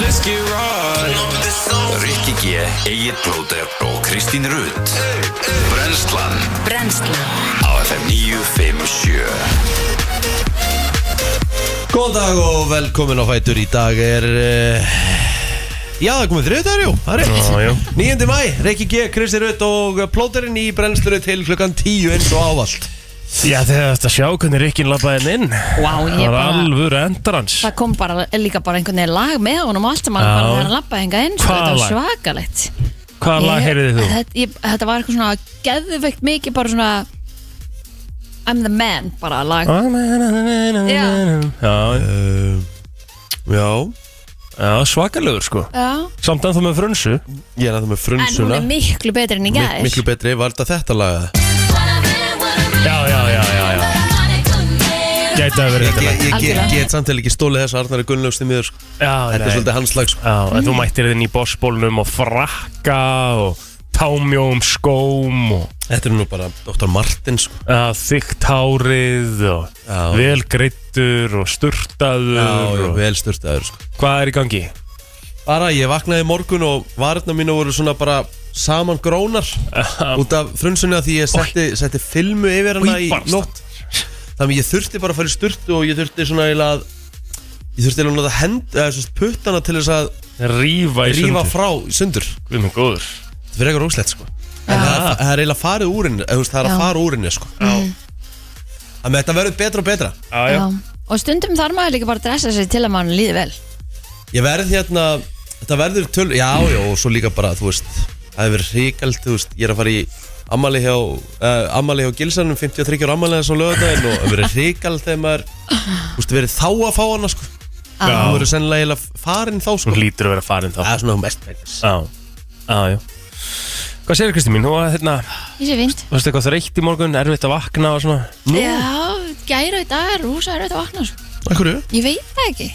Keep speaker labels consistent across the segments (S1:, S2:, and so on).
S1: Let's get right
S2: Rikki G, Egil Blóter og Kristín Rutt Brenslan
S3: Brennslan
S2: á FM 957
S4: Góðan dag og velkomin á Fætur Í dag er uh, Já, það er komið þriðdagur, jú, það er
S1: Já, já.
S4: rétt 9. mæ, Reykji G, Kristi Rutt og plóterinn í brennslunni til klukkan 10 eins og ávallt
S1: Já þegar þetta sjá hvernig Rikkin labbaði henn inn
S3: Vá,
S1: Það
S3: ég
S1: var
S3: bara
S1: alvöru endrans
S3: Það kom bara líka bara einhvern veginn lag með honum og allt sem hann
S1: Já.
S3: bara þegar hann lappaði hingað inn sko,
S1: Hvaða
S3: Þetta var
S1: lag?
S3: svakalegt
S1: Hvaða lag
S3: Ég-
S1: heyrðið þú?
S3: Þetta, ég, þetta var eitthvað svona geðveikt mikið bara svona I'm the man bara lag
S1: Ah, Já, já,
S4: uh, Já,
S1: já svakalögur sko
S3: Já,
S1: Samt ennþá með frunsu
S4: ég er að það með
S3: en hún
S4: frunsuna
S3: er miklu betri enn í
S4: Mik-
S3: gæðis
S4: Miklu betri, var þetta þetta laga?
S1: Já, já, já, já, já Gæti að vera þetta lag
S4: Ég, ég, ég
S3: Algjörlega.
S4: get, get samtali ekki stólið þess að Arnar er Gunnlaugst í miður sko.
S1: Já,
S4: Þetta er
S1: nei.
S4: svolítið hans lag sko.
S1: Já, en þú mættir þinn í bossbólnum og frakka og támjóum skóm og
S4: Þetta er nú bara Dr. Martin sko.
S1: uh, þygt hárið og
S4: Já.
S1: vel greittur og sturtaður
S4: já,
S1: og
S4: vel styrtaður sko.
S1: hvað er í gangi?
S4: Bara, ég vaknaði í morgun og varna mínu voru svona bara saman grónar út af frunsunni að því ég setti, setti filmu yfir hana
S1: Oj,
S4: í
S1: barnstan.
S4: nótt þannig ég þurfti bara að fara í sturtu og ég þurfti svona eiginlega að ég þurfti eiginlega að nota hend eða svona puttana til þess að
S1: Rífa í
S4: rífa
S1: sundur
S4: frá sundur
S1: Við erum góður
S4: það fyrir eitthvað róslegt sko en það, er- það er eiginlega farið úr henni eða, þú veist, það er
S3: Já.
S4: að fara úr henni sko þannig að þetta verður betra og betra
S1: Já, já,
S3: Já. Og stundum þarf maður líka bara að dressa sig til að mann líði vel
S4: ég verð hérna þetta verður töl já já og svo líka bara þú veist það hefur verið ríkald þú veist ég er að fara í ammali hjá uh, ammali hjá Gilsanum 53 ára ammali þessum lögadaginn og það hefur verið ríkald þegar maður þú veist verið þá að fá hana sko
S1: Já.
S4: það verður sennilega eiginlega farin þá sko
S1: hún lítur að vera farin þá
S4: það er svona mest meins
S1: Já, já, já Hvað segir Kristi mín? Hún var hérna,
S3: Ég sé fínt
S1: varstu eitthvað þreytt í morgun, erfitt að vakna og svona
S3: Já, gæra í dag er rúsa er þetta vakna sko.
S4: akkur já
S3: Ég veit það ekki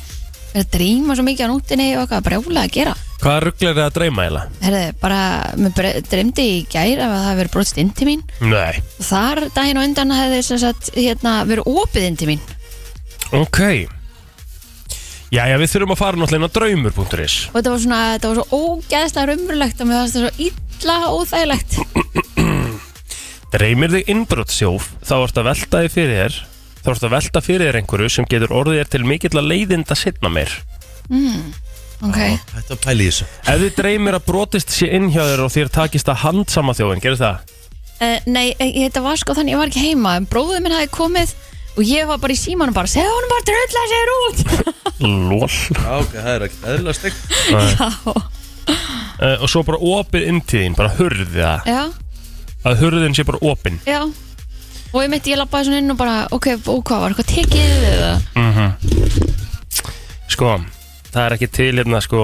S3: Er að drýma svo mikið á nútinni og eitthvað brjóla að gera
S1: Hvað rugglar það að dreyma eða?
S3: Herðu, bara, mér dreymdi í gær að það hefði verið brotist inn til mín
S1: Nei
S3: Þar daginn og undan hefði sem sagt, hérna, verið opið inn til mín
S1: Ok Jæja, við þurfum að fara náttúrulega inn á draumur.is
S3: Og þetta var svona, þetta var svo ógeðslega raumurlegt og mér fannst það svo illa óþægilegt
S1: Dreymir þig innbrotsjóf þá ertu að velta þig fyrir þér þá ertu að velta fyrir þér einhverju sem getur orðið þér til mikill að leiðinda setna meir
S3: Mm, Ok,
S4: þetta er pæli í þessu
S1: Ef þið dreymir að brotist sé inn hjá þér og þér takist að handsama þjófin, gerir það?
S3: uh, nei, eh, þetta var sko þannig, ég var ekki heima en bróður minn hefði komið og ég var bara í símanum bara, segðu honum bara drölla sér út
S1: Lól
S4: já ok það er ekkert eðlilega stygg
S3: Já,
S1: uh, Og svo bara opið inn til þín, bara hurðið það
S3: já,
S1: Að hurðin sé bara opin
S3: já Og ég mitt, ég lappaði svona inn og bara, ok, og hvað var eitthvað tekið eða
S1: Mhm. Sko, það er ekki til hérna sko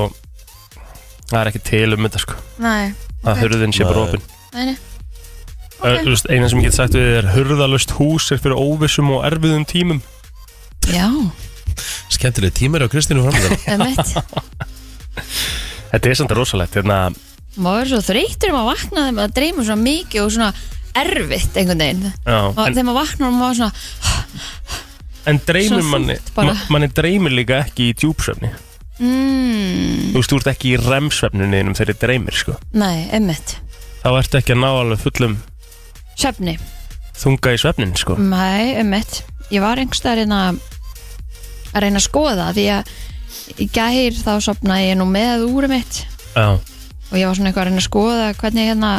S1: Það er ekki til um þetta sko
S3: Nei,
S1: Að hurðin sé bara
S4: Nei.
S1: opin
S3: nei, nei,
S1: okay. uh, Eina sem ég get sagt við þig er Hurðalust hús er fyrir óvissum og erfiðum tímum
S3: já,
S4: skemmtileg tímar á Kristínu framöndan
S3: emitt
S1: Þetta er samt rosalegt hérna,
S3: maður verður svo þreytur um að vakna þegar maður dreymur svona mikið og svona erfitt einhvern veginn
S1: já,
S3: og
S1: en,
S3: þegar maður vaknar og maður svona
S1: en dreymir
S3: Svo
S1: manni
S3: þungt bara.
S1: ma- manni dreymir líka ekki í djúpsvefni
S3: mm,
S1: þú veist, þú ert ekki í remsvefnuninum þegar þið dreymir sko.
S3: nei, emmitt
S1: þá ertu ekki að ná alveg fullum
S3: svefni,
S1: þunga í svefnin sko.
S3: nei, emmitt ég var einhvers að reyna að reyna að skoða því að í gær þá sopnaði ég nú með úr mitt
S1: já,
S3: og ég var svona eitthvað að reyna að skoða hvernig hérna,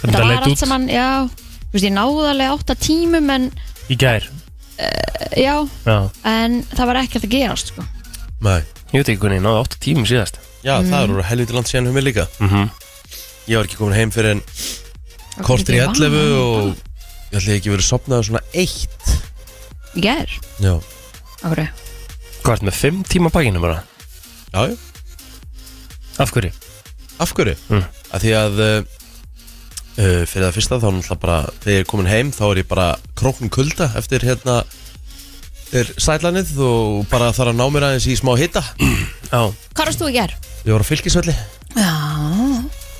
S1: þannig að
S3: var
S1: leit
S3: allt
S1: út
S3: saman já, þú veist, ég náði alveg átta tímum en
S1: í gær
S3: já,
S1: já.
S3: en það var ekkert að gerast sko.
S4: nei
S1: ég veit ekki hvernig, ég náði 8 tímum síðast
S4: já það eru helviti land síðan hjá mér líka
S1: mm -hmm.
S4: ég var ekki komin heim fyrir en
S3: Það var
S4: kortir í
S3: ekki
S4: 11
S3: vanað.
S4: og ég ætli ekki verið sopnaður svona eitt
S3: í gær,
S4: já
S3: okkur
S1: hvað ert með 5 tíma bækinu bara
S4: já já
S1: af hverju?
S4: Af hverju?
S1: Mm.
S4: Af því að uh, uh, fyrir það fyrsta þá náttúrulega bara þegar ég er komin heim þá er ég bara krókn kulda eftir hérna er sælanið og bara þarf að ná mér aðeins í smá hitta
S1: já,
S3: Hvað varst þú að gera?
S4: Ég var á fylgisvelli
S3: Já,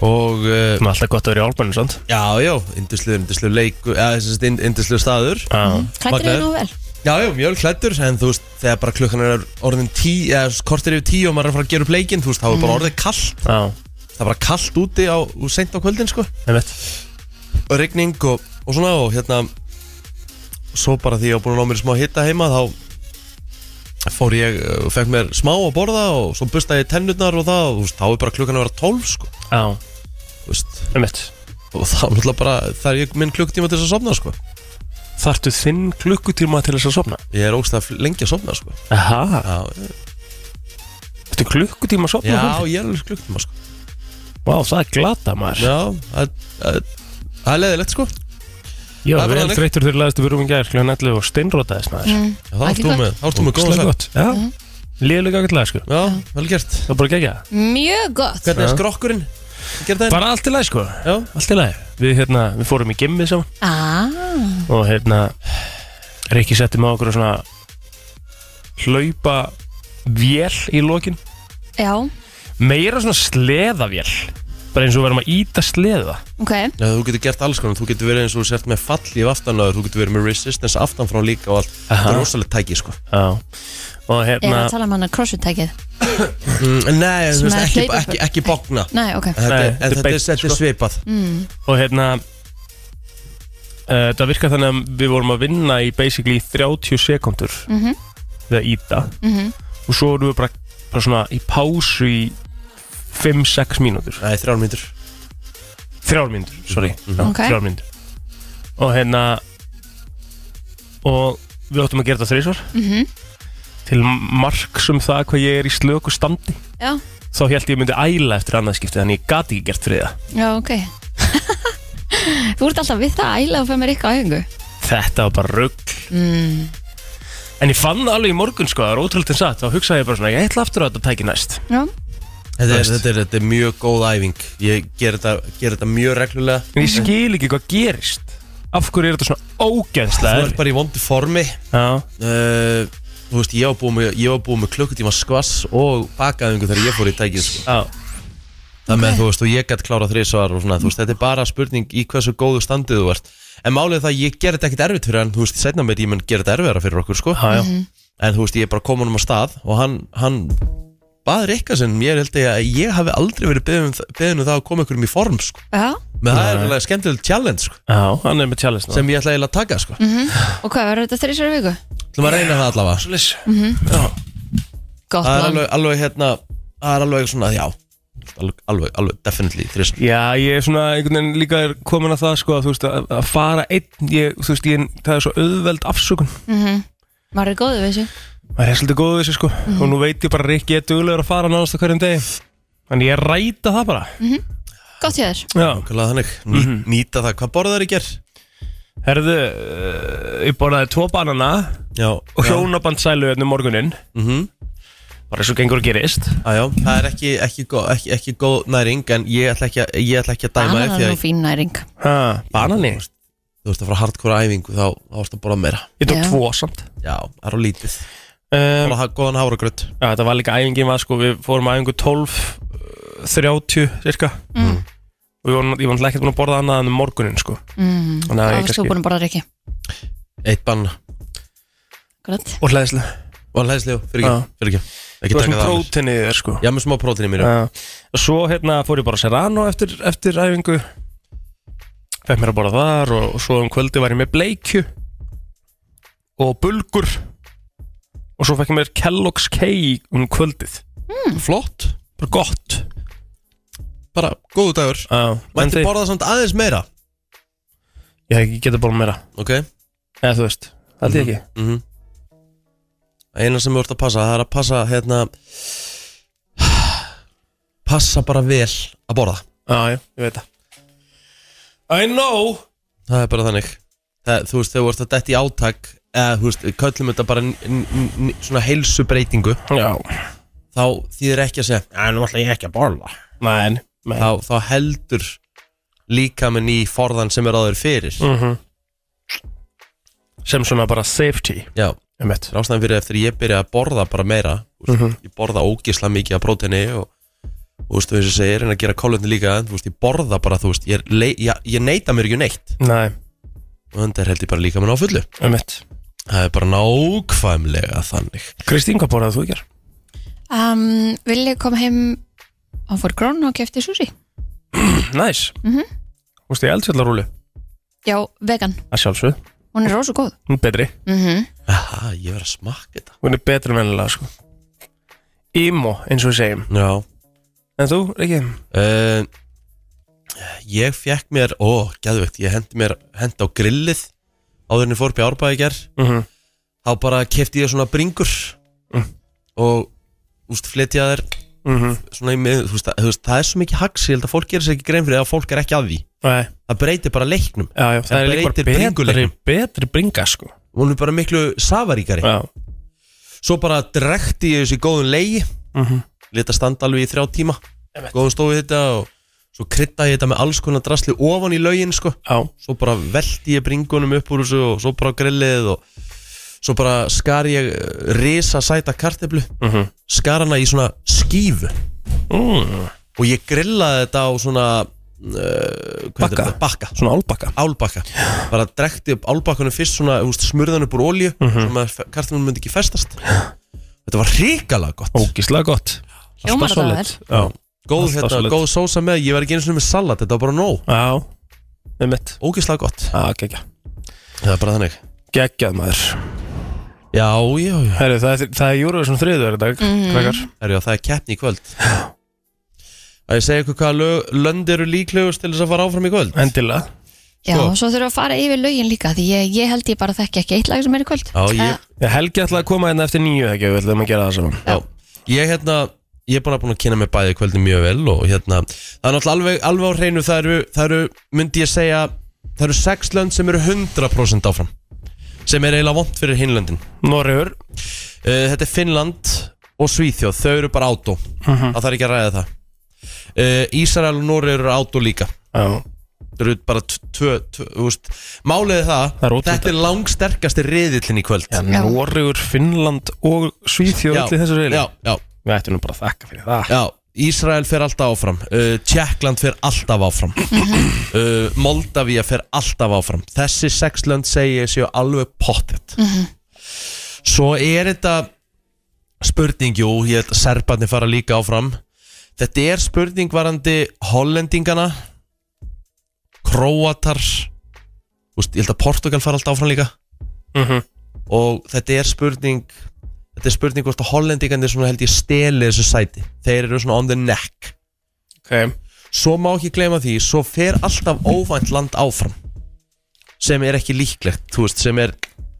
S4: og uh,
S1: það er alltaf gott að vera í álbænum sant?
S4: já, já, indislu, indislu leiku eða þess að indislu staður
S1: já,
S3: klættir þig
S4: Magnaður.
S3: nú vel
S4: Já, já, mjög klættur, en þú veist, þegar bara klukkan er orðin tí, eða kortir yfir tíu og maður er að fara að gera upp leikinn, þú veist, þá er bara orðið kallt
S1: Mm. Já,
S4: það er bara kallt úti á, sent á kvöldin, sko
S1: einmitt
S4: og rigning og, og svona og hérna svo bara því ég var búin að ná mér smá hitta heima þá fór ég eh, og fekk mér smá að borða og svo bustaði ég tennurnar og það og þú veist, þá er bara klukkan að vera 12 sko
S1: Já,
S4: þú veist,
S1: einmitt
S4: og þá er náttúrulega bara það er ég minn klukkutíma til þess að sofna sko
S1: Þartu þinn klukkutíma til þess að sofna?
S4: ég er ógstað lengi að sofna sko
S1: Aha,
S4: já,
S1: þetta er klukkutíma að sofna
S4: já
S1: á kvöldin?
S4: ég er alveg klukkutíma sko
S1: Vá, það er glata maður
S4: já, það- það það er leðilegt sko
S1: Já,
S4: Það er bara
S1: vel
S4: þannig.
S1: þreyttur fyrir laðistu fyrir um gær kljóðan 11 og steinrótaðist maður mm,
S4: Já, þá ert
S3: Ekki
S4: þú
S3: gott.
S4: með, þá ert þú með góða svefn.
S1: gott Já, mm. liðlega gætlega sko
S4: já, vel gert
S1: Það er bara gegja
S3: Mjög gott
S4: hvernig er
S1: Já.
S4: skrokkurinn? gerð það
S1: Bara allt í lagi sko
S4: já,
S1: Allt í lagi Við hérna, við fórum í gimmið saman
S3: ah,
S1: Og hérna Rikki setti með okkur svona Hlaupa Vél í lokin
S3: Já,
S1: Meira svona sleðavél Bara eins og við erum að íta sleða
S3: ok
S4: Já, þú getur gert alls konar, þú getur verið eins og þú sért með fallíf aftanáður, þú getur verið með resistance aftanfrá líka og allt, þetta er rosalega tæki sko.
S1: Já Og
S3: Ég er
S1: hérna
S3: að tala um hann að crossfit-tækið
S4: Mm, nei, þú
S3: Svona
S4: veist, ekki,
S3: hlaupabrett.
S4: ekki, ekki bókna en
S3: Nei, ok Mm.
S4: þetta,
S1: Nei, þetta
S4: nei,
S1: er
S4: en þetta,
S1: beint,
S4: er, þetta er
S1: sko.
S4: svipað
S1: Og hérna uh, Það virka þannig að við vorum að vinna í basically 30 sekundur mm -hmm. Við að íta
S3: Mhm.
S1: Og svo erum við bara, bara svona í pásu í 5-6 mínútur
S4: Nei, þrjár mínútur Mhm,
S1: Þrjár mínútur, sorry Já,
S3: Ok.
S1: Þrjár mínútur Og hérna Og við áttum að gera þetta þreysvar
S3: Mhm.
S1: Til marks um það hvað ég er í slöku standi
S3: Já,
S1: Þá held ég myndi æla eftir annað skipti Þannig ég gat ekki gert þriða
S3: já, ok Þú ert alltaf við það ægilega að fæða mér eitthvað á hengu
S1: Þetta var bara rugg
S3: mm.
S1: En ég fann það alveg í morgun sko, það er ótrúlega satt Þá hugsaði ég bara svona, ég ætla aftur að þetta tæki næst
S3: Já,
S4: þetta er,
S1: Veist.
S4: þetta, er, þetta er mjög góð æfing ég ger þetta, ger þetta mjög reglulega
S1: En ég skil ekki hvað gerist Af hverju er þetta svona
S4: Þú
S1: ógeðslega
S4: ert bara í vondu formi
S1: Já,
S4: uh, Þú veist, ég var búið með, ég var búið með klukkutíma skvass og bakaðingu þegar ég fór í tæki sko.
S1: já,
S4: Það með, þú veist, og ég gætt klárað þrísvar og svona, þú veist, þetta er bara spurning í hversu góðu standið þú ert. En málið er það, að ég ger þetta ekkert erfitt fyrir hann, þú veist, setna með ég mun gera þetta erfiðara fyrir okkur, sko.
S1: já, já
S3: Mhm.
S4: En þú veist, ég er bara komin um að stað og hann, hann baður eitthvað sem ég held ég að ég hafi aldrei verið beðin um það- beðin um það að koma ykkur um í form, sko.
S3: já,
S4: Með það er alveg skemmtileg challenge, sko,
S1: Já, hann er með challenge núna.
S4: sem ég ætla eiginlega að taka, sko. Þú
S3: Mhm, og hvað verður þetta þrísar viku? Mhm.
S4: ætlum að reyna það allavega.
S1: Challenge Já,
S3: Gott
S4: Það er
S3: plan.
S4: alveg, alveg, hérna, það er alveg svona, já, alveg, alveg, alveg definitely þrísvar.
S1: Já, ég er svona einhvern veginn líka er komin að það sko að, Þú veist, að, að fara einn ég, Þú veist, ég, það er svo auðveld afsökun
S3: Mhm. Maður er góður við þessu
S1: Það er svolítið góð þessi sko Og nú veit ég bara að Rikki er duglegur að fara nánast á hverjum degi Þannig ég ræta það bara
S3: Mhm. Gott hjá þér
S1: Já, Mhm.
S4: Nákvæmlega þannig, Ný, nýta það, hvað borðar í gerð?
S1: herðu uh, Ég borðaði tvo banana
S4: Já,
S1: og
S4: já.
S1: hjónabandsælu hérna um morguninn
S4: Mhm.
S1: bara svo gengur og gerist
S4: Ajá, það er ekki, ekki, góð, ekki, ekki góð næring en ég ætla ekki, að- ég ætla ekki að dæma þig
S3: Annan
S4: því
S3: er
S4: að
S3: nú fín næring
S1: ha, banani,
S4: þú ert að fara á hardcore æfingu þá þá ertu að borða meira
S1: ég tók
S3: Já.
S1: tvo samt
S4: Já, það er á lítið
S1: um,
S4: Bara ha- Góðan háragröð
S1: já, þetta var líka æfingin var sko við fórum æfingu 12 uh, 30 cirka
S3: Mm.
S1: og við vorum, ég var náttúrulega ekkert búin að borða annað en um morguninn sko
S3: mm.
S1: Nei,
S3: Það var
S1: kannski-
S3: sko búin að borða ekki
S4: Eitt bann
S3: Grætt
S1: og hlæðislega
S4: og hlæðislegu, fyrir
S1: Já.
S4: ekki, fyrir ekki Ekki
S1: það var
S4: taka
S1: svona
S4: það annars.
S1: próteinið þér sko
S4: Já, með smá prótin í mér já.
S1: uh, og svo hérna fór ég bara á serrano eftir, eftir æfingu fekk mér að borða þar og, og svo um kvöldi var ég með bleikju og bulgur og svo fekk ég mér Kellogg's K um kvöldið
S4: Flott,
S1: bara gott
S4: bara góðu dagur
S1: uh, en
S4: Mætti
S1: þið,
S4: borða samt aðeins meira
S1: ég geta borða meira
S4: Ok,
S1: eða þú veist, held ég ekki
S4: mhm Eina sem þú ert að passa, það er að passa hérna Passa bara vel að borða
S1: já, já, ég veit það I know
S4: Það er bara þannig það, Þú veist, þegar þú ert að detti átak eða, þú veist, köllum þetta bara n- n- n- svona heilsubreitingu
S1: já,
S4: þá þýðir ekki að segja
S1: en nú ætla ég ekki að borða nei, nei
S4: þá, þá heldur líkaminn í forðan sem er áður
S1: Mhm.
S4: fyrir
S1: sem svona bara safety
S4: Já,
S1: um eitt,
S4: rástaðan fyrir eftir ég byrja að borða bara meira mm
S1: Mhm.
S4: -hmm. ég borða ógisla mikið af próteini og og þú veist, þú veist, ég er en að gera kólöfni líka en þú veist, ég borða bara, þú veist, ég, er lei- ég, ég neita mér ekki um neitt
S1: nei,
S4: og þannig heldur bara líkaminn á fullu
S1: um eitt
S4: Það er bara nákvæmlega þannig
S1: Kristín, hvað borðað þú í gær?
S3: um, Villi kom heim hann fór grón og kefti sushi
S1: Næs mm -hmm. Þú veist, ég eldfjallarúli
S3: já, vegan,
S1: að sjálfsög,
S3: hún er rosa góð
S1: hún er betri
S3: mm
S4: Aha, ég verð að smakka þetta
S1: hún er betri en vennilega sko. Ímo, eins og við segjum
S4: Já
S1: En þú, Riki?
S4: uh, Ég fekk mér, ó, gæðvegt Ég hendi mér, hendi á grillið Áður en ég fór upp í árbæði ger
S1: Mm
S4: Þá bara kefti ég svona bringur Og, úst, flytja þær
S1: -hmm.
S4: Svona í mið, þú veist, það, þú veist, það er svo mikið hagsi Ég held að fólk gerir sér ekki grein fyrir það að fólk er ekki að því
S1: Nei,
S4: Það breytir bara leiknum
S1: já, já, það er líka
S4: breytir
S1: bara betri,
S4: bringuleiknum.
S1: betri bringa sko.
S4: Hún er bara miklu safaríkari
S1: Já,
S4: Svo bara drekti ég þessu í góðum leigi
S1: Mhm.
S4: Leta standa alveg í þrjá tíma Góðum stóðu þetta og Svo kryddaði ég þetta með alls konar drasli ofan í laugin sko.
S1: já,
S4: Svo bara velti ég bringunum upp úr þessu Og svo bara á grillið og Svo bara skar ég eh, risa sæta karteflu
S1: Mhm.
S4: Skar hana í svona skífu
S1: mm,
S4: Og ég grillaði þetta á svona uh,
S1: Bakka.
S4: Bakka
S1: svona álbakka
S4: Álbakka Bara drekti upp álbakkanum fyrst svona úst, Smurðan upp úr olju mm
S1: Mhm.
S4: -hmm. Svo karteflunum myndi ekki festast Þetta var hrikalega gott
S1: Ógíslega gott
S3: Hljómar
S1: Alltaf
S3: þetta
S1: solid. Já,
S4: góð,
S1: Alltaf
S4: hérna,
S1: solid.
S4: góð sósa með ég var ekki einu sinni með salat, þetta var bara nóg
S1: já, með mitt
S4: ógeðslega gott,
S1: Já, geggja
S4: það er bara þannig
S1: Geggjað maður
S4: já, já, já,
S1: Herru, það, er- það er Júruvísson þriður í dag,
S3: Mhm.
S1: krakkar
S4: Herjá, það er keppni í kvöld að ég segja ykkur hvaða lög, lönd eru líklegust til þess að fara áfram í kvöld
S1: Endilega
S3: já,
S4: Sko.
S3: svo þurfum við að fara yfir lögin líka því ég, ég held ég bara þekki ekki eitt lag sem er í kvöld
S4: Já, ég-
S3: Eh,
S1: Ég helgi ætlaði að koma hérna eftir nýju ekki, við ætlum að gera það saman
S4: já. ég hérna ég er bara búin að kynna mig bæði kvöldin mjög vel og hérna, það er náttúrulega alveg, alveg á hreinu það eru, það eru, myndi ég segja það eru sex lönd sem eru 100% áfram sem er eiginlega vond fyrir hinlöndin
S1: Noregur,
S4: Uh, Þetta er Finnland og Svíþjóð Þau eru bara átó
S1: Mhm.
S4: Það þarf ekki að ræða það uh, Ísrael og Nóri eru átó líka
S1: já,
S4: Þau eru bara t- tvö tvö- þú veist, Málið er það,
S1: Það er ótrúlegt.
S4: Þetta er langsterkasti riðillin í kvöld
S1: já, Noregur, Finnland og Svíþjóð allir þessu reyli
S4: já, já,
S1: Við ættum nú bara að þakka fyrir það
S4: já Ísrael fer alltaf áfram uh, Tjekkland fer alltaf áfram uh, Moldavia fer alltaf áfram Þessi sexlönd segi ég séu alveg pottet Svo er þetta spurning, jú, ég held að serbarnir fara líka áfram Þetta er spurning varandi Hollendingana Króatar Úst, Ég held að Portugal fara alltaf áfram líka
S1: Mhm.
S4: Og þetta er spurning Þetta er spurning hvort að Hollendingarnir svona held ég steli þessu sæti Þeir eru svona on the neck
S1: okay.
S4: Svo má ekki gleyma því Svo fer alltaf óvænt land áfram Sem er ekki líklegt Þú veist, sem er,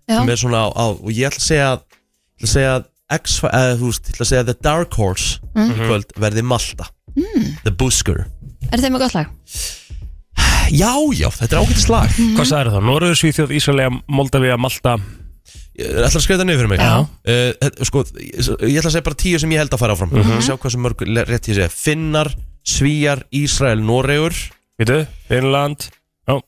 S3: já,
S4: sem er svona á, á, Og ég ætla að segja, ætla að segja X, eða, þú veist, ég ætla að segja The Dark Horse Í kvöld verði Malta The Busker
S3: Hmm, er þeim með gott lag?
S4: Já, já, þetta er ágættis lag
S1: Hvað sagði það? Noregur, Svíþjóð, Ísraelega, Moldavia, Malta
S4: Ég ætla að skrifa það niður fyrir mig
S3: Já.
S4: uh, Sko, ég ég ætla að segja bara tíu sem ég held að fara áfram mm
S1: Mhm.
S4: -hmm. Sjá hvað sem mörg le- rétt ég segja Finnar, Svíjar, Ísrael, Noregur
S1: Vítu, Finnland
S4: uh,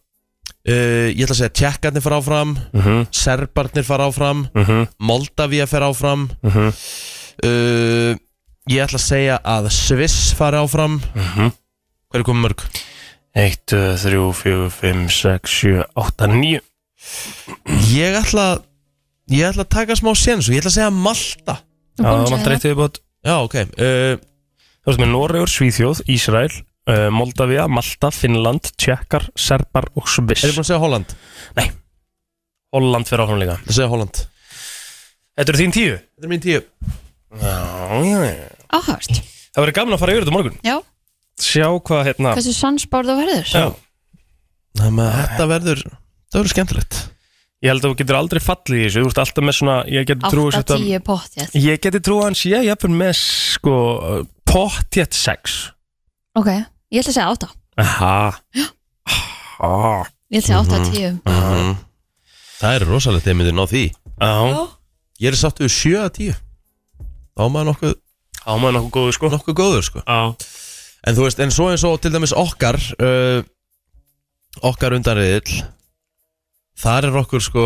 S4: Ég ætla að segja Tjekkarnir fara áfram
S1: mm -hmm.
S4: Serbarnir fara áfram
S1: Mm -hmm.
S4: Moldavia fer áfram
S1: Mm -hmm.
S4: uh, Ég ætla að segja að Sviss fari áfram
S1: Mhm.
S4: Hvað er komið mörg?
S1: 1, 2, 3, 4, 5, 6, 7, 8, 9
S4: Ég ætla að Ég ætla að taka smá séns og ég ætla að segja Malta
S1: Já,
S3: Þú búin að
S1: það
S3: segja
S1: vantar eitt viðbót
S4: Já, ok uh,
S1: Þú veist með Noregur, Svíþjóð, Ísrael, uh, Moldavia, Malta, Finnland, Tjekkar, Serbar og
S4: Er ég
S1: Sviss
S4: búin að segja Holland?
S1: Holland fyrir áfram líka
S4: Ég ætla að segja Holland
S1: Þetta eru þín tíu?
S4: Þetta er mín tíu
S1: Já, já, já
S3: það. áhört,
S1: Það verður gaman að fara yfir þetta á morgun
S3: já,
S1: Sjá hvað hérna
S3: hversu sannspár þú verður
S1: Já,
S4: Þannig að þetta verður Það verður skemmtilegt
S1: ég held að þú getur aldrei fallið í þessu Þú veist alltaf með svona Ég geti trúið
S3: 8-10 pott, já,
S1: Ég geti trúið hans Ég er jafnvel með sko Pottjett 6
S3: ok ég ætla að segja 8,
S1: Aha Aha
S3: ég ætla að
S4: Mhm.
S3: segja 8-10
S4: Það er rosalegt þegar myndir ná því
S1: Já
S4: Ég er sattu við 7 að 10 Þá er maður nokkuð,
S1: Á maður nokkuð góðu sko
S4: nokkuð góður sko
S1: Já
S4: En þú veist, en svo eins og til dæmis okkar uh, Okkar undanriðil Þar er okkur sko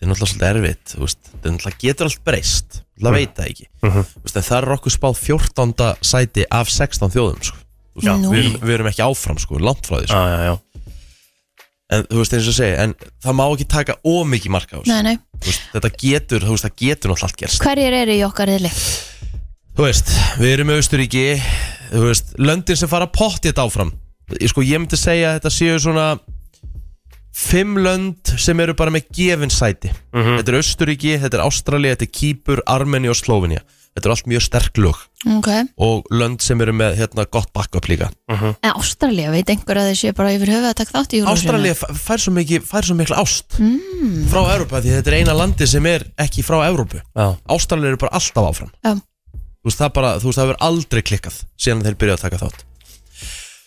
S4: Það er náttúrulega svolítið erfitt þú veist, Það er náttúrulega getur allt breyst Það veit það ekki uh
S1: Mhm.
S4: veist, En þar er okkur spáð 14. sæti af 16 þjóðum sko. Þú veist,
S3: Nú.
S4: við, erum, við erum ekki áfram sko, langt frá því sko.
S1: Já, já, já
S4: en þú veist eins og segja, en það má ekki taka ómikið marka á þessu
S3: Nei, nei.
S4: Þú veist, þetta getur, þú veist, það getur náttúrulega allt gerst
S3: Hverjir eru í okkar riðli?
S4: þú veist, við erum Austuríki þú veist, löndin sem fara pottið áfram ég sko, ég myndi segja að þetta séu svona fimm lönd sem eru bara með gefin sæti þetta er Austuríki, þetta er Ástralía þetta er Kýpur, Armeni og Slóvinja þetta er allt mjög sterk lög
S3: Ok.
S4: og lönd sem eru með hérna gott backup líka
S3: En Ástralía, veit einhver að þið séu bara yfir höfuð að taka þátt í Eurovision?
S4: Ástralía f- fær svo, mikið, fær svo mikla ást
S3: Hmm.
S4: mm. frá Európa því þetta er eina landi sem er ekki frá Európu
S1: Já.
S4: Ástralía eru bara alltaf áfram
S3: Já.
S4: þú veist það bara, þú veist það verður aldrei klikkað síðan þeir byrja að taka þátt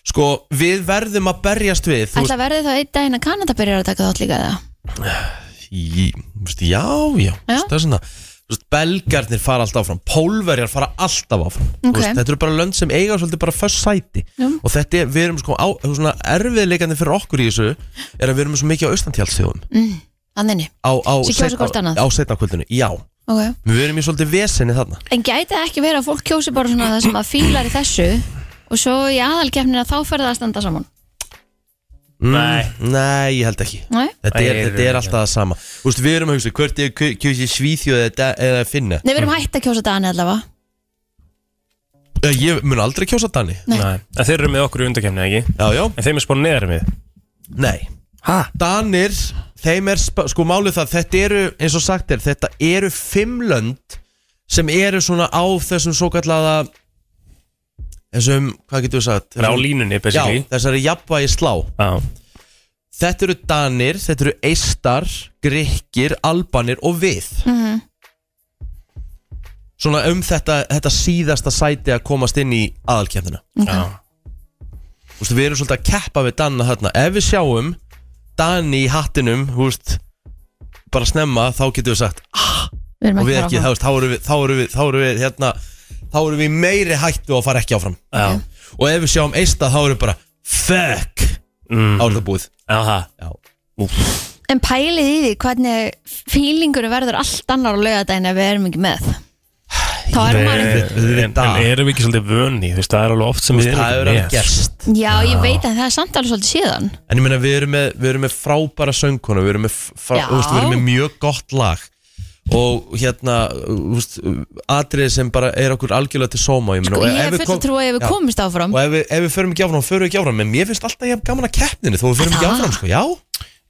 S4: sko við verðum að berjast við þú
S3: Ætla verði þá einn daginn að Kanada byrjar að taka þátt líka það?
S4: veist, í, þú veist, já, já, þú veist, það er svona þú veist, belgarnir fara alltaf áfram pólverjar fara alltaf áfram Þú
S3: Ok.
S4: veist, þetta eru bara lönd sem eiga svolítið bara fyrst sæti
S3: Já.
S4: og þetta er, við erum sko á, þú veist, svona erfiðleikandi fyrir okkur í þessu er að við erum svo mikið á austantjálsþjóðum
S3: Hmm. Þannig.
S4: á, á,
S3: Sem kjósa hvort annað.
S4: á setnakvöldinu, já
S3: Ok.
S4: við erum í svolítið vesenni þarna
S3: En gæti það ekki verið að fólk kjósi bara svona það sem að fílar í þessu og svo í aðalkeppnina þá fer það að standa saman?
S1: Nei.
S4: Mm, nei, ég held ekki
S3: Nei?
S4: Þetta
S1: Nei,
S4: er,
S1: ég er
S4: þetta er
S1: ekki.
S4: alltaf það sama Þú veist, við erum að hugsa, hvert er kjósi svíþjóð eða, eða finna
S3: Nei, við erum hægt að kjósa Dani allavega.
S4: Eh, Ég mun aldrei kjósa Dani
S3: Nei.
S1: Nei. En þeir eru með okkur í undakefni, ekki?
S4: Já, já,
S1: En þeim er spáð neðar með
S4: nei
S1: Hæ?
S4: Danir, þeim er, sp- sko málið það Þetta eru, eins og sagt er, þetta eru fimm lönd sem eru svona á þessum svo kallaða þessum, hvað getur við sagt
S1: Á línunni, basically
S4: Já, þessari jafnvægi slá
S1: Já.
S4: Þetta eru Danir, þetta eru Eistar, Grikkir, Albanir og við
S5: Mhm.
S4: Svona um þetta, þetta síðasta sæti að komast inn í aðalkjöfnina
S1: Já.
S4: Þú veist, Við erum svolítið að keppa við Danna þarna Ef við sjáum Dani í hattinum þú veist, bara snemma þá getum við sagt "Ah,"
S3: Við erum
S4: og
S3: ekki
S4: við
S3: að
S4: ekki,
S3: fara
S4: þá,
S3: áfram.
S4: veist, þá erum við þá erum við, þá erum við, hérna, þá erum við í meiri hættu að fara ekki áfram
S1: Já.
S4: og ef við sjáum Eista þá erum við bara fuck,
S1: Mm.
S4: mm. árið búið
S1: Aha.
S4: Já
S3: En pælið í því hvernig fílingur verður allt annar á laugardaginn ef við erum ekki með Þá er
S1: Nei,
S3: maður ekki
S1: En, en erum við ekki svolítið vöni, þú veist, það er alveg oft sem við erum
S4: Það
S1: ekki með.
S4: hefur alveg gerst
S3: Já, ég veit að það er samt alveg svolítið síðan
S4: En ég meina, við erum með, við erum með frábæra söngkona Við erum með, frá,
S3: Já.
S4: þú veist, við erum með mjög gott lag Og hérna, þú veist, atrið sem bara er okkur algjörlega til sóma Ég, meina,
S3: Sko,
S4: og
S3: ég
S4: ef
S3: er
S4: við
S3: fullt að
S4: kom-
S3: trúa ef við
S4: Já.
S3: komumst áfram
S4: Og ef við, ef við förum ekki áfram, förum við ekki áfram En mér finnst alltaf ég hef gaman að keppninu Þó við förum ekki
S3: Það?
S4: áfram, sko, já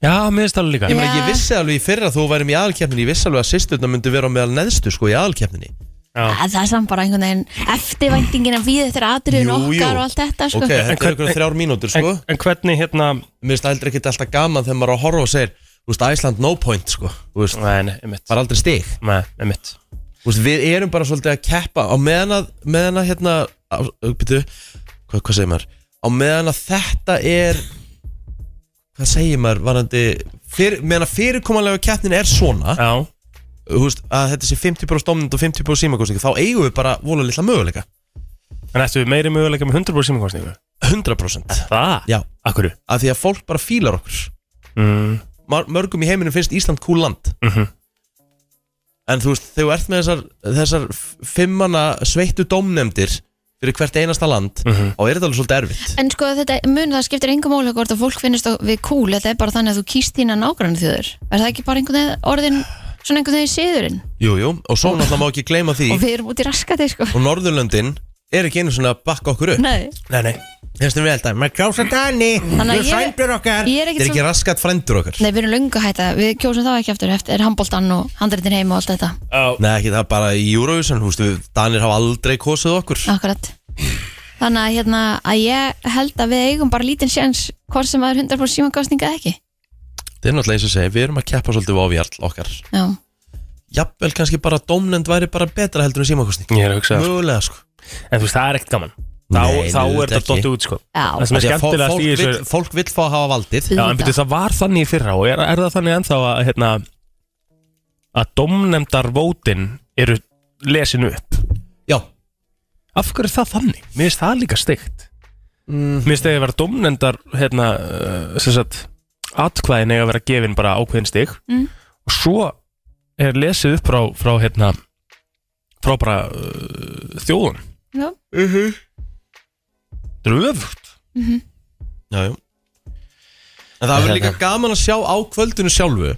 S1: Já, mér finnst það alveg líka.
S4: Ég meina, ég
S3: Já.
S4: vissi alveg í fyrra að þú værum í aðalkeppninu Ég vissi alveg að sýsturna myndi vera á meðal neðstu, sko, í aðalkeppninu
S3: Að Það er samt bara einhvern veginn eftirvæntingin að við eftir atriðun
S4: Jú, jú.
S3: okkar og allt þetta sko.
S4: Ok,
S1: En
S4: þetta er
S1: hvern-
S4: ykkur þrjár mínútur,
S1: En,
S4: sko
S1: en hvernig hérna,
S4: Mér finnst heldur ekkert alltaf gaman þegar maður er að horfa og segir Þú veist, Æsland no point, sko Þú veist,
S1: nei, nei, einmitt,
S4: bara aldrei stig
S1: nei, einmitt.
S4: Þú veist, við erum bara svolítið að keppa á meðan að, meðan að hérna á, byrju, hvað, hvað segir maður á meðan að þetta er hvað segir maður varandi, fyr, meðan að fyrirkomanlega keppnin er svona,
S1: Já,
S4: þú veist, að þetta sé 50% domnind og 50% símakosningu, þá eigum við bara vola litla möguleika,
S1: en ættu við meiri möguleika með 100% símakostningu?
S4: 100%
S1: Það?
S4: já,
S1: Akkurru?
S4: að því að fólk bara fílar okkur
S1: Mm.
S4: Mar- mörgum í heiminum finnst Ísland cool land
S1: Mhm.
S4: en þú veist, þegar þú ert með þessar, þessar f- fimmana sveittu domnefndir fyrir hvert einasta land
S1: Mhm.
S4: þá er þetta alveg svolítið erfitt
S3: En sko þetta, mun það skiptir engum ólega hvort að fólk finnist á- við cool Þetta er bara þannig að þú kýst þína nágrann þjóður Er það ekki bara einhvern veginn orðin svona einhvern veginn síðurinn
S4: Jú, jú, og svo náttúrulega má ekki gleyma því
S3: og við erum út í raskati sko.
S4: og Norðurlöndin er ekki einu svona að bakka okkur upp
S3: Nei,
S1: Nei, nei.
S4: Þessum við held að, maður kjása Dani
S3: Þannig að
S4: við
S3: ég-
S4: frændur okkar
S3: ég er ekkert
S4: Þetta er ekki
S3: svo-
S4: raskat frændur okkar
S3: Nei, við erum löngu hætta, við kjósum þá ekki aftur eftir handbóltan og handreitin heim og allt þetta
S1: Já,
S4: Nei, ekki það er bara í Eurovision, þú veist, við- Danir hafa aldrei kosið okkur
S3: Akkurat Þannig að, hérna, að ég held að við eigum bara lítinn sjans hvort sem að er 100% símankostninga eða ekki
S4: Það er náttúrulega eins og segja, við erum að keppa svolítið á við okkar
S3: Já,
S4: Jafnvel kannski bara domnend væri bara betra heldur en símakostning
S1: ég er að hugsa það.
S4: Mögulega sko
S1: En þú veist, það er ekkert gaman. Þá,
S4: Nei,
S1: þá
S4: auðvitað
S1: er þetta
S4: ekki.
S1: dottið út, sko. Það
S3: já,
S1: sem er
S4: Því að fó-
S1: skemmtilegast
S4: fólk
S1: í þessu...
S4: vill- Fólk vill fá að hafa valdið
S1: Já, en byrju,
S3: auðvitað.
S1: það var þannig í fyrra og er, er það þannig ennþá að, hérna, að domnemdarvótin eru lesin upp.
S4: Já,
S1: Af hverju er það þannig? Mér finnst það líka steikt. Mér finnst þegar að vera domnendar, hérna, uh, sem sagt, atkvæðin eiga að vera gefin bara ákveðin stig
S3: Mm.
S1: og svo er lesið upp frá, frá hérna, frá bara uh, þjóðun.
S3: Já.
S1: Þetta er öfugt.
S4: já, já En það verður líka gaman að sjá á kvöldinu sjálfu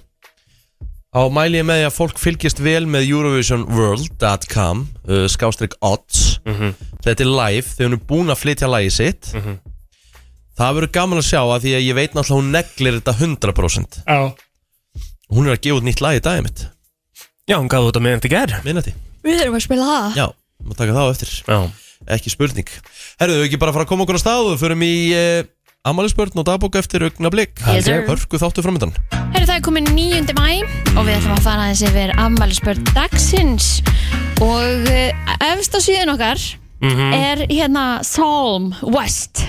S4: Á mæli ég með því að fólk fylgjast vel með EurovisionWorld.com uh, Skástrík odds
S1: Mhm.
S4: Þetta er live, þau eru búin að flytja lagi sitt Það verður gaman að sjá að því að ég veit náttúrulega hún neglir þetta 100%
S1: Já
S4: Hún er að gefa út nýtt lag í dagið mitt
S1: Já, hún gaf út að meðan þetta ger
S4: Minnati,
S3: Við erum að spila það
S4: já, maður taka það á eftir
S1: Já
S4: Ekki spurning Herðu, ekki bara að fara að koma okkur á stað og förum í uh, Amalispörn og dagbók eftir augna blik
S3: Yes, sir.
S4: Hörku þáttu framöndan
S3: Herru, það er komið 9. mæ og við ætlum að fara aðeins yfir ammælisbörn dagsins og eh, efst á síðan okkar er hérna Salm West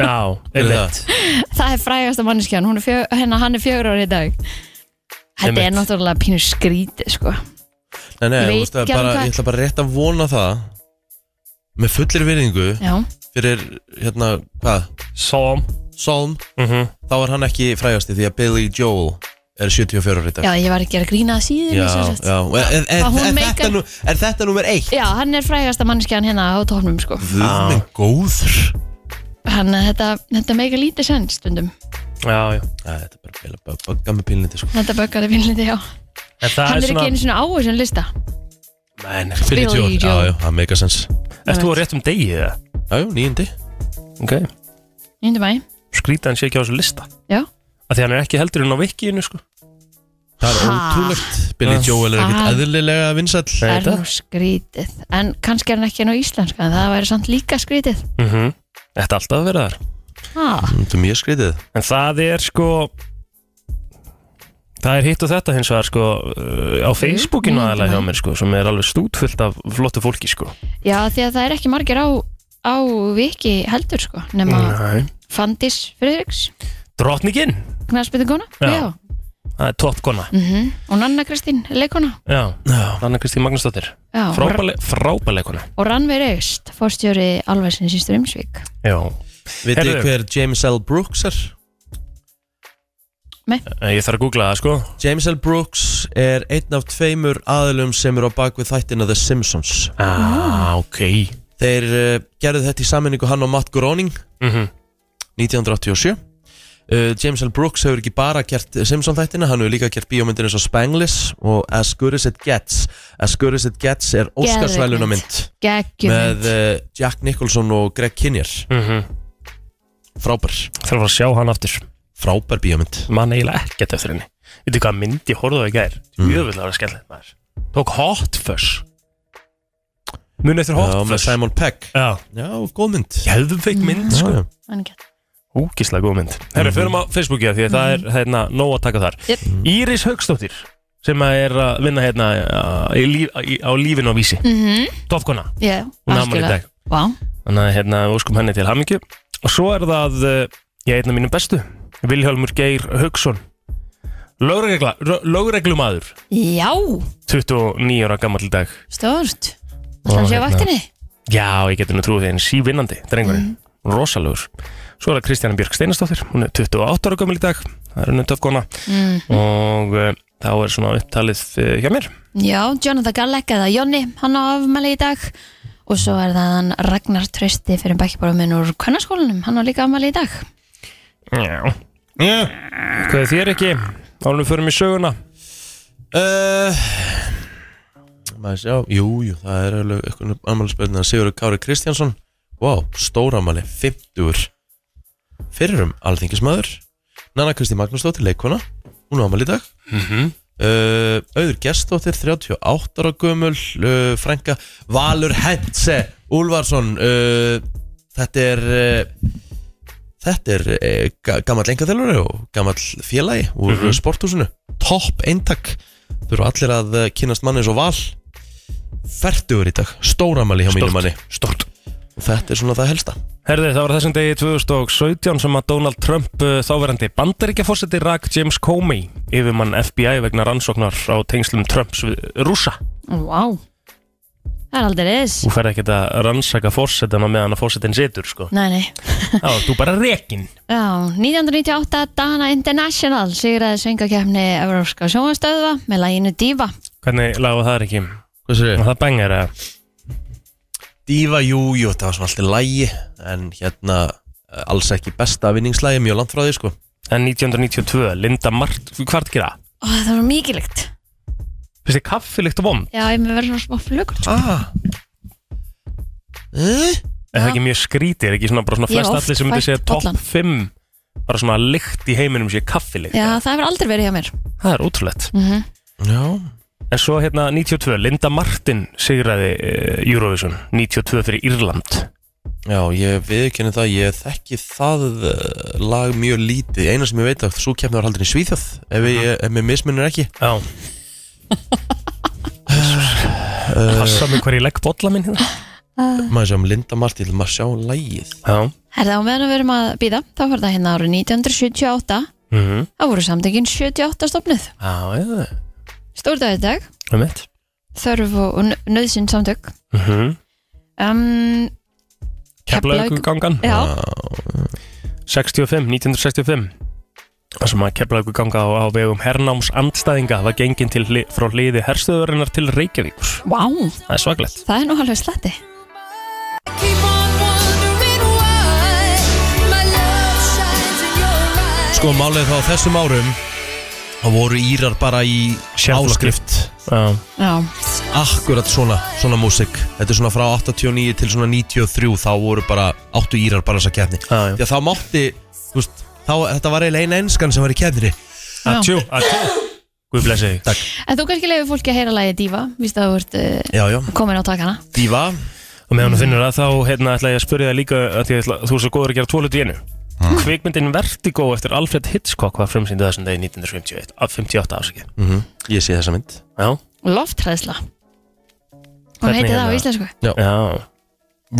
S1: Já, einmitt
S3: það er frægasta manneskjan, hún er fjö, hérna, hann er fjögur ári í dag Þetta er
S1: Einmitt.
S3: náttúrulega pínu skríti sko.
S4: Nei, nei,
S3: Ég
S4: ég,
S3: veit
S4: veist, það er
S3: ekki alveg
S4: bara,
S3: hvað-
S4: ég ætla bara rétt að vona það með fullir virðingu
S3: Já,
S4: fyrir, hérna, hvað,
S1: Som
S4: Solm
S1: Mhm.
S4: þá er hann ekki frægasti því að Billy Joel er 74 ára í dag
S3: já, ég var ekki að grína að síðan
S4: já, já. Og Er, er, er,
S3: Hvað hún
S4: þetta
S3: meikar-
S4: nú, er þetta númer eitt?
S3: já, hann er frægasta manneskjan hérna á tóknum sko.
S4: Guð minn góður
S3: hann, eh, þetta, þetta meika lítið senn stundum
S1: Já, já
S4: Æ, Þetta er bara að bila bugga með pílinni sko.
S3: þetta böggar er vinnlítið, já
S1: En það
S3: hann er ekki einu svona á þessum lista
S1: Nei, nei
S3: Billy Joel.
S4: Já, já, það meika sens
S1: Ert þú á réttum degi eða?
S4: Já, já, nýjandi
S1: Ok
S3: 9. mæ,
S1: Skrýta hann sé ekki á þessu lista
S3: já
S1: Af því hann er ekki heldur inn á vikinu sko
S4: Það er
S3: Ha.
S4: ótrúlegt Billy
S1: Já.
S4: Joel er
S3: Ha.
S4: ekkit eðlilega vinsall
S1: Nei.
S3: Það er
S1: þetta?
S3: nú skrítið En kannski er hann ekki nú íslenska en Það væri samt líka skrítið
S1: mm Þetta er alltaf að vera þar
S3: ha.
S4: Mm, Þetta er mjög skrítið
S1: En það er sko Það er hitt og þetta hins vegar sko uh, á Facebookinu
S3: Mm,
S1: aðalega hjá
S3: já.
S1: mér sko sem er alveg stútfullt af flottu fólki sko
S3: Já, því að það er ekki margir á, á viki heldur sko Nefna
S1: Nei
S3: Fandís Friðriks
S1: Drottningin,
S3: Knarsbyttingona
S1: Já.
S3: Já.
S1: það er toppkona
S3: Mhm. Og Nanna Kristín leikona
S1: Já, Anna Kristín Magnúsdóttir
S3: Já. Og,
S1: Frábæle- Frábæleikona
S3: og Rannveig Reist Fórstjóri Alvæsins í Strömsvík
S1: Já,
S4: Vitið þið
S1: Heyrðu.
S4: hver James L. Brooks er?
S1: Eh, ég þarf að googla það sko
S4: James L. Brooks er einn af tveimur aðlum sem eru á bakvið þættina The Simpsons
S1: Ah, ok
S4: Þeir uh, gerðu þetta í sammenningu hann og Matt Groening
S1: mm -hmm.
S4: 1987 uh, James L. Brooks hefur ekki bara gert Simpson þættina, hann hefur líka gert bíómyndin eins og Spanglish og As Good As It Gets As Good As It Gets er Óskarsvæluna mynd
S3: Geggjumund
S4: með uh, Jack Nicholson og Greg Kinnear
S1: Mhm.
S4: frábær,
S1: Þarf að fara að sjá hann aftur
S4: frábær bíómynd
S1: Man eiginlega ekkert eftir henni Veitu hvað myndi horfðu ekki er
S4: Mm.
S1: Jöfull ára skellið maður Tók Hot Fuzz Muni eftir Hot
S4: Já, með
S1: Fuzz
S4: Simon Pegg
S1: Já,
S4: Já, góð mynd
S1: hefðveik mynd
S4: Já,
S1: sko
S4: já.
S1: Úkislega góð mynd
S4: Mhm.
S1: Herra, förum á Facebooki af því að það er hérna nóg að taka þar
S3: Mhm.
S1: Mhm.
S3: Jep.
S1: Íris Haugstóttir sem að er að vinna hérna uh, í líf, í, á lífinu á vísi
S3: Mhm.
S1: Topkona,
S3: Já,
S1: hún er afmæli í
S3: algjörlega.
S1: dag
S3: Vá.
S1: Þannig að hérna við óskum henni til hamingju Og svo er það, uh, ég er einn af mínum bestu Vilhjálmur Geir Haugsson Lögregla, rö- lögreglumaður
S3: Já,
S1: 29 ára gammal dag
S3: stort
S1: Og
S3: Þannig sé á
S1: hérna-
S3: vaktinni
S1: Já, ég getur nú trúið því en sívinnandi drengurinn, rosalegur Svo er það Kristjana Björk Steinastóttir hún er 28 ára gömul í dag það er henni töfkona
S3: mm.
S1: og uh, þá er svona upptalið uh, hjá mér
S3: Já, Jonathan Gallegg eða Jonni, hann á afmæli í dag og svo er það hann Ragnar Trösti fyrir bakkibára minn úr kvennarskólanum, hann á líka afmæli í dag
S1: Já Hvað er þér ekki? Álum við förum í söguna
S4: Uh, maður sjá, jú, jú, það er alveg eitthvað ammali spilnið að Sigurður Kári Kristjánsson Vá, wow, stóramali, 50 Fyrrum alþingismæður um Nanna Kristi Magnúsdóttir, leikona Hún á ammali í dag uh, Auður Gestóttir, 38 ára gömul uh, Frænka Valur Hentse, Úlfarsson uh, Þetta er uh, Þetta er uh, ga- gamall engaþjálfari og gamall félagi úr mm sporthúsinu Topp eintak Þau eru allir að uh, kynast manni eins og val Fertugur í dag, stóramali hjá mínum manni
S1: Stort
S4: og þetta er svona það helsta
S1: Herði, það var þessum degi 2017 sem að Donald Trump uh, þáverandi bandaríkjafórseti rak James Comey yfirmann FBI vegna rannsóknar á tengslum Trumps við rúsa
S3: Vá, það er aldrei eðis
S1: Þú ferð ekki að rannsaka fórsetan á meðan að fórsetin situr sko.
S3: Nei, nei
S1: Já, þú bara rekin
S3: Já, 1998 Dana International sigraði söngakefni Evrópska sjónastöðva með læginu Diva
S1: Hvernig laga það er ekki?
S4: Hvað sér
S1: Var það bengar eða?
S4: Díva, jú, jú, þetta var svona alltaf lægi En hérna, eh, alls ekki besta vinningslægi Mjög langt frá því, sko
S1: en 1992, Linda Mart hvað er það að gera?
S3: Ó, það var mikilvægt
S1: Finnst þið kaffilikt vond?
S3: Já, ég með verður svona smá flugur sko.
S1: Ah. Er það ekki mjög skrítið? Er ekki svona bara svona
S3: Ég hef
S1: flest
S3: oft
S1: allir sem myndi
S3: fært
S1: segja topp
S3: bollan.
S1: 5 bara svona lykt í heiminum sé kaffilykt
S3: Já, það hefur aldrei verið hjá mér
S1: Það er ótrúlegt
S3: Mhm.
S4: Já
S1: En svo hérna 92, Linda Martin sigraði uh, Eurovision 92 fyrir Írland
S4: Já, ég viðkynni það, ég þekki það eh, lag mjög lítið Eina sem ég veit að svo kemna var haldin í Svíþjóð Ef, ég, ef mér mismunir ekki
S1: Mhm. Já Passa mig hver ég legg bolla minn hérna
S4: Eh, Maður sjá um Linda Martin, maður sjá lagið
S1: Já
S3: Herða á meðan við erum að býða, þá var það hérna árið 1978
S1: mm
S3: þá voru samtökin 78 stopnuð
S1: Já, já,
S3: Stórdagur í dag,
S1: það er Um mitt
S3: þörf og og nöðsyn samtök
S1: mm -hmm.
S3: um, Keflavík- Já,
S1: 65, 1965 þar sem að keflaðu ganga á, á vegum hernáms andstæðinga var gengin til, hli- frá hliði herstöðurinnar til Reykjavíkur
S3: vá,
S1: það er svaglegt
S3: það er nú alveg sletti
S4: Sko málið þá á þessum árum þá voru Írar bara í
S1: Sérflokki.
S4: áskrift
S1: já,
S3: Já,
S4: Akkurat svona, svona músik Þetta er svona frá 89 til svona 93 þá voru bara, áttu Írar bara þessa keppni
S1: já, já.
S4: Því að þá mátti, þú veist þá, þetta var eiginlega eina enskan sem var í keppni
S1: atjú, atjú Guð blessi þig
S3: en þú kannski leiður fólki að heyra lagið Díva, víst að þú ert uh,
S4: Já, já,
S3: komin á takana
S4: Diva
S1: og meðan þú finnur það þá hérna, ætla ég að spyrja það líka að ég, ætla, þú er svo góður að gera tvo hluti í einu kvikmyndin Vertigo eftir Alfred Hitchcock var frumsýndið þessum degi 1958 af 58 afsakið
S4: Ég sé þessa mynd
S1: já,
S3: Lofthræðsla Hún
S1: Hvernig
S3: heitir það á
S1: hérna?
S3: íslensku
S1: já,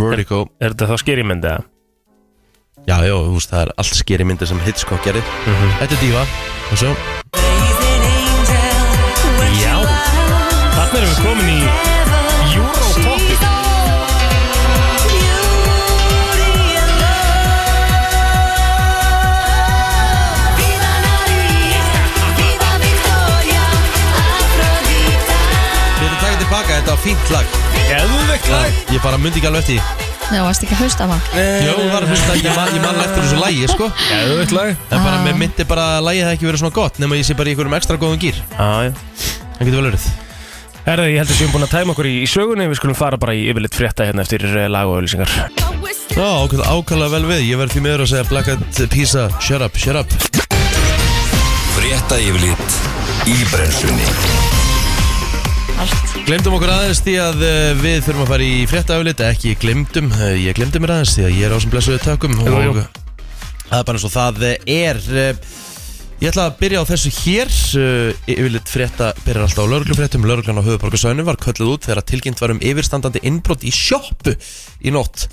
S4: Vertigo
S1: er þetta þá skeri myndið eða?
S4: Já, já, þú veist, það er allt skeri myndir sem Hitchcock gerði
S1: Mhm.
S4: Þetta er Diva Og svo,
S1: já, þarna erum við komin í Eurotopi
S4: við erum takað tilbaka, þetta var fínt lag
S1: Geðveikt lag.
S4: Ég bara myndi ekki alveg eftir því.
S3: Nei, þú varst ekki að hausta maður
S4: Jó, ég var að hlusta, ég man- ég man eftir þessu lagi, sko
S1: Geðveikt lag Ah.
S4: Það er bara, mér myndi bara að lagið það ekki verið svona gott nema ég sé bara í einhverjum ekstra góðum gýr
S1: Já, já.
S4: Það getur vel verið
S1: Herðu, ég held að við séum búin að tæma okkur í, í sögunni Við skulum fara bara í yfirleitt frétta hérna eftir eh, lag og auðlýsingar
S4: Já, ákveð, ákveðlega vel við, ég verð því meður að segja Black Eyed Pizza, shut up, shut up
S2: Frétta yfirlit í brennslunni
S4: Glemdum okkur aðeins því að eh, við þurfum að fara í fréttaöflit Ekki glemdum, eh, ég glemdi mér aðeins því að ég er á sem blessuðu tökum
S1: Jú, jú.
S4: og Það er bara eins og það er eh, Ég ætla að byrja á þessu hér eh, Yfirleitt frétta byrjar alltaf á lauruglufréttum Lauruglan á höfuborgarsöðunum var kölluð út þegar tilkynnt var um yfirstandandi innbrot í sjoppu í nótt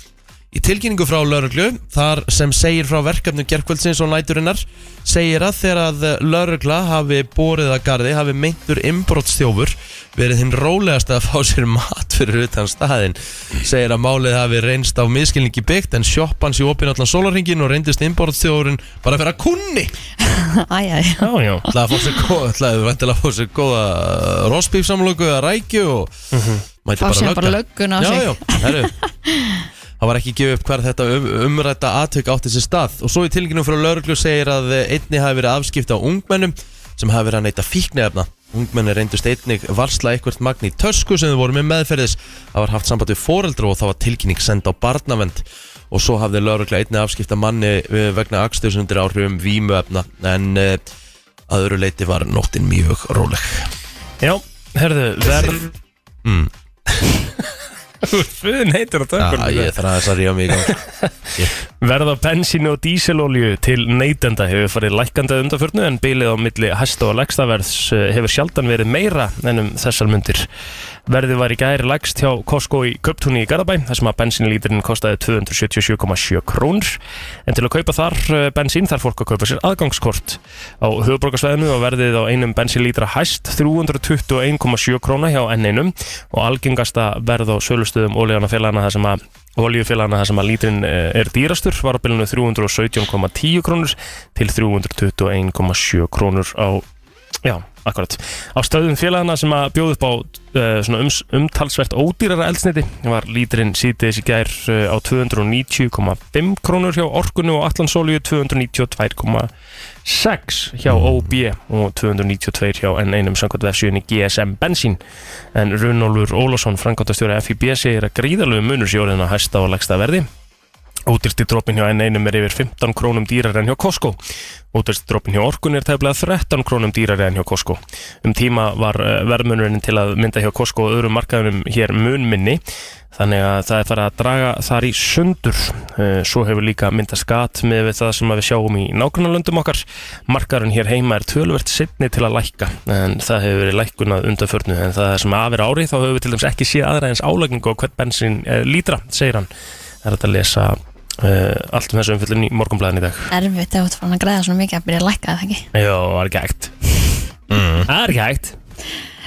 S4: Í tilkynningu frá lauruglu, þar sem segir frá verkefnum gerkvöldsins og næturinnar, segir að þegar að laurugla hafi borið að gardi, hafi meintur inbrotstjófur verið hinn rólegast að fá sér mat fyrir utan staðinn. Segir að málið hafi reynst á miskilningi byggt en sjoppan sé opinn allan sólarringin og reyndist inbrotstjófurinn bara fyrir að kunni.
S3: Æ, æ, æ.
S1: Já, já
S4: Það að fá sér góða, það er vantilega að fá sér góða rosbífsamlöku eða rækju og
S1: Mhm.
S4: mæti
S3: Fá sér
S4: bara
S3: bara
S4: lögga.
S3: lögguna á sig.
S4: Já, já, herru Það var ekki gefið upp hvar þetta um, umrætta aðtök átti sér stað og svo í tilgjörnum frá lauruglu segir að eh, einni hafi verið afskipta á ungmennum sem hafi verið að neyta fíknefna Ungmenni reyndust einnig varsla eitthvert magn í tösku sem þau voru með meðferðis Það var haft samband við foreldra og það var tilkynning send á barnavend og svo hafði laurugla einni afskipta manni eh, vegna akstursundir áhrifum vímuefna en eh, að öðru leiti var nóttin mjög róleg
S1: Já, herðu, verð Mm
S4: Hmm.
S1: Föðin heitir á
S4: Já, ég
S1: tökunum
S4: þarf aðeins að ríða mig í gang
S1: Verð á bensínu og dísilolju til neytenda hefur farið lækkandi að undanförnu en bilið á milli hæsta og lægstaverðs eh, hefur sjaldan verið meira en um þessar myndir Verðið var í gæri lægst hjá Costco í Köptúni í Garðabæ þar sem að bensínlíturinn kostaði 277,7 krónur en til að kaupa þar eh, bensín þarf fólk að kaupa sér aðgangskort á höfuborgarsvæðinu og verðið á einum bensínlítra hæst 321,7 króna hjá N1 og algengasta verð á sölustöðum olíanafélagana þar sem að olíufélagana þar sem að lítrin er dýrastur var á bylunu 317,10 krónur til 321,7 krónur á já, akkurat Á stöðum félagana sem að bjóð upp á uh, svona ums, umtalsvert ódýrara eldsneiti var líturinn síðdegis í gær uh, á 290,5 krónur hjá Orkunu og Allansóliu 292,6 hjá OB og 292 hjá N1 samkvæmt vefsjöðinni GSM Bensín en Runólfur Ólásson, frangóttastjóra FIB segir að gríðalögu munur sé orðin að hæsta og lægsta verði Ódyrsti dropin hjá N1 er yfir 15 krónum dýrar en hjá Costco. Ódyrsti dropin hjá Orkun er tæflega 13 krónum dýrar en hjá Costco. Um tíma var eh, verðmunurinn til að mynda hjá Costco og öðrum markaðunum hér munminni þannig að það er farið að draga þar í sundur. Eh, Svo hefur líka myndast gat með við það sem að við sjáum í nágrannalöndum okkar. Markaðurinn hér heima er tölvert sittni til að lækka en það hefur verið lækkun að undanförnu en það sem af er ári þá höfum við til dæmis ekki séð aðra eins álækningu á hvert bensin lítra, segir hann. Það er hægt að lesa uh, allt um þessu umfyllun í morgunblæðin í dag.
S3: Erfitt ef þú ert farin að græða svona mikið að byrja að lækka það ekki
S1: Jó, það er ekki hægt. Það er ekki hægt.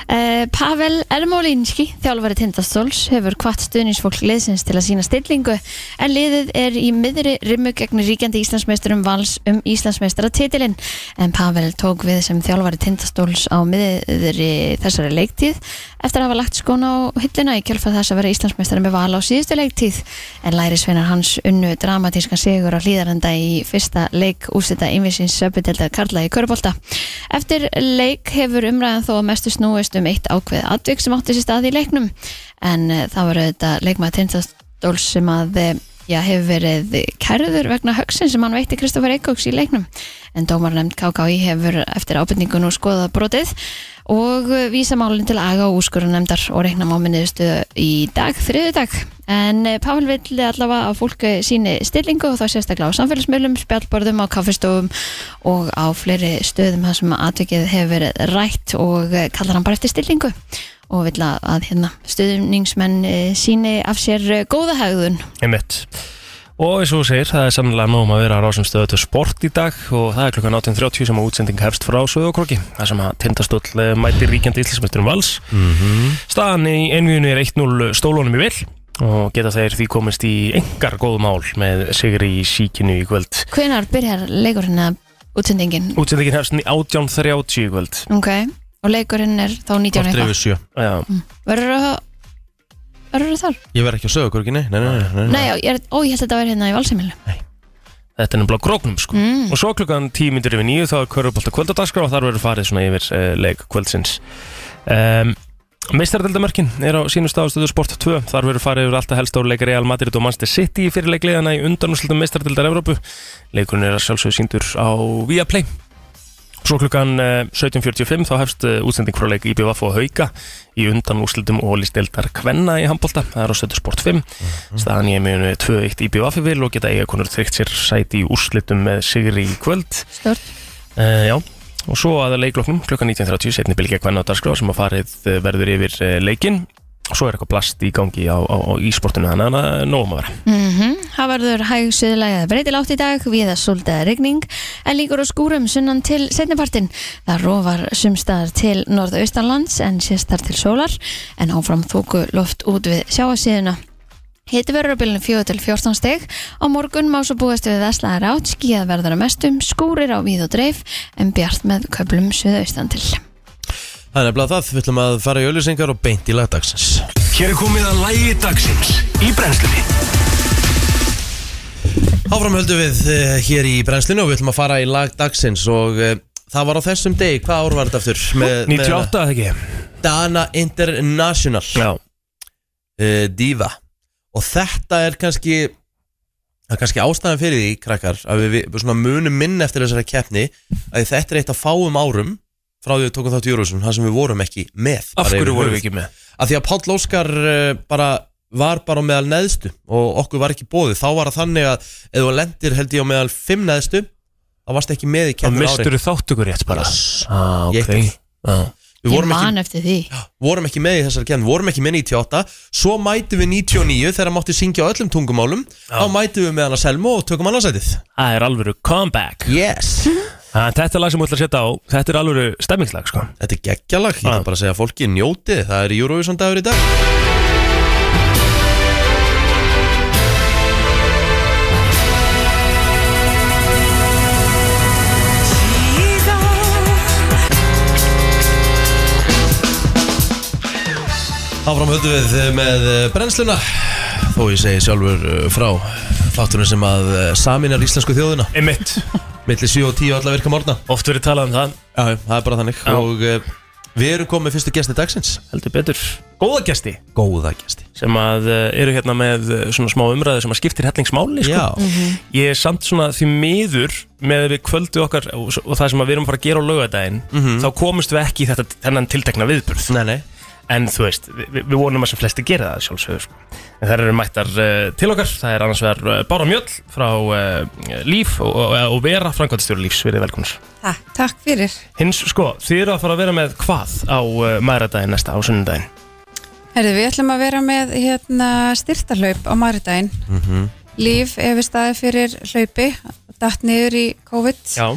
S3: Uh, Pavel Ermolinski, þjálfari Tindastóls, hefur kvart stuðningsfólk liðsins til að sína stillingu en liðið er í miðri rimmu gegn ríkjandi Íslandsmeisturum vals um Íslandsmeistara titilinn en Pavel tók við sem þjálfari Tindastóls á miðri þessari leiktíð eftir að hafa lagt skóna á hilluna í kjálfa þess að vera Íslandsmeistari með val á síðustu leiktíð en lærisveinar hans unnu dramatískan sigur á hlýðarenda í fyrsta leik úrstita einvisins söpudelda Karla í Körbólta Eftir leik hefur umræðan þó að mestu snúist um eitt ákveð atvik sem átti sér stað í leiknum en eh, það var auðvitað leikmaður tindastóls sem að eh, já, hefur verið kærður vegna högsin sem hann veitti Kristoffer Eikóks í leiknum en dómarnefnd KKI hefur eftir ábyrningun og skoða brotið og eh, vísa málinn til aga og úrskurunemndar og reikna máminniðustu í dag, þriðudag en eh, Pavel vill allavega að fólk eh, síni stillingu og þá sérstaklega á samfélagsmiðlum, spjallborðum, á kaffestofum og á fleiri stöðum þar sem atvikið hefur verið rætt og eh, kallar hann bara eftir stillingu og vill að, að hérna, stöðningsmenn eh, síni af sér eh, góða hegðun
S1: Einmitt. Og eins og þú segir, það er samlega nóg um að vera á rásum stöðu til sport í dag og það er klukkan 18.30 sem að útsending hefst frá Söðokroki, það sem að tindastóll eh, mætir ríkjandi íslensmesturum vals. Staðan í einvíðinu er 1-0 stólunum í vil og geta þeir því komist í engar góð mál með sigri í síkinu í kvöld.
S3: Hvenær byrjar leikurinn að útsendingin?
S1: Útsendingin hefst 18.30 í kvöld.
S3: Ok, og leikurinn er þá 19
S4: Kortir
S3: eitthvað
S4: yfir sjö
S1: Já.
S3: Verður það Verður það þar?
S4: Ég verð ekki að sögja okkur nei, nei, nei, nei,
S3: Nei, já, ég er, ó, ég held að þetta væri hérna í valsemilu
S1: Þetta er nefnilega gróknum sko Og svo klukkan 10 myndir yfir nýju þá er Körubolt að kvöldadagskrá og þar verður farið svona yfir uh, leik kvöldsins um, Meistardildamörkin er á sínu staðastöðu Sport 2 Þar verður farið yfir alltaf helst á leik Real Madrid og Manchester City í fyrirleikliðana í undanúslutum meistardildar Evrópu Leikurinn er að sjálfsögðu síndur á Viaplay Svo klukkan eh, 17.45 þá hefst eh, útsending frá leik IBVF og Hauka í undan úrslitum og listildar Kvenna í handbólta, það er á Sötu Sport 5 staðan ég meðinu 2-1 IBVF vil og geta eiga konur tryggt sér sæti í úrslitum með sigri í kvöld
S3: Stjórn
S1: uh, Já, og svo að leiklokknum klukkan 19.30 setni bylgja Kvenna á dagskrá sem að farið eh, verður yfir eh, leikinn og svo er eitthvað plast í gangi á, á, á ísportinu þannig að það er nóg um að vera
S3: Mm Það verður hæg suðulæg að breytilátt í dag við að svolítið regning en líkur á skúrum sunnan til setnipartin það rofar sumstaðar til norðaustanlands en séstar til sólar en áfram þóku loft út við sjáasíðuna Hiti verður á bylunum 4 til 14 steg á morgun má svo búast við veslaðar átt skíðað verður að mestum, skúrir á víð og dreif en bjart með köplum suðaustan til
S4: Það er nefnilega það, við ætlum að fara í auðlýsingar og beint í lagdagsins
S2: Hér er komið að lægi dagsins í brennslunni
S4: Áfram höldum við uh, hér í brennslinu og við ætlum að fara í lagdagsins og uh, það var á þessum degi, hvað ár var þetta aftur? Með, með
S1: 98 eða ekki?
S4: Dana International
S1: Já,
S4: uh, Diva og þetta er kannski það er kannski ástæðan fyrir því krakkar að við, við svona munum minn eftir þessari keppni að þetta er eitt af fáum árum frá því við tókum þátt í Eurovision þar sem við vorum ekki með
S1: af
S4: bara
S1: hverju
S4: yfir
S1: vorum
S4: höfuð.
S1: við ekki með?
S4: að því að Páll Óskar eh, bara var bara á meðal neðstu og okkur var ekki bóðið, þá var það þannig að ef þú lendir held ég á meðal fimm neðstu þá varst ekki með í
S1: Það
S4: keppni ári
S1: mistur þáttukur rétt bara ah,
S4: Ég
S1: okay.
S4: ekki.
S1: ah.
S4: við
S3: ég
S4: vorum ekki,
S3: man eftir því
S4: vorum ekki með í þessari keppni, vorum ekki með í 98 svo mætum við 99 þegar mátti syngja á öllum tungumálum þá mætum við með hana Selmo og tökum annarsætið
S1: Það er alvöru comeback
S4: yes.
S1: ah, Þetta lag sem við ætlum að setja á Þetta er alvöru stemmingslag sko.
S4: þetta er geggjalag, ég
S1: Já.
S4: kan bara segja að fólki njótið það er Eurovision dagur í dag
S6: She's on.
S4: Áfram höldum við eh, með eh, brennsluna Þó ég segi sjálfur eh, frá Þátturinn sem að eh, saminar íslensku þjóðina
S1: Einmitt,
S4: Millir 7 og 10 alla virka morgna
S1: oft verið talað um það
S4: Já, já, það er bara þannig
S1: Já.
S4: Og eh, við erum komið fyrstu gesti dagsins
S1: Heldur betur Góða gesti
S4: Góða gesti
S1: sem að uh, eru hérna með eh, svona smá umræðu sem að skiptir hellingsmáli sko.
S4: Já,
S1: Ég er samt svona því miður með við kvöldu okkar og, og það sem að við erum að fara að gera á lögadaginn þá komumst við ekki í þetta þennan tiltekna viðburð
S4: Mhm. nei, nei
S1: en þú veist, við, við vonum að sem flesti gera það sjálfsögur sko. en það eru mættar uh, til okkar, það er annars vegar uh, Bára Mjöll frá uh, Líf og, og, og Vera, framkvæmstjóri Lífs, verið velkomnir
S6: Takk, takk fyrir.
S1: Hins, sko, þið eru að fara að vera með hvað á uh, mæradaginn næsta, á sunnudaginn
S6: Herðu, við ætlum að vera með hérna, styrtalaup á maridaginn.
S4: Mhm.
S6: Líf ef við staði fyrir hlaupi, datt niður í COVID,
S1: Já,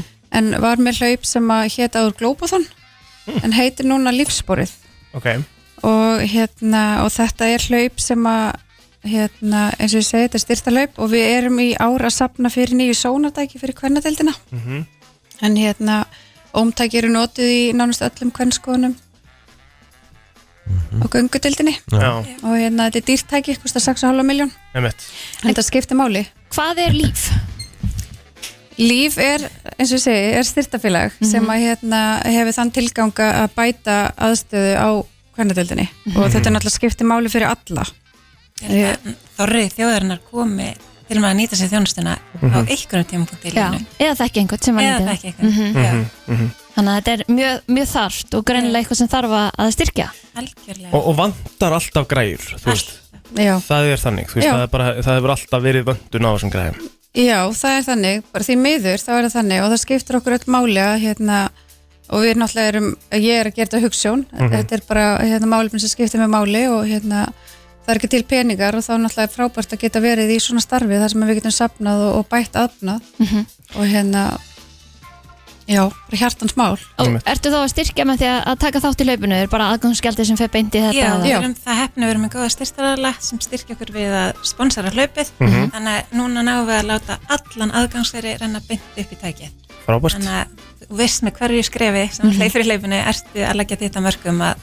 S6: en var með hlaup sem að hétt áður Glóbúþon, en heitir núna Lífsporið.
S1: ok
S6: Og, hérna, og þetta er hlaup sem að, hérna, eins og ég segi, þetta er styrtalaup og við erum í ára að sapna fyrir nýju sónadæki fyrir kvennadeildina. En hérna, ómtæki eru notuð í nánast öllum kvennskoðunum á göngudeildinni.
S1: Já,
S6: og hérna þetta er dýrt tæki, kostar 6,5 miljón
S1: einmitt
S6: en þetta skiptir máli
S3: Hvað er líf?
S6: Líf er, eins og ég segi, er styrtafélag
S3: Mhm.
S6: sem að hérna hefur þann tilganga að bæta aðstöðu á kvennadeildinni
S3: Mhm.
S6: og þetta er náttúrulega skiptir máli fyrir alla
S7: þorri þjóðarinnar komi til maður að nýta sér þjónustuna á einhvernum tímapunkti í
S3: Já,
S7: lífinu
S3: eða þekki einhvern sem Mhm. að
S7: eða
S3: nýta
S7: það
S3: það
S7: ekki eitthvað
S8: Mm-hmm.
S3: Þannig að þetta er mjög, mjög þarft og greinlega eitthvað sem þarf að að styrkja
S7: algjörlega
S1: og, og vantar alltaf græjur, þú veist
S6: Já.
S1: Það er þannig, þú veist,
S6: Já.
S1: það, er bara, það hefur alltaf verið vöndun á þessum græðum
S6: Já, það er þannig, bara því miður þá er það þannig og það skiptir okkur öll máli að hérna og við náttúrulega erum, ég er að gera þetta hugssjón
S1: Mhm.
S6: þetta er bara hérna málefni sem skiptir með máli og hérna það er ekki til peningar og þá er náttúrulega frábært að geta verið í svona starfi þar sem við getum sapnað og, og bætt aðfnað
S7: Mhm.
S6: og hérna já, bara hjartans mál
S3: Og ertu þá að styrkja með því að að taka þátt í laupinu? Er bara aðgangsgjaldið sem fer beint í þetta?
S7: Já,
S3: eða?
S7: við erum það hefnum við erum með góða styrstaraðla sem styrkja okkur við að sponsora hlaupið þannig að núna náum við að láta allan aðgangsveri renna beint upp í tækið
S1: Frábært
S7: þannig að þú veist með hverju skrefi sem mm -hmm. hleyfur í hlaupinu ertu að leggja þetta mörgum að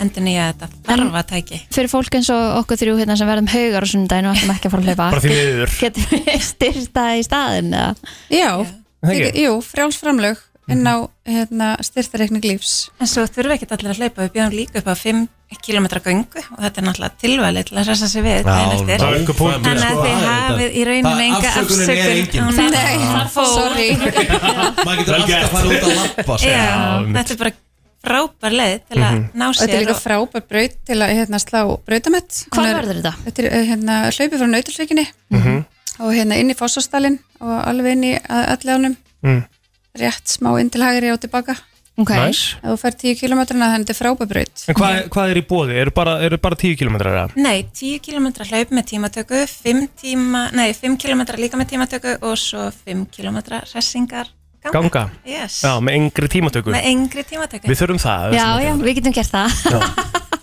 S7: endur nýja þetta þarfa tæki
S3: Fyrir fólk eins og okkur þrjú hérna sem verðum haugar og sundaginn og ætlum ekki að fara að
S1: Bara
S3: hlaupa
S1: því miður
S3: Getum við styrta í staðin eða?
S6: Já,
S1: Það ekki?
S6: ekki, jú, frjálsframlög inn á hérna, styrtareikning lífs
S7: En svo þurfum við ekkert allir að hlaupa, við bjóðum líka upp á 5 km göngu og þetta er náttúrulega tilvalið til að ressa sig við daginn eftir.
S1: nákvæmlega. Hörku punktur,
S7: Þannig að þið hafið í rauninni
S4: Það-
S7: enga
S4: afsökunin er engin.
S7: afsökun. Nei, það fór.
S6: Sorry,
S4: Maður getur
S1: Vel gert.
S4: alltaf farið út að lappa
S7: Já,
S1: einmitt.
S7: þetta er bara frábær leið til að
S1: Mhm.
S7: ná
S6: og þetta er
S7: sér
S6: líka
S7: og
S6: frábær braut til að hérna, slá brautamett Hún
S3: Hvar
S6: er-
S3: verður þetta?
S6: Þetta er eh, hérna, hlaupið frá nautilsvíkinni og hérna inn í Fossastalinn og alveg inn í alljónum
S1: Mm.
S6: rétt smá inn til hægri og tilbaka
S3: Ok,
S1: Nice.
S6: ef þú fer 10 km þannig að þetta er frábæbraut
S1: En hvað, hvað er í bóði? Eru bara, eru bara 10 km eða?
S7: Nei, 10 km hlaup með tímatöku, 5, tíma, nei, 5 km líka með tímatöku og svo 5 km ressingar ganga.
S1: Ganga?
S7: Yes,
S1: Já, með engri tímatöku
S7: með engri tímatöku.
S1: Við þurfum það
S3: já, já, við getum gert það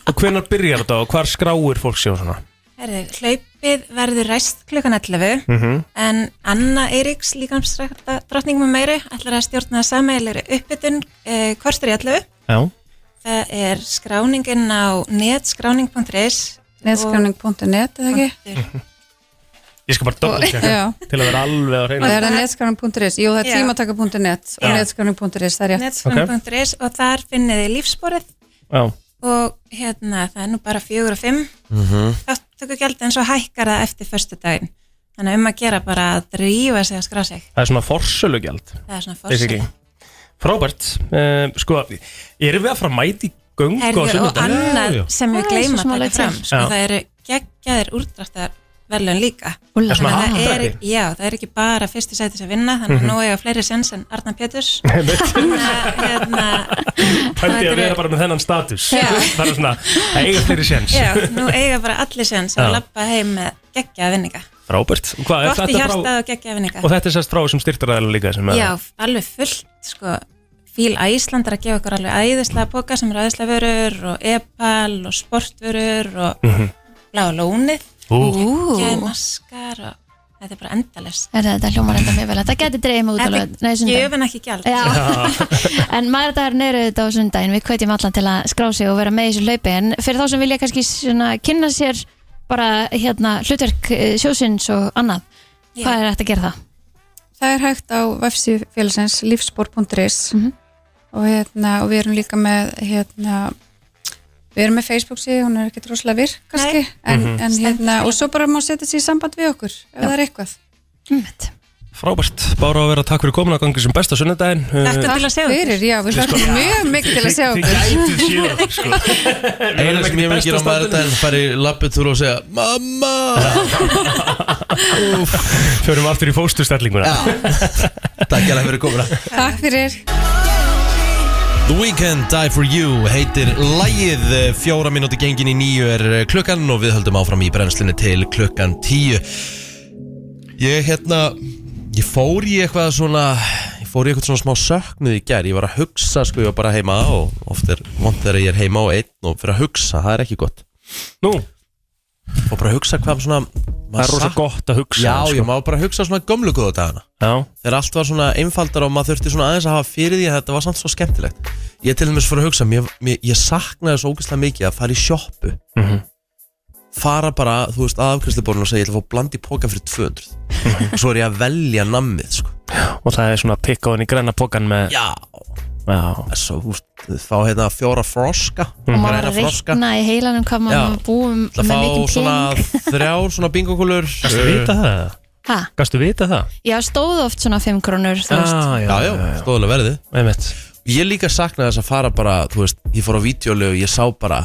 S1: Og hvenar byrjar þetta og hvar skráir fólk sér og svona?
S7: Herðu, hlaupið verður ræst klukkan 11
S3: Mhm.
S7: en Anna Eiríks líkamsrækta drottning með meiri ætlar að stjórna sameigilegri uppbytun eh, kvartur í 11
S1: Já
S7: það er skráningin á netskráning.is
S6: netskráning.net eða ekki?
S1: Ég skal bara double checka
S6: Já,
S1: til að vera alveg á reyna
S6: það er það netskráning.is Jú, það er
S7: Já.
S6: tímataka.net og netskráning.is, það er rétt
S7: netskráning.is og þar finnið þið lífsborið
S1: Já,
S7: og hérna það er nú bara 4 og 5 mm
S3: Mhm.
S7: -hmm. en svo hækkar það eftir förstu daginn þannig að um að gera bara að drífa sig að skrá sig
S1: það er svona forsölugjald
S7: það er svona
S1: Basically
S7: fórsöld
S1: Frábært uh, Sko, erum við að fara að mæti göngu á
S7: Herðu, og
S1: sunnudaginn?
S7: annað sem
S3: Já,
S7: við
S3: já.
S7: gleyma
S3: Svo
S7: að
S3: smálega
S7: taka fram
S3: til.
S7: sko,
S1: Já.
S7: það eru geggjaðir úrdráttar velun líka
S3: Úlala.
S1: Er svona Mhm.
S7: það
S1: Ah.
S7: er, já, það er ekki bara fyrstu sætis að vinna þannig að nú eiga fleiri sens en Arna Péturs Þannig að, hérna,
S1: Pældi ég að vera bara með þennan status
S7: Já.
S1: Það er svona, það eiga fleiri séns
S7: já, nú eiga bara allir sens
S1: Já.
S7: að lappa heim með geggjaða vinninga
S1: Frábært Hvað er
S7: gott í
S1: þetta frá
S7: hjartað og geggjaða vinninga
S1: Og þetta er sérst frá þessum styrtaræðilega líka sem er-
S7: já, alveg fullt sko, fíl Æsland er að gefa okkur alveg æðislega póka sem eru æðislega vörur og epal og sportvörur og bláa lónið
S1: Mhm. Ú,
S3: Ú,
S7: geðmaskar og Þetta er bara endalist.
S3: Er þetta hljómar enda mjög vel Þetta geti dreigðið mig út á lög Nei,
S7: Þetta er
S3: sundag
S7: gefin ekki gjald.
S3: Já, en maður þetta er neyru þetta á sundaginn Við kveitjum allan til að skrá sig og vera með í þessu laupi En fyrir þá sem vilja kannski svona, kynna sér bara hérna hlutverk eh, sjósins og annað
S7: Já.
S3: Hvað er hægt að gera það?
S6: Það er hægt á vefsíðu félagsins lífspor.is
S7: Mhm.
S6: og, hérna, og við erum líka með hérna, við erum með Facebook síðu, hún er ekkert rosalega virk kannski, en, en hérna, og svo bara má setja sér í samband við okkur, ef það er eitthvað
S3: Einmitt.
S1: Frábært, bara að vera takk fyrir komin að gangi sem besta sunnudaginn Eh,
S7: Þetta er til að segja
S6: Fyrir, já, við hlökkum mjög mikið til að segja okkur
S1: gætið síðan sko.
S4: Einu sem ég vil gera á maðurdaginn fara í lappetúr og segja Mamma
S1: Förum aftur í fóstustellinguna
S4: Takk alveg fyrir komuna
S6: Takk fyrir
S4: The Weekend Die For You heitir lægið eh, fjóra mínúti gengin í nýju er eh, klukkan og við höldum áfram í brennslunni til klukkan tíu Ég hérna ég fór í eitthvað svona ég fór í eitthvað svona smá söknuð í gær ég var að hugsa sko ég var bara heima og oft er vond þegar ég er heima og einn og fyrir að hugsa það er ekki gott
S1: Nú,
S4: og bara að hugsa hvað svona
S1: það er rosa gott að hugsa
S4: Já,
S1: sko.
S4: ég má bara hugsa svona gömlu góða dagana
S1: Já,
S4: þegar allt var svona einfaldar og maður þurfti svona aðeins að hafa fyrir því að þetta var samt svo skemmtilegt ég til dæmis fór að hugsa, mér, mér, ég saknaði svo ógeðslega mikið að fara í sjoppu
S1: Mhm.
S4: fara bara, þú veist, að afkvæmsleiborun og segja, ég ætla að fá blandi póka fyrir 200 og svo er ég að velja nammið sko.
S1: Mhm. og það er svona pikkaðin í græna pokan með
S4: já,
S1: Já,
S4: svo, þú veist, þá hérna fjóra froska
S1: Mhm.
S3: Og maður
S4: græna
S3: er að reikna í heilanum hvað maður
S4: Já.
S3: má búa um
S4: ætla að
S3: með mikið
S4: fá svona
S3: pening
S4: þrjár svona bingokulur
S1: Gastu vita það?
S3: Ha,
S1: Gastu vita það?
S3: Já, stóð oft svona 5 krónur þú veist.
S4: Ah,
S1: Ah,
S4: já, já, stóðulega verðið
S1: einmitt
S4: Ég líka saknaði þess að fara bara, þú veist, ég fór á vídeolög og ég sá bara,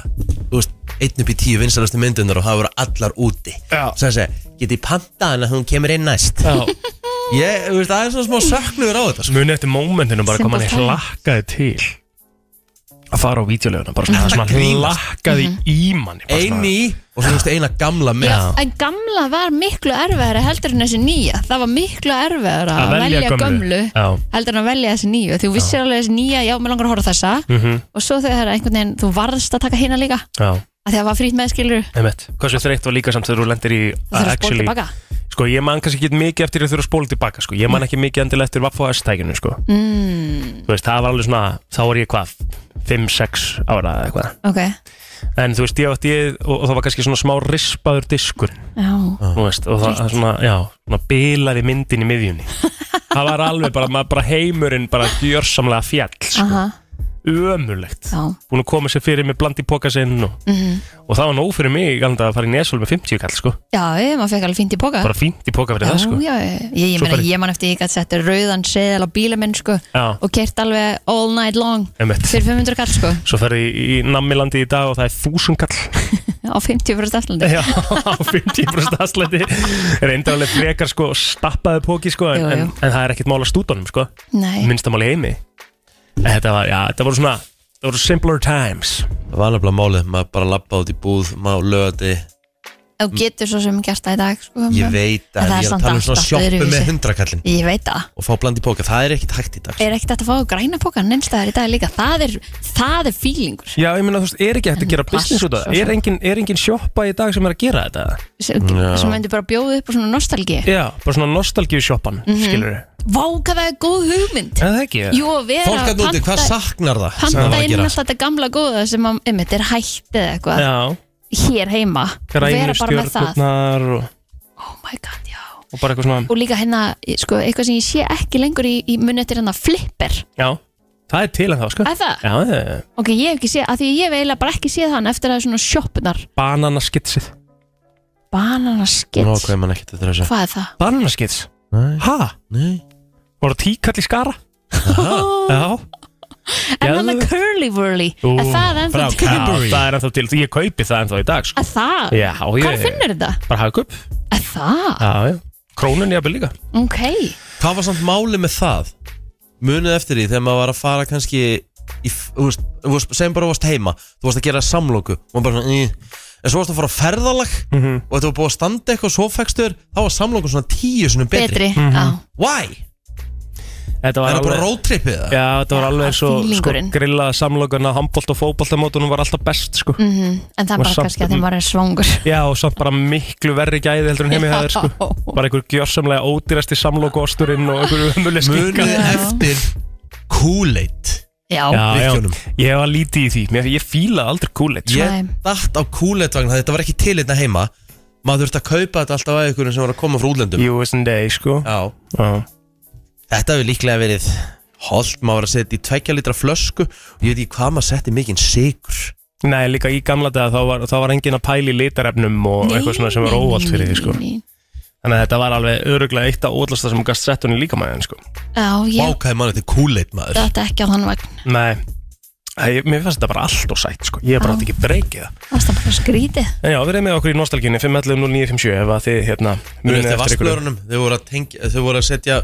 S4: þú veist, einn upp í tíu vinsalastu myndunar og það voru allar úti.
S1: Já.
S4: Svo að segja, geti panta hann að hún kemur inn næst.
S1: Já,
S4: Ég, þú veist, það er svona smá söknuður á þetta. sko.
S1: muni eftir mómentinu bara hvað
S3: Simple
S1: manni
S3: time.
S1: hlakkaði til að fara á vídeoleguna bara svona það sem hann
S4: grínast.
S1: hlakkaði
S3: Mhm.
S4: Mhm.
S1: í manni bara svona-
S4: Einn í og svo, þú veist, eina gamla mynd.
S1: Já.
S3: En gamla var miklu erfiðara heldur en þessi nýja Það var miklu erfiðara
S1: Að
S3: að
S1: velja
S3: velja
S1: gömlu.
S3: gömlu
S1: Já.
S3: heldur en að velja þessi nýju Þú vissir alveg þessi nýja, já, mér langar að horfa á þessa
S1: Mhm.
S3: og svo þegar einhvern veginn þú varðst að taka hina líka að
S1: Já,
S3: því að það var frýtt með skilur
S1: einmitt Hversu þreytt var líka samt þegar þú lendir í
S3: og það er spólt tilbaka
S1: Sko, ég man kannski ekki mikið eftir að þurfa að spóla tilbaka sko. Ég man ekki mikið endilega eftir Vaffa S-tækinu sko.
S3: mm,
S1: Þú veist, það var alveg svona Þá var ég hvað, 5-6 ára eða eitthvað
S3: Ok,
S1: En þú veist, ég átti ég og, og það var kannski svona smá rispaður diskur
S3: já
S1: Þú veist, og það það svona, já svona bilaði myndin í miðjunni Það var alveg bara, maður bara heimurinn bara gjörsamlega fjall sko.
S3: Aha,
S1: Ömurlegt
S3: já, Mhm.
S1: Búin að koma sér fyrir með blandi póka sinn og, og það var nóg fyrir mig alveg að fara í Nesvöl með 50 kall sko.
S3: já, ég, maður fekk alveg fínt í póka
S1: Bara fínt í póka fyrir
S3: Já,
S1: það sko.
S3: já, já, ég, ég
S1: Svo
S3: meina,
S1: bara-
S3: ég man eftir ég gæti sett rauðan seðal á bílaminn, sko
S1: Já.
S3: og kert alveg all night long
S1: Einmitt.
S3: fyrir 500 kall, sko,
S1: Svo ferði í, í Namilandi í dag og það er þúsundkall
S3: á 50 fyrir staflandi
S1: Já, á 50% afslætti Reyndi alveg frekar sko stappaði póki sko en,
S3: Jú, jú.
S1: En, en það er ekkert mála stúdunum sko
S3: Nei,
S1: Minnstamáli heimi En Þetta var, já, þetta voru svona Það voru simpler times
S4: Það var nefnilega málið, maður bara lappa út í búð, maður löði,
S3: þú getur svo sem gert það í dag, sko
S4: ég veit að
S3: En það
S4: ég er
S3: er
S4: að
S3: samt
S4: tala um svona
S3: allt
S4: sjoppu
S3: öðruvísi.
S4: með hundrakallin
S3: Ég veit það
S4: og fá bland í póka, það er ekkit hægt í dag. sko.
S3: Er ekkert hægt að fá græna pókan einstæðar í dag líka Það er, það er feelingur
S1: Já, ég meina þú veist, er ekki hægt að gera
S3: En plast,
S1: business út af
S3: svo
S1: það
S3: sem.
S1: Er engin, er engin sjoppa í dag sem er að gera þetta?
S3: sem, sem myndi bara bjóða upp á svona nostalgi
S1: Já, bara svona nostalgíu sjoppan, mm -hmm. skilur
S3: Vá, hvað það er góð hugmynd
S1: En það ekki
S3: Mhm. Jú, að vera
S4: Fólk að núti, hvað saknar það? sem það var
S3: Panta
S4: að
S3: inn
S4: gera?
S3: alltaf þetta gamla góða sem að, um, er hætt eða eitthvað
S1: Já,
S3: hér heima
S1: grænu
S3: Vera bara með það
S1: stjórnurnar og,
S3: Oh my god, já
S1: og bara eitthvað svona
S3: Og líka hérna, sko, eitthvað sem ég sé ekki lengur í, í munið til hérna flipper
S1: Já, það er til en þá sko
S3: Er það?
S1: Já, já, já.
S3: Ok, ég hef ekki séð, af því ég hef eiginlega bara ekki séð hann eftir að svona sjoppunar
S1: bananaskitsið
S3: Bananaskitt
S4: Nó, hvað er mann ekkert eftir þessu?
S3: Hvað er það?
S1: Bananaskits?
S4: Nei,
S1: Hæ?
S4: nei.
S1: Var það tíkall í skara? Já
S3: En hann að
S1: Geðveikt.
S3: Curly Whirly Er það ennþá
S4: frá
S3: til?
S1: Já,
S4: Cadbury.
S1: það er ennþá til Ég kaupi það ennþá í dag sko.
S3: Er það?
S1: Já, ég
S3: Ah, Hvar Ah. finnur þetta?
S1: Bara hagkup
S3: Er það?
S1: Já, já Krónun jafnvel líka
S3: Ok
S4: Hvað var samt máli með það? Munið eftir því þegar maður var að fara kannski í, þú veist, þú veist, segjum bara að þú varst heima þú varst að gera samlóku og maður bara svona, "Í." en svo varst að fara á ferðalag
S1: Mhm.
S4: og þetta var búið að standa eitthvað og svo fækstur þá var samlóku svona tíu svona betri,
S3: Betri Já
S4: Why?
S1: Þetta
S4: Er
S1: var
S4: það bara
S1: alveg
S4: roadtripið það?
S1: Já, þetta var alveg eins og sko,
S3: fílingurinn.
S1: grillað samlokan að handbólt og fótboltamótunum var alltaf best sko.
S3: Mm. Mhm. En það
S1: Og
S3: er bara
S1: samt-
S3: kannski að þeim var svangur
S1: Já, og samt bara miklu verri gæði heldur en heimi það er sko Bara einhver gjörsamlega ódýrasti samlokosturinn og einhver umulig skinka
S4: Munið
S1: Já,
S4: eftir Kool-Aid
S3: Já,
S1: já,
S4: Drykkjunum.
S1: ég var lítið í því Mér, Ég fíla aldrei sko. kúlit yeah.
S4: Ég
S3: Svæm.
S4: dætt á Kool-Aid vagn Þetta var ekki til hérna heima Maður þurfti að kaupa þetta alltaf að ykkur sem var að koma frá útlöndum
S1: US and Day, sko
S4: Já
S1: Já,
S4: Þetta hefur líklega verið Holt, maður var að setja í tvekja litra flösku Og ég veit ekki hvað maður setti mikinn sigur
S1: Nei, líka í gamla dag þá var, þá var engin að pæla í litarefnum og eitthvað svona sem var óvalt fyrir því sko. Þannig að þetta var alveg öruglega eitt af óvallasta sem gast sett hún í líkamæðin sko.
S3: Já, ég
S4: Vákaði mann þetta Kool-Aid maður
S3: dætti ekki á þann vagn
S1: Nei, Æ, ég- mér finnst þetta bara allt og sætt sko. Ég er bara
S3: Já.
S1: átti ekki breykið það
S3: Það er bara skrítið
S1: En já, verið með okkur í nostalgínu 511-0957 ef að þið hérna
S4: Munið
S1: munið
S4: eftir
S1: eftir ykkur. Ah,
S4: vasklörunum Þau voru að, tengja, þau voru að setja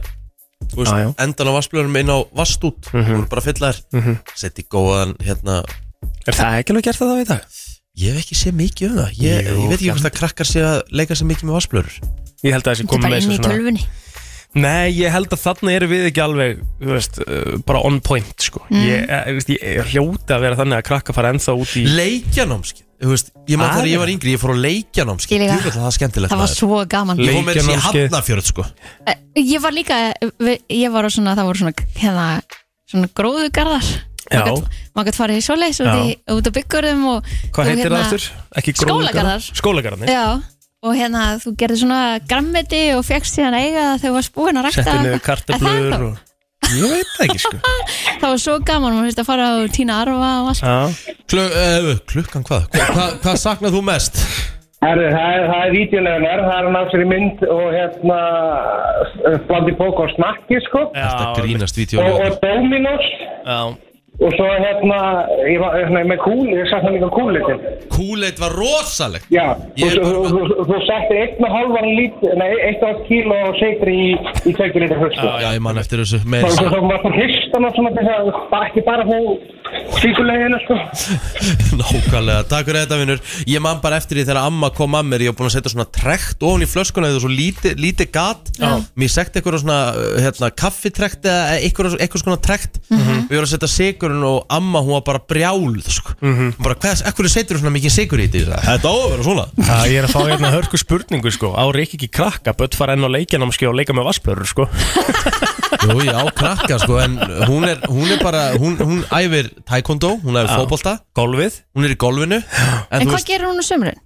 S4: þú veist,
S1: Já, Mhm. já.
S4: endan á vasklörunum inn á vastút Þau voru bara fyllar mm Setti góðan hérna
S1: Er það ekki alveg gert það þá í dag?
S4: Ég hef ekki séð mikið um það Ég,
S1: Jú,
S4: ég veit ekki hvort að krakkar sé að leika sér mikið með vasklörur
S1: Ég held að þessi
S3: Þetta er
S1: komið
S3: bara
S1: með
S3: inn í
S1: þessu svona
S3: tölvunni
S1: Nei, ég held að þarna erum við ekki alveg þú veist, uh, bara on point sko.
S3: Mm.
S1: ég, eh, veist, ég, ég hljóta að vera þannig að krakka fara ennþá út í
S4: Leikjanámskeið Þú veist, ég maður þegar
S1: Aðeins.
S4: ég var yngri, ég fór á
S3: Ég
S4: leikjanámskeið
S3: líka.
S4: Ég veit að það er skemmtilegt
S3: Það var
S4: maður.
S3: svo gaman
S1: Le-
S4: Ég fór með þessi
S1: Leikjanámskeið.
S4: hafnafjörð sko
S3: Eh, Ég var líka, við- ég var á svona, það voru svona, hérna, svona gróðugarðar
S1: Já.
S3: Maður gætt farið í svoleiðis út, í- út á byggurðum og
S1: Hvað
S3: og
S1: heitir það
S3: hérna-
S1: aftur? Ekki
S3: Skólagarðar.
S1: Skólagarðar,
S3: Já, og hérna þú gerði svona grammeti og fegst síðan eiga það þegar þú varst búin að rækta
S1: settið niður
S3: eitthvað. Er það
S1: kartablur
S3: eitthvað?
S1: og... Ég veit það ekki sko
S3: Það var svo gaman, maður þurfti að fara og tína arfa og allt
S1: Já,
S4: Klu, uh, Klukkan hvað? Hva, hva, hvað saknað þú mest?
S9: Herru, það er, það er vítjulegunar, það er hann af sér í mynd og hérna eh, blandi bók og snakki sko
S4: Þetta grínast
S9: og,
S4: vítjóli
S9: og Dominos
S1: já.
S9: og svo hérna, ég var hérna, með kúli, ég satt hann líka kúlitin
S4: Kúleit var rosalegt
S9: Já,
S4: Ég
S9: og
S4: er
S9: svo-
S4: bara-
S9: þú- þú- þú settir einn og halvan lít, nei, eitt og halvt kíl og seitir í, í tveikir lítur fyrstu
S4: Já, ég man eftir þessu með
S9: og svo sko. þá var það hristan og svona þess að bara ekki bara fá síkulegina sko
S4: Nákvæmlega, takk fyrir þetta vinnur Ég man bara eftir því þegar amma kom að mér Ég var búin að setja svona trekt ofan í flöskuna Þetta er svo lítið líti gat
S1: Já.
S4: Mér sekti eitthvað svona uh, hérna, kaffitrekt Eða eitthvað, eitthvað svona trekt mm
S1: Mhm.
S4: -hmm. Við vorum að setja sigurinn og amma Hún var bara brjáluð sko. mm
S1: Mhm.
S4: -hmm. Bara hvað, ekkur setur svona mikið sigur í þetta Þetta á að vera svona
S1: Já, ég er að fá hérna hörku spurningu sko Ári ekki ekki krakka, börn fara enn á leikjanámski og leika með vasplörur sko
S4: Jú, já, krakka sko En hún er, hún er bara, hún, hún æfir taekwondo Hún æfir fótbolta
S1: Golfið
S4: Hún er í golfinu
S3: En,
S4: þú
S3: hvað
S4: veist,
S3: gerir hún á sömurinn?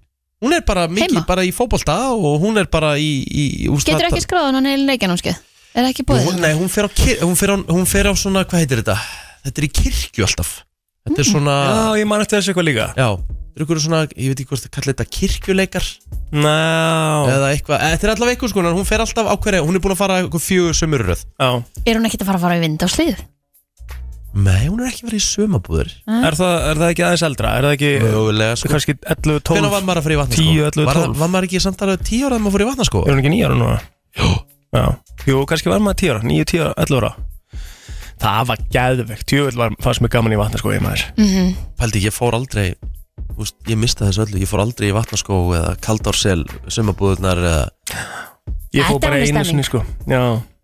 S4: Hún er bara mikið
S3: Heima?
S4: bara í fótbolta Og hún er bara í, í, í úst,
S3: Getur ekki skráðan á neilin leikjanámskeið? Er ekki búið?
S4: hún, Nei, hún fer, á, kir- hún, fer á, hún fer á svona, hvað heitir þetta? Þetta er í kirkju alltaf Þetta er svona,
S1: Mm. Já, ég man eftir þessu eitthvað líka
S4: já, þetta er ykkur svona Ég veit ekki hvort það kallar þetta kirkjuleikar
S1: Ná,
S4: Eða eitthvað, eða þetta er allavega eitthvað sko Hún fer alltaf á hverja, hún er búin að fara eitthvað fjögur sömurröð
S1: já
S3: Er hún ekkert að fara að fara í vind á slíð?
S4: Nei, hún er ekki verið í sömabúður
S3: Ah.
S1: Er það, er það ekki aðeins eldra? Er það ekki
S4: Mögulega sko
S1: kannski 11, 12
S4: Hvenær var maður að fara í vatnaskó?
S1: 10, 11,
S4: var,
S1: 12.
S4: var maður ekki samt alveg 10 ára að maður fór í vatnaskó?
S1: Er hún ekki nýjára núna? Jú Já Jú, kannski var maður tíu ára, nýju, tíu ára, ellu ára Það var gæðvegt, tjóðvill var fannst mér gaman í vatna sko, ég maður
S4: Mhm. Pældi, ég fór aldrei úst, Ég mista þessu öllu, ég fór aldrei í vatnaskó eða kaldársel, sömabúðurnar eða...
S1: Ég fó
S3: Þetta
S1: bara
S3: var
S1: einu
S3: stemming.
S1: sinni sko Já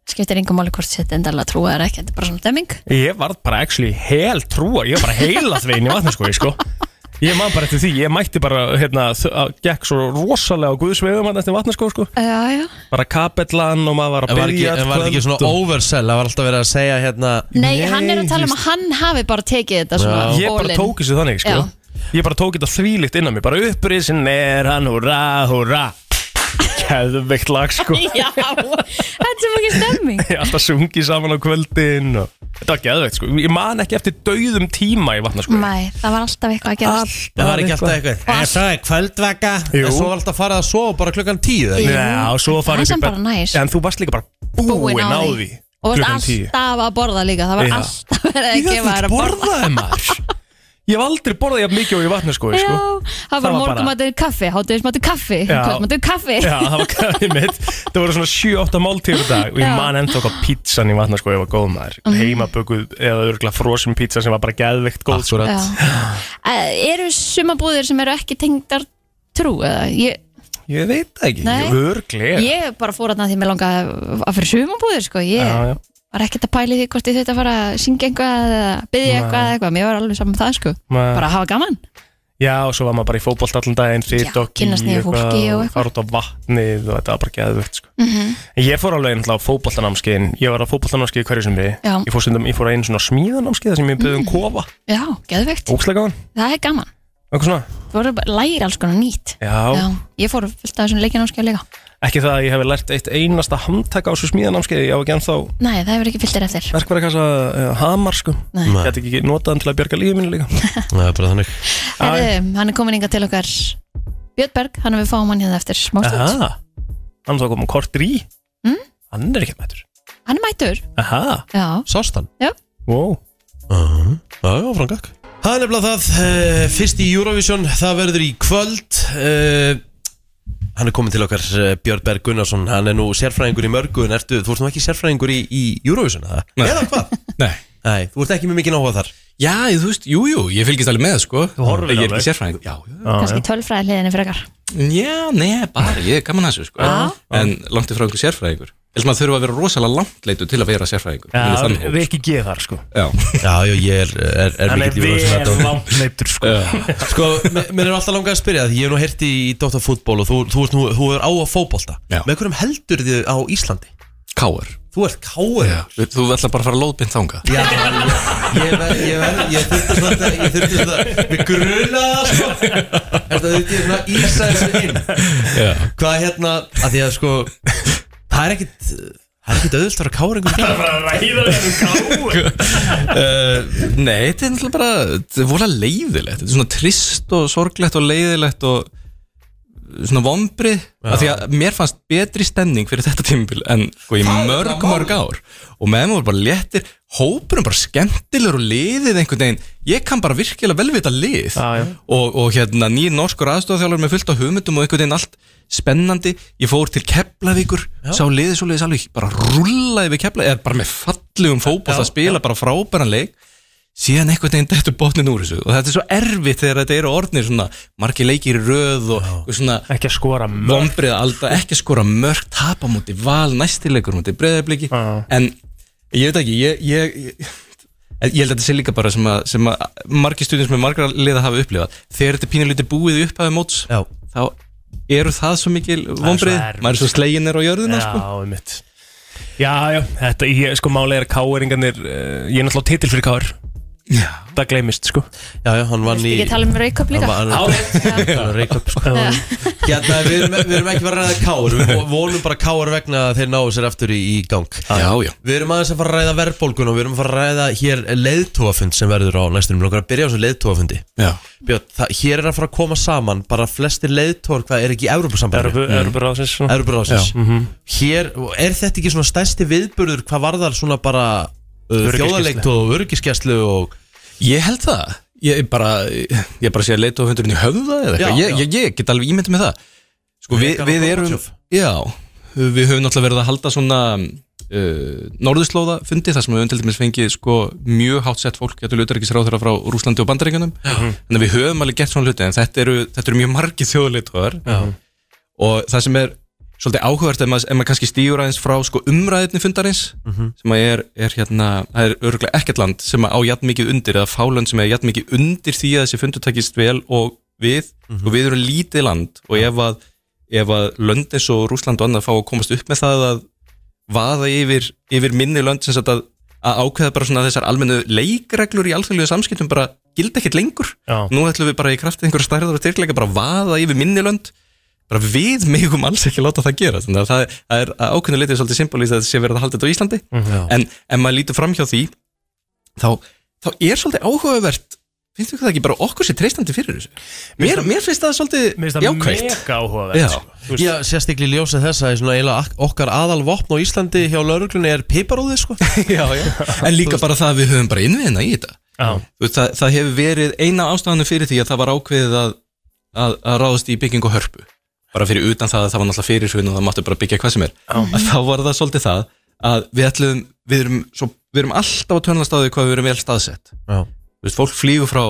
S3: Skiptir engum máli hvort þetta endalega trúa eða ekki, þetta er bara svona demming
S1: Ég var bara actually hel trúa, ég var bara heila þvegin í vatna sko, ég sko Ég maður bara eftir því, ég mætti bara, hérna, þ- að gekk svo rosalega á guðsvegum hann eftir vatna sko, sko
S3: Já, já
S1: Bara kapellan og maður var
S4: En
S1: að
S4: var ekki,
S1: byrja
S4: en var ekki svona oversell Það var alltaf verið að segja hérna
S3: Nei,
S1: Nei,
S3: hann er að tala um
S1: víst.
S3: að hann hafi bara tekið þetta svona
S1: Ég bara
S3: all-in.
S1: tók þessu þannig, sko
S3: Já.
S1: Ég bara tók þetta þvílitt innan mig, bara upprisin er hann, hurra, hurra Keðveikt lag, sko
S3: Já, þetta er svo ekki stemming
S1: Ég alltaf sungi saman á kvöldin og... Þetta var geðveikt, sko Ég man ekki eftir dauðum tíma í vatna, sko
S3: Nei, það var alltaf eitthvað að gerast
S4: Það var ekki alltaf eitthvað En svo "Eh, er kvöldvaka En
S1: Jú.
S4: svo var alltaf að fara að sofa bara klukkan tíu eða ekki?
S1: Já, og svo
S3: Það
S1: farið
S3: er samt
S1: upp í bed-
S3: bara næs.
S1: En þú varst líka bara búin á því
S3: Og varst
S1: klukkan tíu.
S3: alltaf að borða líka Það var
S1: Já.
S3: alltaf verið að
S1: Ég hef
S3: gefa þér
S1: ekki
S3: að borða
S1: borðaði maður Ég hef aldrei borðað jafn mikið og í vatna, sko,
S3: Já,
S1: sko.
S3: það
S1: var
S3: var
S1: bara-
S3: morgumatur kaffi, hátuðismatur kaffi
S1: Já.
S3: Kvöldmatur kaffi
S1: Já, það var kæðið mitt Það voru svona 7-8 máltíður dag Og ég
S3: Já. Mhm.
S1: man enda okkar pizzan í vatna sko Ég var góð maður Heimabökuð eða örgulega frosin pizza sem var bara geðveikt góð sko.
S4: Akkúrat.
S3: Eh, Eru sumabúðir sem eru ekki tengdar trú eða? Ég,
S1: Ég veit það ekki
S3: Nei.
S1: Örglega
S3: ég bara fór að því með langa að fyrir sumabúðir sko. ég,
S1: Já, já.
S3: var ekkert að pæli því hvort ég þetta fara að syngja eitthvað eða byggja
S1: Nei.
S3: eitthvað eða eitthvað, mér var alveg saman það sko
S1: Nei.
S3: bara að hafa gaman,
S1: Já, og svo var maður bara í fótbolt allan daginn
S3: Já,
S1: fyrir dokki
S3: kynnast nýju fólki og eitthvað.
S1: fara út á vatnið og þetta var bara geðvögt sko. En ég fór alveg einhverjum á fótboltanámskeiðin ég var á fótboltanámskeið hverju sem við
S3: Já. Mm.
S1: ég fór, stundum, ég fór einu svona smíðanámskeið þar sem ég byggði um kofa
S3: já, geðveikt
S1: ókslega gaman
S3: það er gaman,
S1: eitthvað svona
S3: þú voru bara að læra alls konar nýtt
S1: Já.
S3: ég fór fullt af þessum leikjanámskeið líka
S1: ekki það að ég hef lært eitt einasta handtak á þessu smíðanámskeiði ég á ekki ennþá
S3: nei, það hefur ekki fyllt þér eftir
S1: verkvarakassa uh, hamar sko
S3: Nei.
S1: ég hætti ekki notað hann til að bjarga lífið mínu líka
S4: Það er bara þannig
S3: Herðu, hann er komin inga til okkar Björn Berg, hann er við fáum hann hérna eftir smástund
S1: Aha. hann er þá komum kortir í
S3: Mm.
S1: hann er ekki mættur
S3: hann er mætur,
S1: Aha.
S3: já,
S4: Sást hann?
S1: Wow.
S4: Já, já, frangak Það er nefnilega það, uh, fyrst í Eurovision Það verður í kvöld uh, Hann er komin til okkar uh, Björn Berg Gunnarsson, hann er nú sérfræðingur í mörgu En ertu, þú ert nú ekki sérfræðingur í, í Eurovision eða? Eða hvað?
S10: Nei.
S4: Nei, þú ert ekki með mikið náhuga þar
S10: Já, ég- þú veist, jú, jú, ég fylgist alveg með, sko Þú
S1: horfir
S10: Ég er
S1: alveg.
S10: ekki sérfræðing, já, já
S1: Já, já.
S3: kannski tölfræði hliðinni frekar
S10: Já, nei, bara, ég er gaman að þessu sko.
S3: Já.
S10: En langt í frá einhver sérfræðingur Ég held maður þurfa að vera rosalega langt leitu til að vera sérfræðingur Hún er
S1: Já,
S10: þannig
S1: við
S10: hópur.
S1: ekki geð þar sko
S10: Já,
S4: Já, já, ég er, er, er
S1: Hann er
S4: mikill
S1: vel
S4: Eurovision aðdáandi.
S1: langleiptur sko
S4: Sko, mér mér er alltaf langað að spyrja það Ég hef nú heyrt í Dóttar fútból og þú, þú, þú, þú, þú er á að fótbolta
S10: Já.
S4: Með hverjum heldur þið á Íslandi?
S10: káar
S4: Þú ert káur
S10: Já, Þú þú ætlar bara að fara lóðbind þanga
S4: Já, ég, ég, ver- ég, ver- ég þurfti svona að- ég þurfti svona að- Við gruna það sko Þetta þurfti ég svona að ísa þessu inn
S10: Já,
S4: Hvað hérna, að því að sko Það er ekkit Það er ekkit auðvöld að vera káur einhvern veginn
S10: Eh, Nei, þetta er náttúrulega bara Þetta er vola leiðilegt Þetta er svona trist og sorglegt og leiðilegt og svona vombri af því að mér fannst betri stemning fyrir þetta tímabil en sko, í mörg, mörg ár og meðan voru bara léttir hópurum bara skemmtilegur og liðið einhvern veginn ég kann bara virkilega velvita lið
S1: Já, já.
S10: og, og hérna nýjir norskur aðstofþjálfur með fullt af hugmyndum og einhvern veginn allt spennandi, ég fór til Keflavíkur sá liðið svo liðis alveg bara rullaði við Keflavíkur, eða bara með fallegum fótboll að spila, bara frábæran leik síðan einhvern veginn dettur botnin úr þessu og þetta er svo erfitt þegar þetta eru orðnir svona margi leikir í röð og, og svona
S1: Ekki að skora mörg
S10: vombrið að alltaf ekki að skora mörg tapa múti val næstilegur múti breyðarbliki
S1: Já.
S10: en ég veit ekki ég, ég, ég, ég held að þetta sé líka bara sem að, sem að margi stundin sem er margra liða hafa upplifað þegar þetta er pínulítið búið upp hafi móts
S4: Já.
S10: þá eru það svo mikil vombrið
S1: erfitt.
S10: maður er svo sleginir á jörðina
S1: Já,
S10: sko.
S1: mitt Já, já, þetta, ég, sko málega er káeringarnir uh, Ég er náttúrulega titil fyrir káer
S10: Já.
S1: Það gleymist sko
S4: Já, já, hann vann í
S3: ekki tala um rauköp líka
S4: Hann var að reyka upp sko Hérna, við erum, við erum ekki bara að ræða káur Við vonum bara káur vegna að þeir náu sér aftur í, í gang
S10: já, já,
S4: Við erum aðeins að fara að ræða verðbólgun og við erum að fara að ræða hér leiðtóafund sem verður á næstunum. Við erum að byrja á þessu leiðtóafundi.
S10: já
S4: Björn, það, hér er að fara að koma saman bara flestir leiðtóar, hvað er ekki í Evrópusambandinu?
S1: Erfu, erfu ráðsins svona Mhm.
S4: Evrópurásins. Hér, er þetta ekki svona stærsti viðburður hvað varðar svona bara uh,
S1: Öryggisgæslu.
S4: þjóðaleikt og öryggiskeslu og...
S10: Ég held það Ég bara, ég bara sé að leita á hundurinn í höfða eða eitthvað
S4: Já,
S10: ég,
S4: já.
S10: ég, ég get alveg ímyndið með það Sko við,
S4: Reagan og
S10: við erum
S4: Gorbachev.
S10: Já, við höfum náttúrulega verið að halda svona uh, norðurslóða fundi þar sem við höfum til dæmis fengið sko mjög hátt sett fólk getur lutarikis ráðherra frá Rúslandi og Bandaríkjunum Þannig að við höfum alveg gert svona hluti en þetta eru, þetta eru mjög margi þjóðleitóðar Mm. og það sem er svolítið áhugavert ef maður, ef maður kannski stýur aðeins frá sko umræðinni fundarins sem að er, er hérna, það er örgulega ekkert land sem að á jafn mikið undir eða fáland sem er jafn mikið undir því að þessi fundur takist vel og við, og við erum lítið land og ef að, ef að löndis og Rúsland og annað fá að komast upp með það að vaða yfir, yfir minni lönd sem sagt að, að ákveða bara svona þessar almennu leikreglur í alþjóðlegu samskiptum bara gildi ekkert lengur
S1: Já.
S10: nú ætlum við bara í kraftið einhverja stærðar og styrkleika bara vaða yfir minni lönd bara við megum alls ekki láta það gera þannig að það er, það er að ákveðinu litið svolítið symbolist að það sé verið að halda þetta á Íslandi en ef maður lítur fram hjá því þá, þá er svolítið áhugavert finnst þú það ekki bara okkur sér treystandi fyrir þessu mér, mér finnst það
S1: Mér
S10: svolítið
S1: finnst það
S10: jákvægt
S1: mega
S10: Já.
S1: áhugavert sko. Þú veist,
S4: Já, sérstaklega í ljósið þess að svona eiginlega ak- okkar aðal vopn á Íslandi hjá lauruglunni er piparúði sko.
S10: já, já. en líka bara það að við höfum bara innviðina í þetta
S1: Já,
S10: Þú veist, það, það hefur verið eina ástæðanum fyrir því að það var ákveðið að, að, að ráðast í byggingu hörpu bara fyrir utan það að það var náttúrulega fyrir og það mátti bara byggja hvað sem er að þá var það svolítið það að við ætlum við erum, svo, við erum alltaf að tönlast á því hvað við erum vel staðsett
S4: Já.
S10: Þú veist, fólk flýgur frá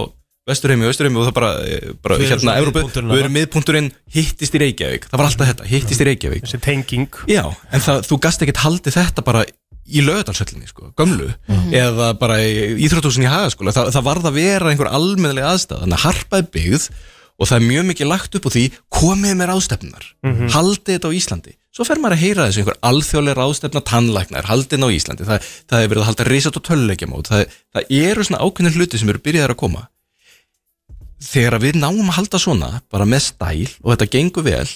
S10: vesturheimi og austurheimi og það bara, eh, bara
S4: Við erum
S10: hérna
S4: svona
S10: Evrópu,
S4: miðpunkturinn
S10: við erum miðpunturinn hittist í Reykjavík, það var alltaf þetta, hittist í Reykjavík
S1: þessi tenging
S10: Já, en það, þú gast ekkert haldið þetta bara í lögadalsöllinni, sko, gömlu eða bara í Íþrótúsin í hagaskóla Þa, það varð að vera einhver almennilega aðstæð þannig að harpa er byggð og það er mjög mikið lagt upp úr því komið með ráðstefnar, haldið þetta á Íslandi svo fer maður að heyra þessu einhver alþjóðlega ráðstefna tannlæknar, haldið þetta á Íslandi það, það er verið að halda risat og töluleikjamót það, það eru svona ákveðnir hluti sem eru byrjaðar að koma þegar að við náum að halda svona bara með stæl og þetta gengur vel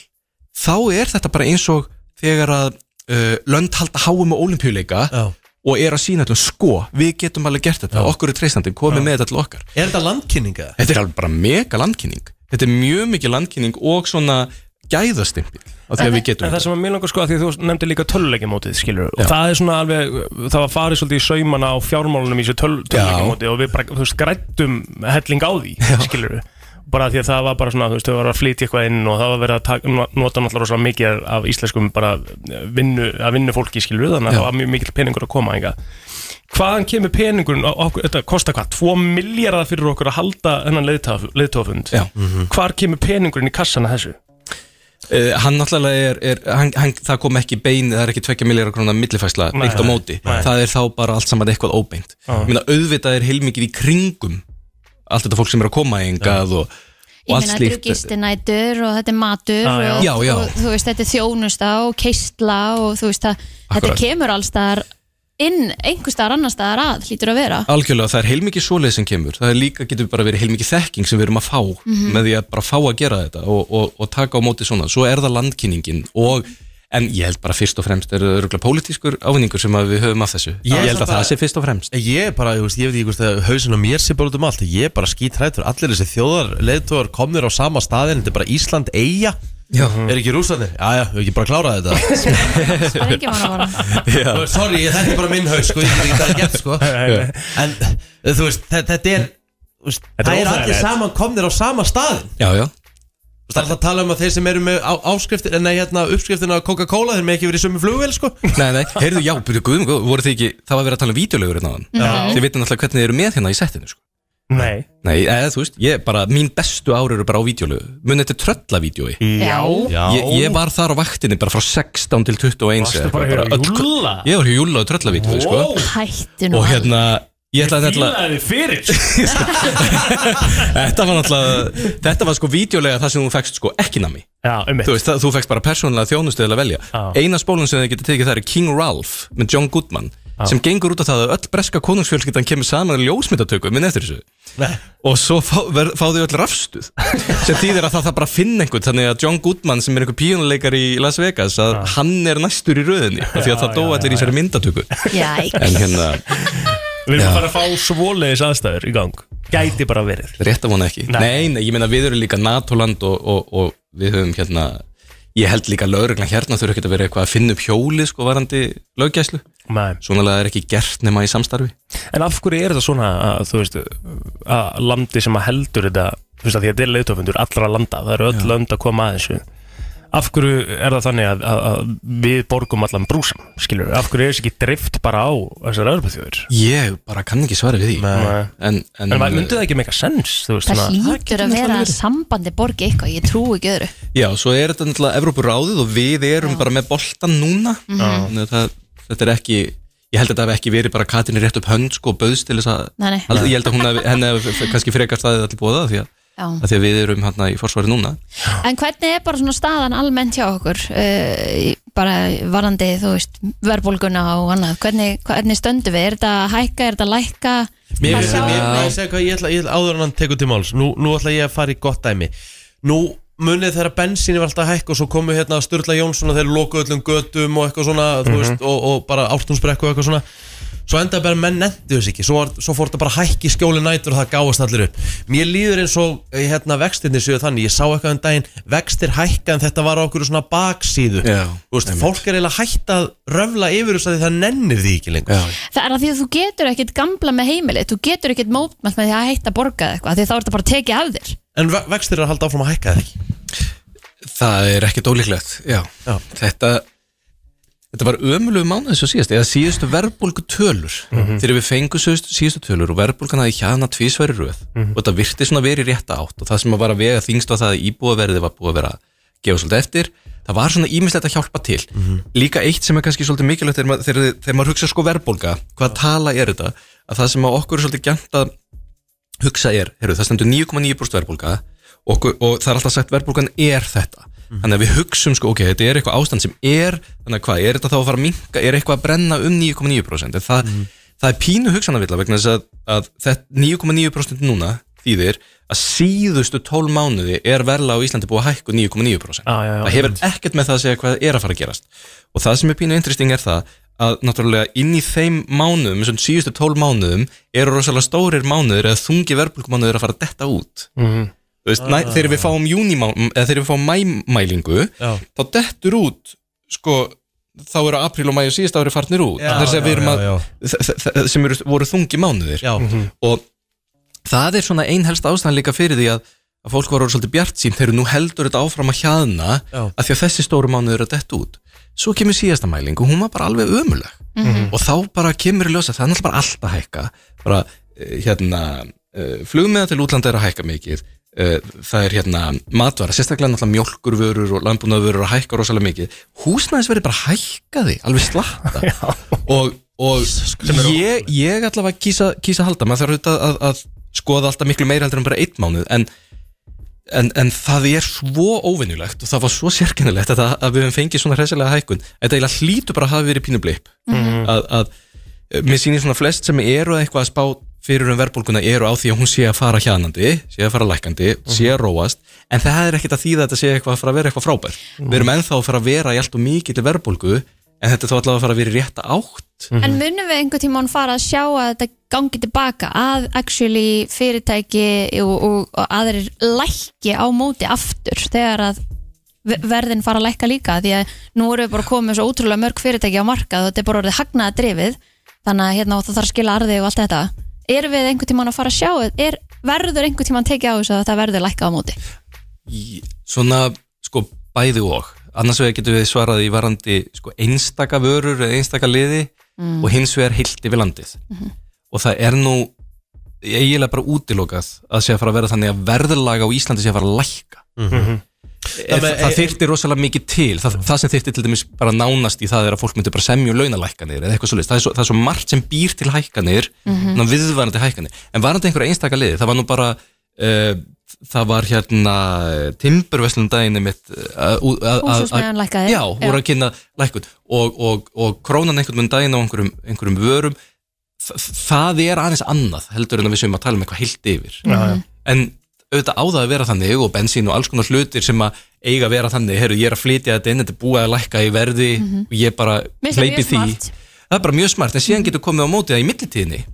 S10: þá er þetta bara eins og þegar að uh, lönd halda háum og olimpíuleika
S4: Já.
S10: og er að sína allum sko, við getum alveg gert þetta okkur er treystandi, komið með þetta til okkar
S4: Er þetta landkynninga?
S10: þetta er alveg bara mega landkynning þetta er mjög mikið landkynning og svona gæðastimpil á því að við
S1: En
S10: getum
S1: það
S10: þetta
S1: sem að mér langar sko að því að þú nefndir líka töluleikimótið skilur og það er svona alveg, það var farið svolítið í saumana á fjármálunum í þessu töl, töluleikimótið og við bara, þú veist, grættum helling á því skilur bara því að það var bara svona, þú veist, þau var að flytja eitthvað inn og það var verið að taka, nota náttúrulega rosalega mikið af íslenskum bara eh, vinnu, að vinnu fólki skilur þannig að það var mjög mikill peningur að koma enga. Hvaðan kemur peningurinn, á- á okkur, þetta kostar hvað, 2 miljardar fyrir okkur að halda hennan leiðtófund,
S10: Já.
S1: hvar kemur peningurinn í kassana þessu?
S10: Uh, hann náttúrulega er, er hann, hann, það kom ekki bein, það er ekki 2 miljóra krónar millifæsla
S1: Nei,
S10: beint á móti,
S1: nei.
S10: það er þá bara allt saman eitthvað óbeint,
S1: Já.
S10: ég meina auðvitað er heilmikið í kringum allt þetta fólk sem er að koma engað og, og
S3: Ég
S10: allt
S3: meina þetta eru
S10: slíkt
S3: gistinætur og þetta er matur
S1: Já, já.
S3: Og,
S10: Já, já.
S3: og þú veist þetta er þjónusta og keistla og þú veist það, þetta
S10: Akkurat.
S3: kemur allstaðar inn einhverstaðar annarstaðar að hlýtur að vera
S10: algjörlega það er heilmikið svoleið sem kemur það er líka getur bara verið heilmikið þekking sem við erum að fá
S3: Mhm.
S10: með því að bara fá að gera þetta og, og, og taka á móti svona, svo er það landkynningin og, en ég held bara fyrst og fremst er það örgulega pólitískur ávinningur sem að við höfum af þessu,
S4: Ég
S10: ég,
S4: held
S10: held að
S4: það-
S10: það sé fyrst og fremst
S4: Ég er bara, ég, veist, ég veit ekki hvort að hausin á mér sé bara út um allt Ég er bara skítrættur, allir þessi þjóðar leiðtóðar komnir á sama staðin Þetta er bara Ísland eiga
S10: Já.
S4: Er ekki rúsarnir? Jæja, við ekki bara klárað þetta
S3: það er engin mann að vara
S4: Þú veist, Sorry, ég, þetta er bara minn haus sko, Ég get ekki það gett sko En eh, þú veist, þe- þetta er þú veist,
S1: Þetta er
S4: Það er allir
S1: óþægilegt.
S4: saman komnir á sama staðin
S10: já, já,
S4: Það er alltaf að tala um að þeir sem eru með á, áskriftir Nei, hérna, uppskriftina á Coca-Cola Þeir með ekki verið í sömu flugvél sko
S10: nei, nei, heyrðu, já, byrju guðum góð, voru þið ekki, það var verið að tala um vídeolegur hérna áðan. þið veitum alltaf hvernig þið eru með hérna í settinu sko.
S1: Nei
S10: nei, eða, þú veist, ég bara, mín bestu ár eru bara á vídeolegu, mun þetta tröllavídeoi
S3: Já.
S10: ég, ég var þar á vaktinni bara frá 16 til 21
S1: Varstu
S10: eða
S1: bara
S10: eitthvað,
S1: hér að
S10: öll-
S1: júlla?
S10: ég var hjá Júlla á tröllavídeoi sko.
S1: Wow.
S3: hættu nú
S10: og
S3: alveg.
S10: hérna ég ætlaði nefnilega,
S1: Fílaði fyrir
S10: þetta var náttúrulega þetta var sko vídeolega það sem þú fekst sko ekki nami,
S1: Já, um mitt
S10: þú veist, það, þú fekst bara persónulega þjónustu til að velja,
S1: Já.
S10: eina spólun sem þið getur tekið það er King Ralph með John Goodman sem gengur út af það að öll breska konungsfjölskyldan kemur saman í ljósmyndatöku minn eftir þessu og svo fá, ver, fá þau öll rafstuð sem þýðir að það, það bara finna einhvern þannig að John Goodman sem er einhver píjónuleikar í Las Vegas að hann er næstur í röðinni af því að það dó allir í sér myndatöku
S3: Jæks.
S10: en hérna,
S1: Við erum að fara að fá svoleiðis aðstæður í gang Gæti bara verið
S10: rétt að vona ekki
S1: Nei.
S10: nei. nei, ég meina við erum líka NATO-land og, og, og við höfum hérna ég held líka lögreglan hérna þurfa ekki að vera eitthvað að finna upp hjóli sko varandi löggæslu
S1: Nei.
S10: svonalega er ekki gert nema í samstarfi
S1: En af hverju er þetta svona að, þú veist, að landi sem að heldur þetta þú veist að því að þetta er leiðtofundur allra landa það eru öll lönd að koma að þessu Af hverju er það þannig að, að, að við borgum allan brúsam, skilur Af hverju er þessi ekki drift bara á þessar öðrupaþjóður?
S10: ég bara kann ekki svara við því
S1: Nei.
S10: en, en, eh,
S1: En maður myndi það ekki meika sens, þú veist
S3: það
S1: svona-
S3: hlýtur að vera að sambandi borgi eitthvað ég trú ekki öðru
S10: já, svo er þetta náttúrulega Evrópuráðið og við erum bara með boltan núna
S3: Mhm.
S10: Þannig að það, þetta er ekki ég held að þetta hef ekki verið bara Katrin rétt upp hönd sko og bauðst til þess að
S3: Nei, nei.
S10: Hald- ég held að hún hef, henni hef kannski frekar staðið allir bóða því að,
S3: Já.
S10: að því að við erum hérna í forsvari núna
S3: En hvernig er bara svona staðan almennt hjá okkur uh, í- bara varandi þú veist verðbólguna og annað hvernig, hvernig stöndu við, er þetta að hækka er þetta að lækka
S4: Mér
S3: Hvað
S4: finnst
S3: sjá-
S4: það, mér finnst það hvað ég ætla, ég ætla áður en hann tekur til máls nú, nú ætla ég að fara í gott dæmi Nú munið þegar bensinni var alltaf að hækka og svo komu hérna að Sturla Jónsson og þeir loku öllum götum og eitthvað svona þú veist, og, og bara ártúnsbrekku og eitthvað svona Svo endaði bara að menn nefndi þess ekki Svo, var, svo fór þetta bara að hækka í skjóli nætur og það gáðast allir upp Mér líður eins og eh, hérna, vextirni séu þannig Ég sá eitthvað um daginn Vextir hækka en þetta var á okkur svona baksíðu
S10: Já,
S4: Þú veist, Fólk er eiginlega hætt að röfla yfir þess að það nennir því ekki lengur
S3: Það er að því að þú getur ekkert gamla með heimilið, þú getur ekkert mótmælt með því að hætta að borga eða eitthvað, af því að þá er þetta bara að tekið af þér.
S4: En ve- vextir er að halda áfram að hækka eða ekki
S10: Það er ekkert ólíklegt, já.
S4: Já.
S10: Þetta, þetta var ömulegu mánuð þessu síðast, eða síðustu verðbólgu tölur. Þegar við fengum síðustu, síðustu tölur og verðbólgan hafði hérna hjaðna tvísværi röð og þetta virti svona verið rétt átt og það sem að var að vega þingst var það að íbúaverði var búið að vera að gefa svolítið eftir það var svona ímislegt að hjálpa til
S4: Mhm.
S10: líka eitt sem er kannski svolítið mikilvægt þegar, maður- þegar, þegar maður hugsa sko verðbólga hvaða tala er þetta, að það sem að okkur er svolítið gæmt að hugsa er, heyrðu, það stendur 9,9% verðbólga og, og það er alltaf sagt verðbólgan er þetta
S1: Mhm.
S10: þannig að við hugsum sko, ok, þetta er eitthvað ástand sem er, þannig að hvað, er þetta þá að fara að minka er eitthvað að brenna um 9,9% En það,
S1: Mhm.
S10: það er pínu hugsanavilla vegna þess að, að þetta 9,9% núna þýðir að síðustu 12 mánuði er verla á Íslandi búið að um hækku 9,9%
S1: Já, já, já,
S10: það hefur ekkert með það að segja hvað er að fara að gerast og það sem er pínu interesting er það að náttúrulega inn í þeim mánuðum þessum síðustu 12 mánuðum eru rosalega stórir mánuður eða þungi verðbólkumánuður að fara að detta út
S1: Mhm.
S10: Þú veist, næ, þegar við fáum júnímá, eða þegar við fáum mæmælingu
S4: Já.
S10: þá dettur út sko, þá eru april og mæju síðast ári farnir út
S4: Já,
S10: þess að
S4: já,
S10: við erum að,
S4: já,
S10: þ- þ- þ- sem eru, voru þungi mánuðir Mhm.
S4: já, já,
S10: og það er svona einhelst ástæðan líka fyrir því að, að fólk var orðið svolítið bjart sín þegar nú heldur þetta áfram að hjaðna
S4: Já.
S10: að því að þessi stóru mánuður eru að detta út svo kemur síðasta mæling og hún var bara alveg ömuleg og þá bara kemur í ljósa það er náttúrulega bara allt að hækka bara eh, hérna eh, flugmiða til útlanda er að hækka mikið eh, það er hérna matvara, sérstaklega náttúrulega mjólkurvörur og landbúnaðvörur að hækka rosalega mikið húsnæðisverði bara hækkaði alveg slatta og, og ég, ég allavega kýsa, kýsa halda, maður þarf auðvitað að, að skoða alltaf miklu meira heldur en bara einn mánuð en, en, en það er svo óvenjulegt og það var svo sérkennilegt að, að við höfum fengið svona hressilega hækkun þetta eiginlega hlýtur bara að hafa verið pínu blip að, að eh, mér sýnir svona flest sem eru eitthvað að spá fyrir um verðbólguna eru á því að hún sé að fara hjanandi, sé að fara lækandi, sé að róast en það er ekkert að þýða að þetta sé eitthvað að fara að vera eitthvað frábær. Við erum ennþá að fara að vera í allt og mikið til verðbólgu en þetta er þó allavega að fara að vera í rétta átt
S3: En munum við einhver tíma fara að sjá að þetta gangi tilbaka að actually fyrirtæki og, og, og aðrir lækki á móti aftur þegar að ve- verðin fara að lækka líka því að nú erum við bara komið svo ótrúlega mörg fyrirtæki á markað og þetta er bara orðið hagnaða drifið þannig að hérna og það þarf að skila arði og allt þetta erum við einhver tíma að fara að sjá er, verður einhver tíma að tekið á þessu að það verður lækka á móti
S10: Í- svona sko bæði og annars vegar getum við svarað í varandi sko, einstaka vörur eða einstaka liði og hins vegar heilt yfir landið og það er nú eiginlega bara útilokað að sé að fara að vera þannig að verðurlaga á Íslandi sé að fara að lækka Ef,
S4: Það með-
S10: það, það þyrfti rosalega mikið til það, það sem þyrfti til dæmis bara nánast í það er að fólk myndi bara semja um launalækkanir eða eitthvað svolítið, það, er svo- það er svo margt sem býr til hækkanir mm viðvarandi hækkanir en varandi einhverja einstaka liði, það var nú bara uh, það var hérna timburveslunum daginn eh, mitt
S3: Húsasmiðjan lækkaði.
S10: já, voru að kynna lækkun og, og, og krónan einhvern veginn daginn á einhverjum, einhverjum vörum Þa- það er aðeins annað heldur en að við séum að tala um eitthvað heilt yfir
S1: já.
S10: en auðvitað á það að vera þannig og bensín og alls konar hlutir sem að eiga að vera þannig, herru ég er að flytja þetta inn þetta er búið að lækka í verði og ég bara
S3: Mhm. Mér finnst það
S10: hleypi
S3: mjög
S10: því
S3: smart. Mhm.
S10: það er bara mjög smart, en síðan getur komið á mótið að í millitíðinni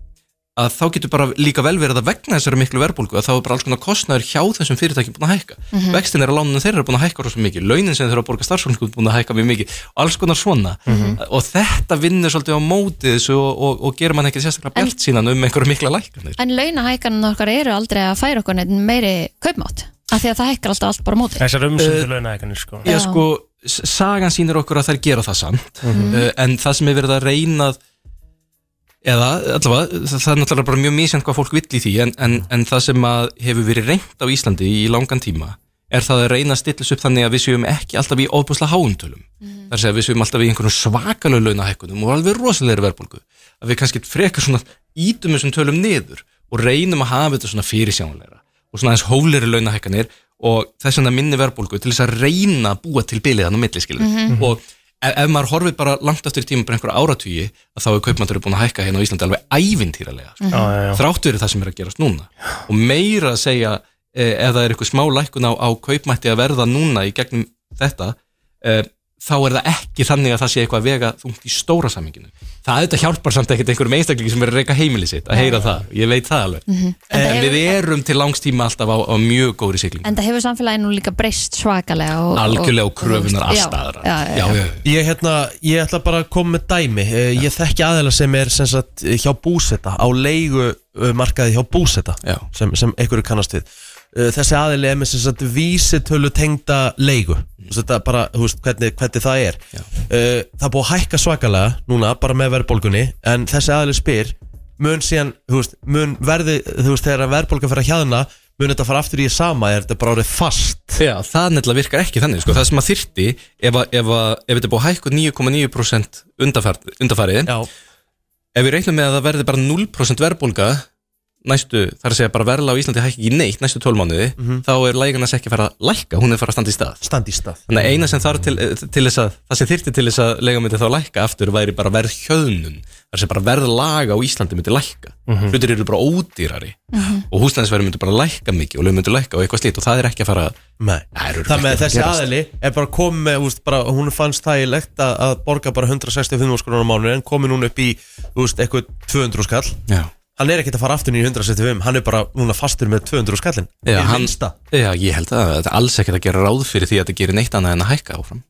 S10: að þá getur bara líka vel verið að vegna þessari miklu verðbólgu að þá er bara alls konar kostnæður hjá þessum fyrirtækjum búin að hækka vextin er að lánunum þeirra er búin að hækka rosa mikið launin sem þeirra að borga starfsfólkum búin að hækka mjög mikið og alls konar svona og þetta vinnur svolítið á mótið þessu og, og, og gerir mann ekki sérstaklega
S3: En-
S10: bjart sínan um einhverju mikla lækkanir
S3: en launahækanin okkar eru aldrei að færa okkur neitt meiri kaupmátt af því að það hækkar alltaf allt bara á
S10: Eh.
S3: móti
S1: Þessar umsöndu launahækanir sko
S10: Já,
S3: Já.
S10: sko, s- sagan sýnir okkur að þær gera það samt uh, en það sem er verið að reyna að- eða allavega, það, það er náttúrulega bara mjög misjant hvað fólk vill í því en, en, en það sem að hefur verið reynt á Íslandi í langan tíma er það að reyna að stilla þessu upp þannig að við séum ekki alltaf í óbúslega háumtölum þar að segja að við séum alltaf í einhverjum svakalög launahækkunum og alveg rosalegri verðbólgu að við kannski frekar svona ítum þessum tölum niður og reynum að hafa þetta svona fyrirsjánleira og svona aðeins hóleri launahækkanir og þess vegna minni verðbólgu til þess að reyna að búa til bilið þannig á milli skilur
S1: Mhm.
S10: og ef, ef maður horfir bara langt aftur í tíma bara einhverja áratugi að þá er kaupmæntur búin að hækka hérna á Íslandi alveg ævintýralega sko
S1: Mhm. Já, já, já
S10: þrátt fyrir það sem er að gerast núna og meira að segja e, ef það er eitthvað smá lækkun á, á kaupmætti að verða núna í gegnum þetta e, þá er það ekki þannig að það sé eitthvað að vega þungt í stóra saminginu það auðvitað hjálpar samt ekkert einhverjum einstaklingi sem er að reyka heimili sitt að heyra það, ég veit það alveg
S3: En það
S10: en
S3: hefur-
S10: við erum til langstíma alltaf á, á mjög góðri siglingu
S3: En það hefur samfélagið nú líka breyst svakalega og,
S10: algjörlega og kröfunar
S3: Já,
S10: allstaðar
S3: já, já, já.
S10: já, já.
S4: Ég, hérna, ég ætla bara að koma með dæmi Eh, Ég þekki aðeila sem er sem sagt, hjá búseta á leigu eh, markaði hjá búseta
S10: Já.
S4: sem, sem einhverju kannast við Eh, Þessi aðeili er með sem sagt, vísitölu tengda leigu mm. þetta bara, þú veist, hvernig, hvernig það er
S10: Já.
S4: Eh, Það er búið að hækka svakalega núna bara með verðbólgunni en þessi aðeili spyr mun síðan, þú veist, mun verði þú veist, þegar verðbólgan fyrir að hjaðna mun þetta fara aftur í sama er þetta bara orðið fast
S10: Já, það nefnilega virkar ekki þannig sko. Það sem að þyrti ef, að, ef, að, ef þetta er búið að hækka 9,9% undanfar- undanfarið
S4: Já,
S10: Ef við reiknum með að það verði bara 0% verðbólga næstu, þar að segja bara verðla á Íslandi hækki ekki neitt næstu 12 mánuði
S4: Mhm.
S10: þá er lægarnas ekki fara að lækka, hún er fara að standa í stað
S4: standi í stað
S10: Þannig að eina sem þarf til, eh, til þess að það sem þyrti til þess að lega myndi þá lækka aftur væri bara verð hjöðnun þar sem bara verð laga á Íslandi myndi lækka
S4: Mhm.
S10: hlutir eru bara ódýrari og húsnæðisverð myndi bara lækka mikið og lög myndi lækka og eitthvað slít og það er ekki að fara
S4: Nei,
S10: Það eru
S4: það með
S10: ekki að
S4: þessi
S10: gerast.
S4: aðili er bara komið með, úst, bara, hún fannst þægilegt að, að borga bara 165 skrónar á mánu en komið núna upp í, þú veist, eitthvað 200 skall
S10: Já,
S4: hann er ekkert að fara aftur í 165 hann er bara núna fastur með 200 skallin
S10: Já,
S4: Í
S10: hann-
S4: minnsta.
S10: Já ég held að þetta er alls ekkert að gera ráð fyrir því að þetta gerir neitt annað en að hækka áfram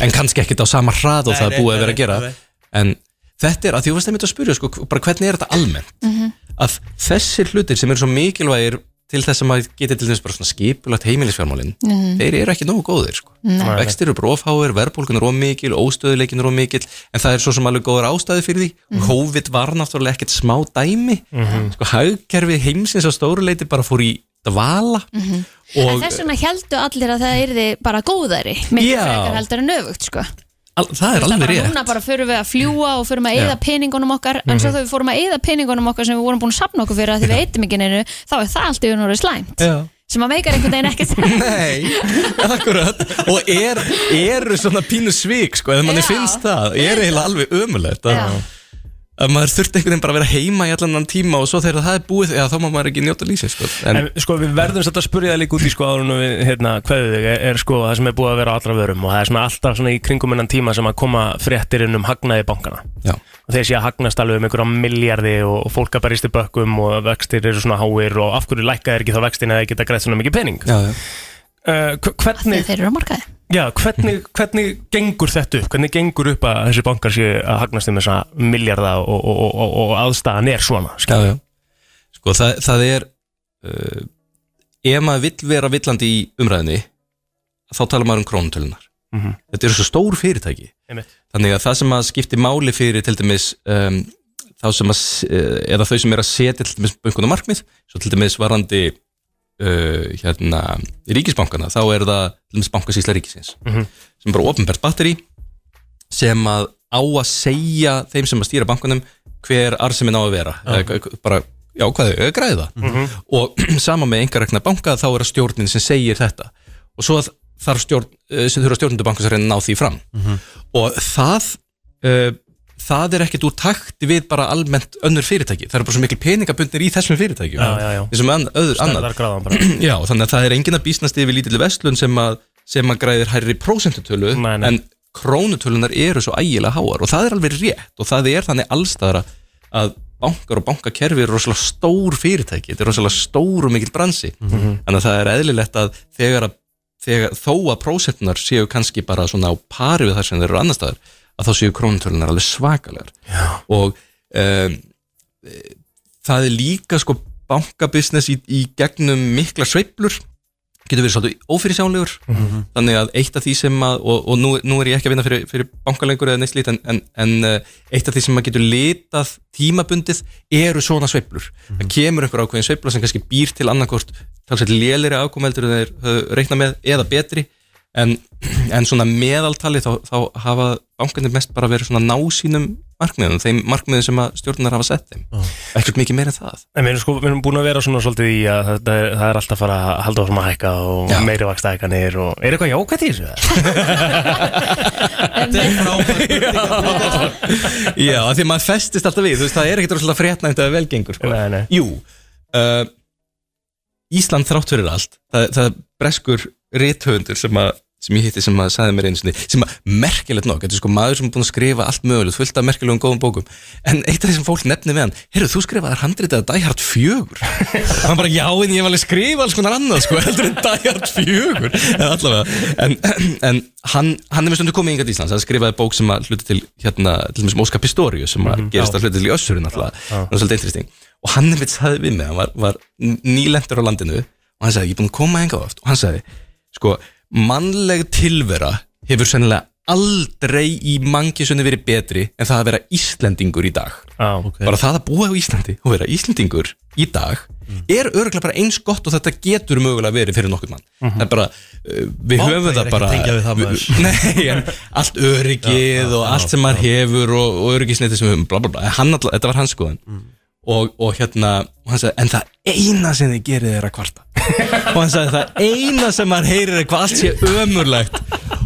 S10: en kannski ekkert á sama hrað og
S4: Nei,
S10: það er
S4: nei,
S10: búið að
S4: nei,
S10: vera að gera
S4: nei.
S10: en þetta er að því þú varst einmitt að spyrja sko, bara hvernig er þetta almennt
S5: Mhm.
S10: að þessir hlutir sem eru svo mikilvægir til þess að maður geti til þess bara svona skipulagt heimilisfjármálin
S3: Mhm.
S10: þeir eru ekki nógu góðir sko. vextir eru brófháir, verðbólgun er ómikil óstöðuleikin er ómikil en það er svo sem alveg góðar ástæði fyrir því
S3: Mhm.
S10: COVID var náttúrulega ekkert smá dæmi sko, hagkerfi heimsins á stóruleiti bara fór í dvala
S3: Mm. Mhm. En
S10: og
S3: þess vegna heldu allir að það yrði bara góðari miklu
S10: Já.
S3: frekar heldur en öfugt sko.
S10: al, það er
S3: Það
S10: alveg
S3: bara
S10: rétt
S3: núna bara förum við að fljúa og förum
S10: Já.
S3: að
S10: Mhm.
S3: eyða peningunum okkar en svo þegar við fórum að eyða peningunum okkar sem við vorum búin að sapna okkur fyrir að því við eytum ekki neinu þá er það allt yfir núra slæmt
S10: Já.
S3: sem að meikar einhvern veginn ekkert
S10: Nei, akkurat og er, eru svona pínu svík sko, ef manni
S3: Já.
S10: finnst það, er eiginlega alveg ömulegt að,
S3: Já.
S10: að maður þurfti einhvern veginn bara að vera heima í allan þann tíma og svo þegar það er búið, já, þá má maður ekki njóta lífsins sko. en,
S1: En sko við verðum svolítið að spurja það líka út í sko áður en við hérna hverðu þig er, er sko það sem er búið að vera á allra vörum og það er svona alltaf svona í kringum innan tíma sem að koma fréttir inn um hagnaði bankana
S10: já,
S1: og þeir sé að hagnast alveg um einhverja miljardi og, og fólk að berjast í bökkum og vextir eru svona háir og af hverju lækka þeir ekki þá vextin að þeir geta greitt svona mikið pening
S10: já, já.
S1: uh, hv-
S3: þegar
S1: hvernig,
S3: þeir eru á markaði
S1: já, hvernig, hvernig gengur þetta upp? Hvernig gengur upp að þessi bankar sé að hagnast um þessa miljarda og, og, og, og, og aðstæðan er svona? skilur?
S10: já, já. Sko, það, það er uh, ef maður vill vera villandi í umræðinni þá talar maður um krónutölunar
S1: Mhm.
S10: þetta eru svo stór fyrirtæki
S1: Einmitt.
S10: þannig að það sem að skipti máli fyrir til dæmis um, þá sem að s- eh, eða þau sem er að setja til dæmis bönkunum markmið, svo til dæmis varandi uh, hérna ríkisbankana, þá er það til dæmis bankasýsla ríkisins,
S1: Mhm.
S10: sem er bara ofnbært batteri sem að á að segja þeim sem að stýra bankunum hver arsemin á að vera eða, hva- bara, já, hvað þau, græða
S1: Mhm.
S10: og sama með einhverjagna banka þá er það stjórnin sem segir þetta og svo að þarf stjórn, eh, sem þurfa stjórnundu bankus að reyna að ná því fram
S1: Mhm.
S10: og það uh, það er ekkert úr takti við bara almennt önnur fyrirtæki, það er bara svo mikil peningabundir í þessum fyrirtækjum
S1: Já, já, já.
S10: eins og með ann- öðru annað
S1: Stærðargráðan bara.
S10: Já, þannig að það er enginn að býsnast yfir lítill vestlun sem að, sem að græðir hærri prósentutölu
S1: Nei, nei.
S10: en krónutölunar eru svo ægilega háar og það er alveg rétt og það er þannig allstæðara að bankar og bankakerfi eru rosalega stór fyrirtæki, þetta er rosalega stór og mikill bransi
S1: Mm.
S4: Mhm.
S10: þannig að það er eðlilegt að þegar, að, þegar þó að prósentunar séu kannski bara svona á pari við þar sem þeir eru annar staðar að þá séu krónutölunar alveg svakalegar Já. og um, það er líka sko bankabusiness í, í gegnum mikla sveiflur getur verið svolítið ófyrirsjánlegur þannig að eitt af því sem að og, og nú, nú er ég ekki að vinna fyrir, fyrir bankalengur eða neitt slít en, en, en eh, eitt af því sem maður getur litað tímabundið eru svona sveiflur það kemur einhver ákveðin sveifla sem kannski býr til annarkort talsett lélir afkomeldur en þeir höfðu reiknað með eða betri en, en svona meðaltali þá, þá hafa bankarnir mest bara verið svona násínum markmiðum, þeim markmiðum sem að stjórnar hafa sett þeim ekkert mikið meira en það
S1: En við erum, sko, við erum búin að vera svona svolítið í að þetta, er- það er alltaf að fara að halda áfram að hækka og
S10: Já.
S1: meiri vaksta hækkanir og er eitthvað jákvæmt í þessu? eða?
S10: Já, af því að maður festist alltaf við, þú veist, það er ekkert rosalega frétnæmt að vel gengur, sko.
S1: Nei, nei.
S10: Jú, uh, Ísland þrátt fyrir allt, það, það er breskur rithöfundur sem, að, sem ég hitti sem að sagði mér einu sinni, sem að merkilegt nokk, þetta er sko maður sem er búin að skrifa allt mögulegt, fullt af merkilegum góðum bókum, en eitt af því sem fólk nefni með hann, heyrðu, þú skrifaðar handritið að Die Hard 4, og hann bara, já, en ég var alveg að skrifa alls konar annað, sko, heldur en Die Hard 4, en allavega, en, en hann, hann er með stundu komið yngat í Íslands, hann skrifaði bók sem að hluti til, hérna, til þessum Óskar Pistorius, sem að gerist að hluti til í össurinn alltaf, það er svolítið interesting, og hann er mitt sagði við mig, hann var, var nýlendur á landinu, og hann sagði, ég er búin að koma enga oft, og hann sagði, sko, mannleg tilvera hefur sennilega aldrei í mangisunni verið betri en það að vera Íslendingur í dag
S1: Já, ok
S10: bara það að búa á Íslandi og vera Íslendingur í dag
S4: Mm.
S10: er örgulega bara eins gott og þetta getur mögulega verið fyrir nokkur mann það er bara, uh,
S4: Mhm.
S10: við
S4: Vá,
S10: höfum
S4: það er
S10: það
S4: ekki
S10: bara
S4: að tengja við það, maður.
S10: Nei, en allt öryggið og allt sem maður hefur og, og öryggisneiti sem við höfum bla, bla, bla. Hann, alltaf- þetta var hans skoðan og, og hérna, og hann sagði en það eina sem þið gerir er að kvarta og hann sagði það eina sem maður heyrir er hvað allt sé ömurlegt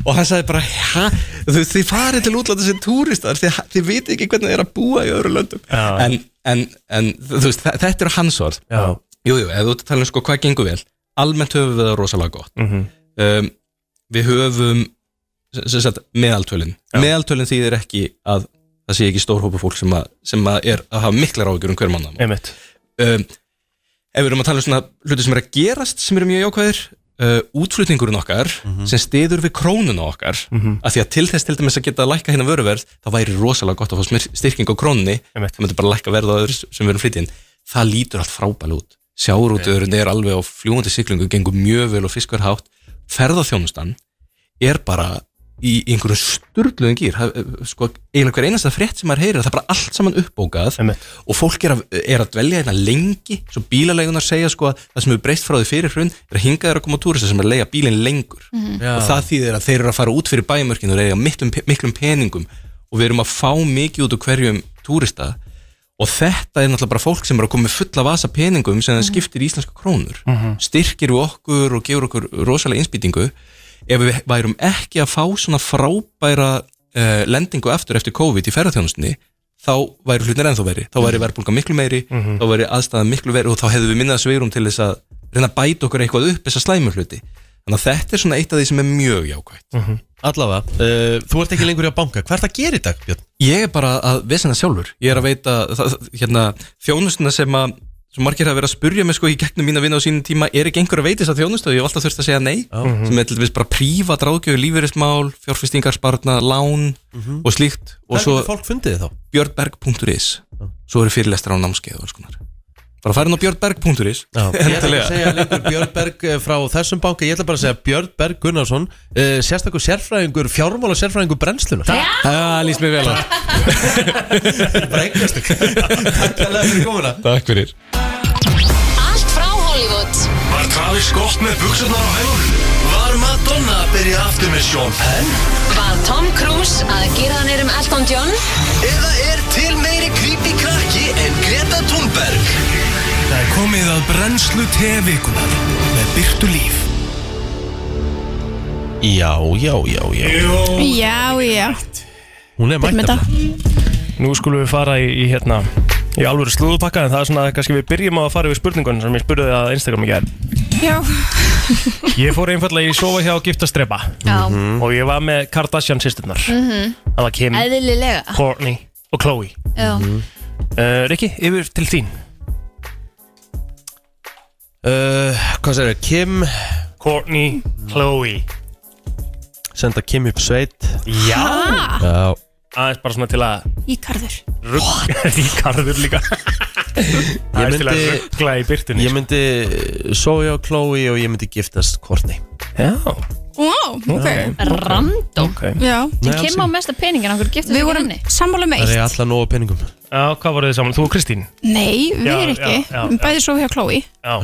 S10: og hann sagði bara, hæ, þið, þið farið til útlanda sem túristar, þið, þið vitið ekki hvernig þið er að búa í öðru löndum
S1: Já.
S10: en, en, en þú veist, þa- þetta eru hans orð
S1: Já,
S10: Jú, jú, ef þú ert að tala um sko hvað gengur vel almennt höfum við það rosalega gott
S1: Mhm.
S10: um, við höfum sem- sem sagt, meðaltölin meðaltölin þýðir ekki að það sé ekki stór hópa fólk sem, að, sem að er að hafa miklar áhyggjur um hver mann um,
S1: einmitt
S10: ef við erum að tala um svona hluti sem er að gerast sem eru mjög jákvæðir uh, útflutningurinn okkar sem stiður við krónuna okkar af því að til þess til dæmis að geta að lækka hérna vöruverð þá væri rosalega gott að fá smyr- styrking á krónunni
S1: Einmitt.
S10: það myndi bara lækka verð á öðru sem við erum flytjinn það lítur allt frábæl út sjáurútuðurinn er alveg á fljúandi siglingu gengur mjög vel og fiskar hátt ferðaþjónustan er bara í einhverjum sturgluðum gýr sko, eiginlega hver einasta frétt sem maður heyrir það er bara allt saman uppbókað
S1: Einmitt.
S10: og fólk er að, er að dvelja hérna lengi svo bílaleigunar segja sko að það sem hefur breyst frá því fyrir hrun er að hingað er að koma túrista sem er að leiga bílinn lengur og það þýðir að þeir eru að fara út fyrir bæmörkinu og reyja miklum, miklum peningum og við erum að fá mikið út úr hverjum túrista og þetta er náttúrulega bara fólk sem er að koma með fulla vasa peningum sem það skiptir í íslenska krónur styrkir við okkur og gefur okkur rosalega innspýtingu ef við værum ekki að fá svona frábæra uh, lendingu aftur eftir COVID í ferðarþjónustinni þá væri hlutin ennþá veri þá væri verðbólga miklu meiri, þá væri aðstæða miklu veri og þá hefðu við minnað sveirum til þess að reyna að bæta okkur eitthvað upp þessa slæmu hluti þannig að þetta er svona eitt af því sem er mjög jákvægt
S4: Allavega, uh, þú ert ekki lengur í að banka Hvað er það að gera í dag, Björn?
S10: ég er bara að vesina sjálfur ég er að veita það- hérna, þjónustuna sem að sem margir hafa verið að spurja mig sko í gegnum mína vinna á sínum tíma er ekki einhver að veita þess að þjónustu og ég hef alltaf þurft að segja nei sem er til dæmis bara prívat ráðgjöf lífeyrismál, fjárfestingarsparna, lán og slíkt og
S4: Hvað
S10: svo
S4: er Mhm. fólk fundið þið þá?
S10: björnberg.is svo eru fyrirlestra á námskeið og alls konar bara farin á björnberg.is
S4: Ég ætla ekki að segja lengur Björn Berg eh, frá þessum banka Ég ætla bara að segja Björn Berg Gunnarsson uh, Sérstakur sérfræðingur, fjármála sérfræðingur brennslunar Það
S10: það lýst mér vel á
S4: er bara eignast Takk alveg fyrir komuna
S10: Takk fyrir
S8: Allt frá Hollywood
S2: Var Travis gott með buksunar á hægunum? Var Madonna að byrja aftur með Sean Penn?
S8: Var Tom Cruise að gera hann erum Elton John?
S2: Eða er til meiri creepy krakki en Greta Thunberg? Það er komið að brennslu tevikunar með Byrtu Líf.
S4: Já, já, já, já
S6: Já, já,
S4: Hún er
S6: byrjum
S4: mætt
S6: þetta
S1: Nú skulum við fara í, í hérna í alvöru slúðupakka en það er svona að kannski við byrjum á að fara yfir spurningun sem ég spurði þig að Instagram í gær
S6: Já,
S1: Ég fór einfallega í sofa hjá giftastrepa
S3: Já,
S1: og ég var með Kardashian sýsturnar
S8: Mm.
S3: Mhm.
S1: Það var Kim,
S3: eðlilega
S1: Kourtney og Khloe
S3: Já,
S1: uh, Rikki, yfir til þín
S4: uh, Hvað segir það? Kim
S1: Kourtney, Khloe
S4: Senda Kim upp sveit
S1: Já,
S4: Já
S1: aðeins bara svona til að
S6: íkarður
S1: rugg í karður líka Aðeins til að
S4: myndi-
S1: ruggla í sko. byrtunni
S4: Ég myndi eh, sofa á Chloe og ég myndi giftast Courtney
S1: Já,
S6: Ó, ok,
S3: random
S1: ok
S6: já
S4: Nei, alls
S3: Kim á mesta peningin, okkur giftist
S6: Við
S3: ekki
S6: vorum
S3: henni
S6: sammála með
S4: Það er
S6: eitt
S4: ég alla nóg á peningum
S1: Já, hvað voruð þið saman? Þú og Kristín?
S6: Nei, við
S1: Já,
S6: erum ekki
S1: já, já,
S6: Við bæðið svo hjá Chloe,
S1: Já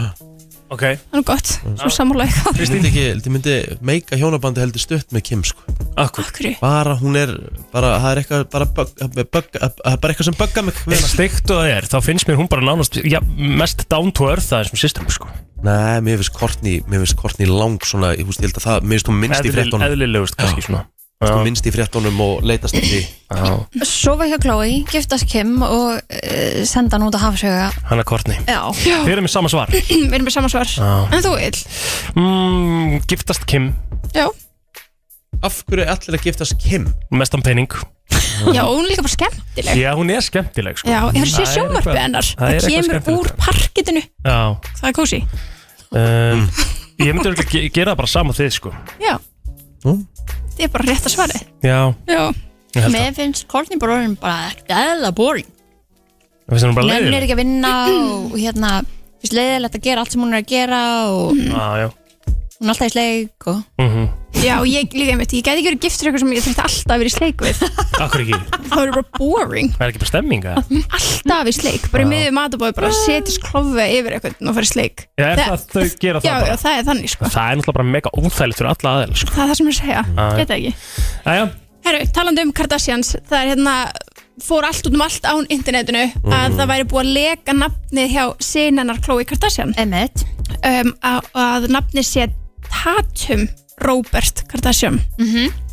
S1: Ok,
S6: það er gott Svo sammála eitthvað
S4: Ég myndi, ekki, ég myndi meika hjónabandi heldur stutt með Kim sko
S1: akkur
S6: Akkur,
S4: Bara hún er, bara, það er eitthvað, bara, bug, bug, bara eitthvað sem bugga mig við hana.
S1: Steikt og það er, þá finnst mér hún bara nánast já, mest down to earth aðeins með sýstrum sko.
S4: Nei, mér finnst Courtney, mér finnst Courtney lang svona, ég húst, ég held að það, mér finnst hún minnst í
S1: Eðlil-
S4: fréttunum,
S1: Eðlilegust kannski svona
S4: hún
S1: já,
S4: minnst í fréttunum og leitast ekki,
S1: já,
S3: Sofa hjá Chloe, giftast Kim og uh, senda hann út að hafsöga
S1: Hanna Kortni
S3: Já,
S6: já,
S1: Þið eru með sama svar
S6: við erum með sama svar En þú, Ill,
S1: mm, Giftast Kim,
S6: já
S4: af hverju er allir að giftast Kim?
S1: mestan pening
S6: Já, hún er líka bara skemmtileg
S1: Já, hún er skemmtileg sko.
S6: Já, ég hefur séð
S1: Það er
S6: sjónvarpið
S1: eitthvað-
S6: hennar
S1: það er
S6: Það
S1: eitthvað
S6: kemur
S1: skemmtilegt.
S6: úr parkitinu
S1: Já,
S6: Það er kósi
S1: um, Ég myndi örugglega ge- gera það bara sama þið sko.
S6: Já,
S4: Mm.
S6: það er bara rétt að svari
S1: Já,
S6: Já,
S1: ég held það
S3: mér finnst Courtney bara orðin bara ekkert eðla boring
S1: Það finnst hún bara
S3: Lenn er
S1: leiðileg
S3: ekki
S6: Mm.
S3: að vinna og hérna finnst leiðilegt að gera allt sem hún er að gera og
S1: Ah, Já, já
S3: Hún er alltaf í sleik og
S1: Mhm.
S5: Já, ég líka einmitt, ég gæti ekki verið gift fyrir eitthvað sem ég þurfti alltaf að vera í sleik við
S1: Akkur ekki,
S5: Það verður bara boring
S1: það er ekki bara stemming eða?
S5: Alltaf í sleik, bara í miður matabóð bara setjast klofið yfir eitthvað og farið sleik
S1: Já, er það að þau gera
S5: Já,
S1: það
S5: já,
S1: bara?
S5: það er þannig sko
S1: Það er náttúrulega bara mega óþægilegt fyrir alla aðeins sko.
S5: Það er það sem ég er að segja,
S1: Já, já.
S5: geta ekki
S1: Jæja,
S5: Herru, talandi um Kardashians, það er hérna fór allt út um allt án internetinu
S3: Mhm.
S5: að það væri búið að leka nafnið hjá sinennar Khloe Kardashian
S3: Emmett
S5: um, að, að nafnið sé Tatum Robert Kardashian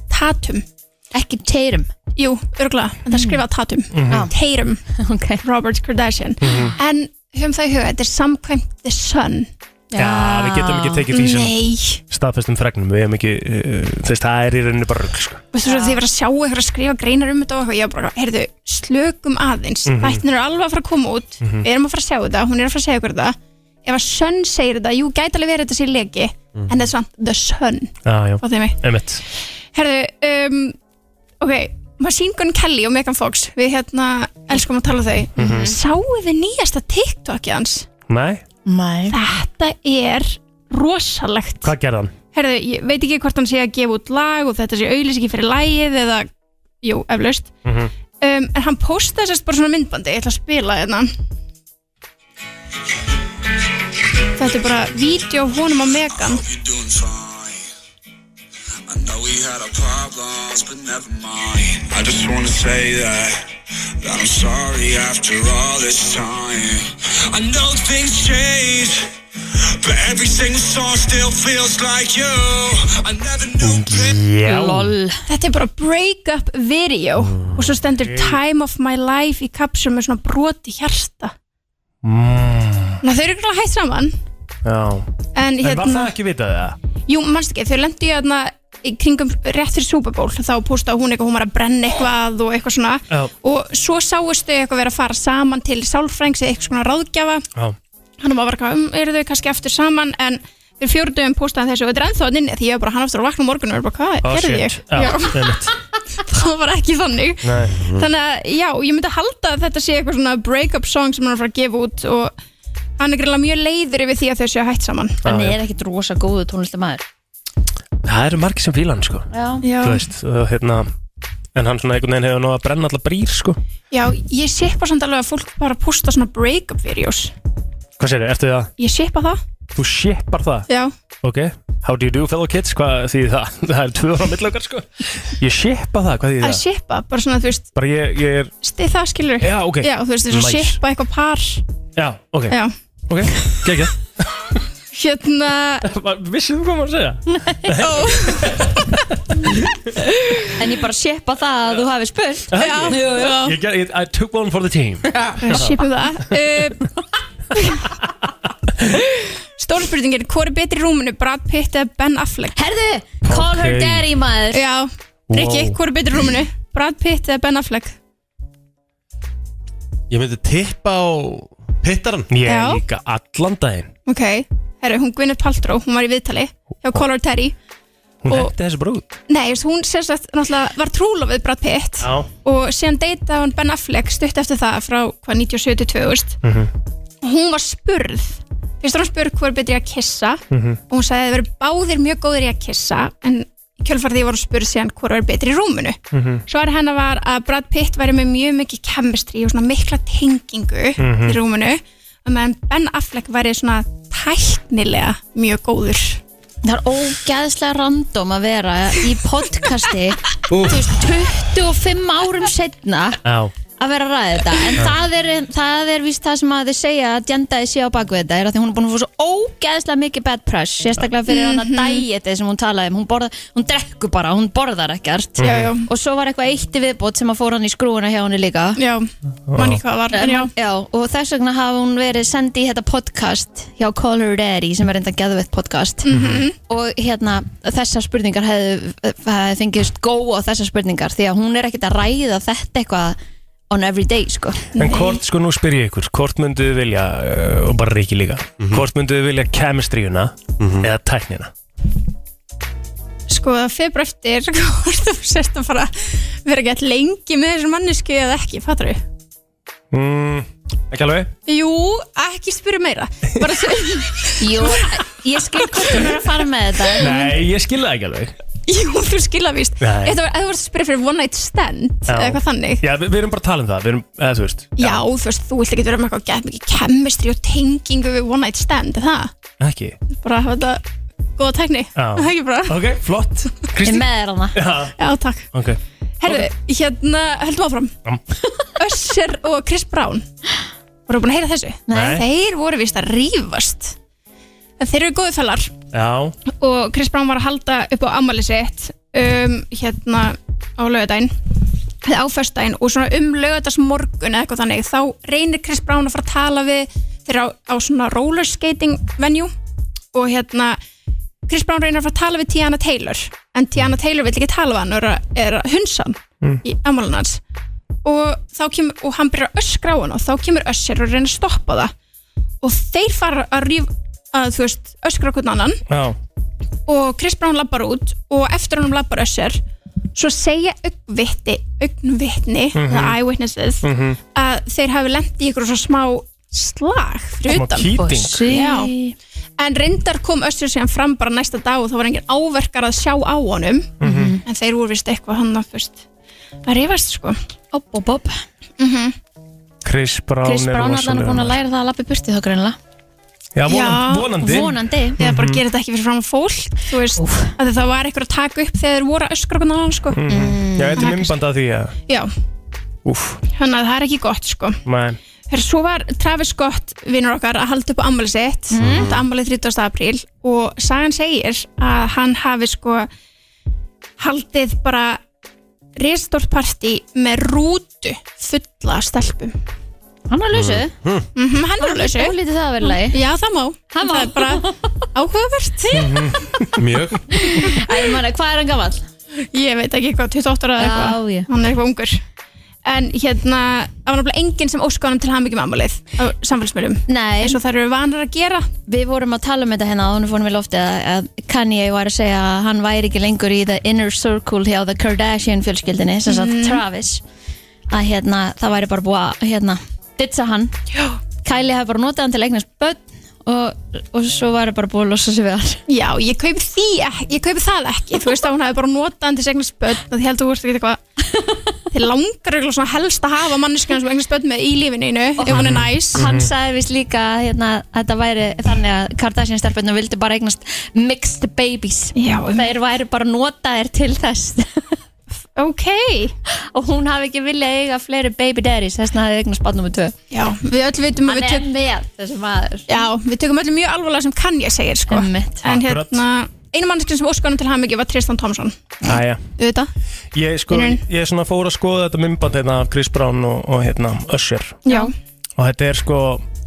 S5: Tatum,
S3: Mhm. Ekki teirum
S5: jú, örgulega en það er skrifað Tatum, Ah. Tatum
S3: Ok Mhm.
S5: Robert Kardashian en höfum það í huga, þetta er samkvæmt The Sun
S1: já, við getum ekki tekið því sem
S5: Nei,
S1: staðfestum fregnum Við hefum ekki, uh, þess það er í rauninni bara rugg sko.
S5: veistu svo því ég var að sjá eitthvað að skrifa greinar um þetta og eitthvað, ég var bara, heyrðu, slökum aðeins mm er alveg að fara að koma út við erum að fara að sjá þetta, hún er að fara að segja ykkur þetta ef að Sun segir þetta, jú, gæti alveg verið þetta sé leki, en það er samt The Sun,
S1: Já, já,
S5: fattu mig
S1: emitt
S5: Herðu, um, ok, Machine Gun Kelly og Megan Fox, við hérna elskum að tala um þau. Sáu þið nýjasta TikTokið hans?
S1: Nei,
S3: Mæ
S5: Þetta er rosalegt.
S1: hvað gerði hann?
S5: Herðu, ég veit ekki hvort hann sé að gefa út lag og þetta sé auðlis ekki fyrir lagið eða, jú, eflaust.
S1: Mhm.
S5: um, en hann postaði sérst bara svona myndbandi, ég ætla að spila hérna. Þetta er bara vídeo af honum á Megan.
S2: I know we had our problems, but never mind. I just wanna say that, that I'm sorry after all this time. I know things change, but every single song still feels like you. I never knew.
S1: Já,
S3: Lol
S5: Þetta er bara break-up video og svo stendur time of my life í kapsum með svona broti hjarta. Mm. Ná, þau eru ekki hægt saman,
S1: já
S5: en
S1: En var það
S5: hérna,
S1: ekki vitað það?
S5: jú, mannst ekki, þau lendu í hérna í kringum rétt fyrir Super Bowl, þá postaði hún eitthvað, hún var að brenna eitthvað og eitthvað svona
S1: Já.
S5: og svo sáustu eitthvað vera að fara saman til sálfrængs eða eitthvað svona ráðgjafa
S1: Já,
S5: hann var bara eitthvað, um, eru þau kannski aftur saman en fyrir fjóru dögum postaði hann þessu og þetta er ennþá þarna inni, því ég var bara hann aftur að vakna á morgun og er bara, hvað
S1: oh,
S5: gerði ég?
S1: shit Já, emitt
S5: það var ekki þannig Mhm.
S1: Nei.
S5: þannig að já, ég myndi halda að þetta sé eitthvað svona break-up song sem hann er að fara að gefa út og hann er greiðlega mjög leiður yfir því að þau séu hætt saman
S3: Hann
S1: Ah,
S3: er ekkit rosa góðu tónlistamæður
S1: Það eru margir sem fílan, sko
S5: já,
S1: Þú veist, og hérna En hann svona einhvern veginn hefur náða að brenna allar brýr, sko
S5: já ég sippa samt alveg að fólk bara posta svona break-up videos
S1: Hvað sér, eftir það?
S5: ég sippa það,
S1: Þú shippar það?
S5: já
S1: Ok, how do you do fellow kids? Hvað þýðir það? Það er tvö ára millakar sko Ég shippa það, hvað þýðir
S5: að
S1: það?
S5: sippa, bara svona þú veist
S1: Bara ég, ég er,
S5: stið það skilur
S1: já ok
S5: já, þú veist, þess að
S1: Nice.
S5: sippa eitthvað par
S1: Já, ok,
S5: já,
S1: ok, gegja
S5: hérna
S1: Vissið þú hvað maður að segja?
S3: En ég bara sépa það að þú hafi spurt
S5: já, jú, jú.
S1: Ég ger, ég, I took one for the team
S5: Sipum það uh, Stóra spurningin, hvað er betri í rúminu, Brad Pitt eða Ben Affleck?
S3: Herðu, call her
S1: Ok.
S3: daddy maður
S5: Já, Rikki,
S1: Wow.
S5: hvað er betri í rúminu, Brad Pitt eða Ben Affleck?
S4: Ég myndi tippa á pittaran
S1: Ég
S5: Já.
S1: líka allan daginn
S5: Ok, herru, hún Gwyneth Paltrow, hún var í viðtali hjá Color Terry
S1: Hún
S5: Og-
S1: hætti þessu brúð
S5: Nei, þú veist, hún sérstætt náttúrulega var trúlofið Brad Pitt
S1: Já.
S5: og síðan deytaði hann Ben Affleck stutt eftir það frá hvað 97 til 2000 og hún var spurð fyrst var hún spurð hvað er betri í að kissa og hún sagði að það verið báðir mjög góðir í að kissa en kjölfarði var hún spurð síðan hvað er betri í rúminu mm
S6: Mhm.
S5: -hmm. svar hennar var að Brad Pitt væri með mjög mikið chemistry og svona mikla tengingu í rúminu og meðan Ben Affleck væri svona tæknilega mjög góður
S3: Það er ógæðslega random að vera í podcasti Þú veist, 25 árum setna
S1: Já,
S3: að vera að ræða þetta En það er, það er víst það sem að þið segja að djendaði sé á baku þetta er að því hún er búin að fá svo ógæðslega mikið bad press sérstaklega fyrir hann
S5: Mhm.
S3: að dieti sem hún talaði um hún, borða, hún drekkur bara, hún borðar ekkert
S5: Já, já.
S3: Og svo var eitthvað eitt í viðbót sem að fór hann í skrúuna hjá henni líka
S5: Já, mann ekki hvað var en já.
S3: Eh, Já, og þess vegna hafa hún verið sendið í þetta podcast hjá Call Her Daddy sem er enda geðvett podcast
S5: Mhm.
S3: -hmm. og hérna þessar spurningar hefði hef fengist góð á þessar spurningar því að hún er ekkert að ræða þetta eitthvað on every day sko
S1: en hvort sko nú spyr ég ykkur Hvort mynduðu vilja, uh, og bara Ríki líka Hvort mynduðu vilja chemistryuna eða tæknina?
S5: Sko það fer bara eftir hvort þú sérst að fara að vera gett lengi með þessum mannesku eða ekki, fattur við?
S1: Mm, ekki alveg?
S5: Jú, ekki spyrja meira bara, se-
S3: Jú, Ég skil hvort þú verður að fara með þetta
S1: Nei, ég skil það ekki alveg
S5: Jú, þú skilja víst
S1: Nei.
S5: Þetta var, ef þú varst að spyrja fyrir one night stand eða eitthvað þannig
S1: Já, við, við erum bara að tala um það Við erum, eða þú veist
S5: Já, þú veist, þú vilt ekki vera með eitthvað gett mikið kemistri og tengingu við one night stand, er það?
S1: Ekki
S5: Bara hafa þetta góða tækni,
S1: Já.
S5: er það ekki bara?
S1: Ok, flott
S3: Ég er
S1: Kristi
S3: með þér hana
S1: Já,
S5: Já, takk.
S1: ok
S5: Herðu, hérna, höldum áfram.
S1: Já.
S5: Össer og Chris Brown. Voru búin að heyra þessu?
S1: Nei.
S5: Þeir voru vist að rífast. En þeir eru góðu fellar
S1: Já,
S5: og Chris Brown var að halda upp á ammali sitt um, hérna á lögadaginn eða á föstudaginn og svona um lögadagsmorgun eða eitthvað þannig þá reynir Chris Brown að fara að tala við þeirra á, á svona rollerskating venue og hérna Chris Brown reynir að fara að tala við Tiana Taylor en Tiana Taylor vil ekki tala við hann og er að, er að hunsa hann í ammálun hans og, þá kemur, og hann byrjar að öskra á hann og þá kemur össir og reynir að stoppa það og þeir fara að ríf að þú veist öskra okkur annan
S1: já
S5: og Chris Brown lappar út og eftir hann lappar Össur svo segja augnvitti augnvittni,
S1: Mhm.
S5: það eyewitnesses að þeir hafi lent í ykkur svo smá slag fyrir
S1: Smá
S5: utan
S3: Oh,
S1: kýting
S5: Já. en reyndar kom Össur síðan fram bara næsta dag og þá var engin áverkar að sjá á honum
S1: Mhm.
S5: en þeir voru vist eitthvað hann að fyrst að rifast sko Mhm.
S3: Opp, opp, opp
S1: Chris Brown
S3: Chris
S1: er
S3: Brown allan er
S1: rosalega-
S3: búin að læra það að lappa í burti þá greinlega
S1: Já,
S5: Já,
S1: vonandi, vonandi. Mhm.
S3: Vonandi
S5: eða bara gera þetta ekki fyrir fram fólk þú veist,
S3: Úff.
S5: að það var eitthvað að taka upp þegar þeir voru að öskra hvernig hann sko
S1: Mhm. Já, þetta
S3: Mm.
S1: er mymband að því að
S5: já,
S1: Úf,
S5: þannig að það er ekki gott sko
S1: mæn
S5: Her, svo var Travis Scott, vinnur okkar, að halda upp á ammali sitt,
S1: Mhm.
S5: þetta ammalið 30. apríl og sagan segir að hann hafi sko haldið bara restort partí með rútu fulla af stelpum.
S3: Hann var lausu
S5: Mm hann var alveg þessu.
S3: Ólítið það að vera lagi
S5: Já, það má.
S3: Það má.
S5: Það er bara áhugavert.
S4: Mjög
S3: Æ, ég meina, Hvað er hann gamall?
S5: Ég veit ekki eitthvað, 28 ára
S3: Já,
S5: eða eitthvað.
S3: já.
S5: Hann er eitthvað ungur. En hérna, það var náttúrulega enginn sem óskaði hann til hann mikið með ammalið á samfélagsmiðlum.
S3: Nei,
S5: Eins og það eru vanar að gera.
S3: við vorum að tala um þetta hérna og hún fórum við loftið að, að Kanye var að segja að hann væri ekki lengur í the inner circle hjá the Kardashian fjölskyldinni sem sagt
S5: Mhm.
S3: Travis að hérna, það væri bara búið að hérna, ditsa hann Já. Kylie hefði bara notað hann til að eignast börn og, og svo var það bara búið að losa sig við hann
S5: Já, ég kaupi því, ek- ég kaupi það ekki Þú veist að hún hafi bara notað hann til segna spöld og því heldur þú veist ekki eitthvað Þið langar eitthvað svona helst að hafa manneskjana sem engin spöld með í lífininu ef hún er næs
S3: Hann
S1: Mhm.
S3: sagði vist líka að, hérna, að þetta væri þannig að Kardashian stelpunum vildi bara eignast mixed babies
S5: Já, um-
S3: og þeir væri bara notaðir til þess
S5: ok
S3: og hún hafi ekki viljað eiga fleiri baby daddies þess vegna hafði eignast barn nummið tvö
S5: Já, við öll veitum að
S3: Hann er
S5: við tökum
S3: með þessi maður
S5: Já, við tökum öll mjög alvarlega sem kann ég segir sko
S3: Einmitt.
S5: En
S1: Akkurat.
S5: hérna, einu manneskjana sem óskanum til hann var Tristan Thompson
S1: Æja,
S5: Auðvitað?
S1: ég sko,
S5: Vinurinn.
S1: ég svona fór að skoða þetta mymband hérna af Chris Brown og, og hérna Usher
S5: Já,
S1: og þetta er sko,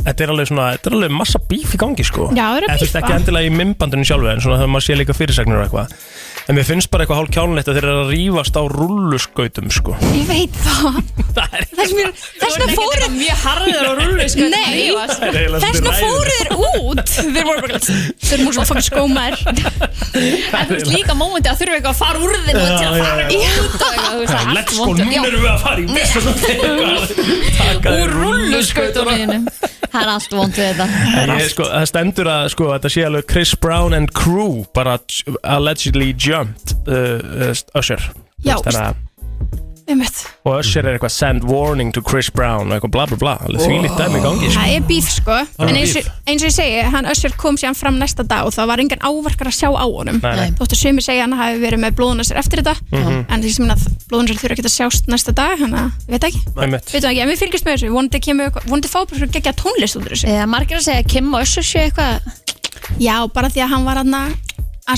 S1: þetta er alveg svona, þetta er alveg massa bíf í gangi sko
S5: Já, það er að
S1: Eða, þú veist,
S5: bífa.
S1: ekki endilega í mymbandinu sjálfu en svona þegar maður sé líka fyrirsagnir og eitthvað en mér finnst bara eitthvað hálf kjánlegt að þeir eru að rífast á rulluskautum sko
S5: ég veit það
S1: Það er
S5: Þess vegna- þess vegna fóru
S3: Mjög harður og rullu sko
S5: Nei,
S1: Það er eiginlega
S5: þess vegna
S1: svolítið
S5: fóru þeir út Þeir voru bara Þeir voru svona fokkin skómaður
S3: En þú veist líka mómenti að þurfa eitthvað að fara úr þeim og til að
S1: Já,
S3: fara
S1: já,
S3: út og eitthvað þú veist, það er allt
S1: Let's go,
S3: vont.
S1: nú
S3: Já,
S1: erum við að fara í messu Taka
S3: Úr
S1: þér
S3: rulluskautum mínum. Það er allt vond við þetta
S1: En Ég, sko, það stendur að sko, þetta sé alveg Chris Brown and crew bara t- allegedly jumped uh, uh, Usher Þú
S5: Já,
S1: veist, þannig að-
S5: Einmitt.
S1: og Usher er eitthvað send warning to Chris Brown og eitthvað bla bla bla alveg því lítið dæmi í gangi sko.
S5: Það er bíf sko
S4: er
S5: En eins og,
S4: bíf.
S5: eins og ég segi, hann Össur kom síðan fram næsta dag og það var engan áverkar að sjá á honum
S1: Nei, Mhm. nei.
S5: Þóttu sumi segja að hann hafi verið með blóðunasir eftir þetta En því sem minna að blóðunasir þurfa ekki að sjást næsta dag Þannig að, ég veit ekki
S1: Einmitt.
S5: Veitum ekki, en við fylgjumst með þessu Vonandi kemur, eitthvað- vonandi fá bara geggja tónlist út úr þessu
S3: Eða margir að segja að Kim og Össur sé eitthvað
S5: Já, bara því að hann var hann að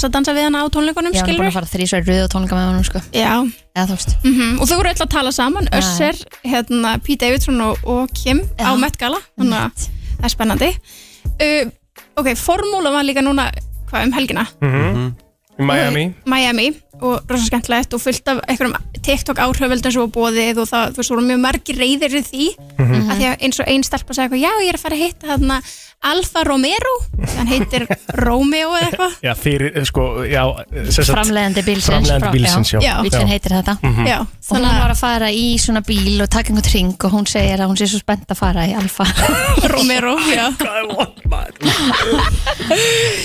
S5: að dansa við hann á tónleikunum,
S3: Já, hann er búin
S5: skilur
S3: að fara þrísværi rauð og tónleika með honum sko
S5: Já,
S3: Eða þú veist
S5: Mhm, og þau voru öll að tala saman Össer, hérna, Pete Davidson og, og Kim
S3: Já. Mhm.
S5: á Met Gala
S6: Hum.
S5: þannig að það er spennandi uh, ok, formúla var líka núna hvað um helgina,
S6: Mhm.
S1: í Miami
S5: Miami og rosa skemmtilegt og fullt af einhverjum TikTok áhriföldum sem var bóðið og það þú veist, voru mjög margir reyðir í því mm -hmm. að því að eins og ein stelpa sagði eitthvað, já, ég er að fara að hitta þarna Alfa Romero hann heitir Romeo eða eitthvað
S1: Já, fyrir, eh, sko, já eh, sem sagt-
S3: Framleiðandi bílsins
S1: Framleiðandi bílsins, já,
S5: Já.
S3: Bílsinn heitir þetta
S1: Mhm.
S5: Já,
S3: Og hún var að fara í svona bíl og taka einhvern ring og hún segir að hún sé svo spennt að fara í Alfa
S5: Romero, já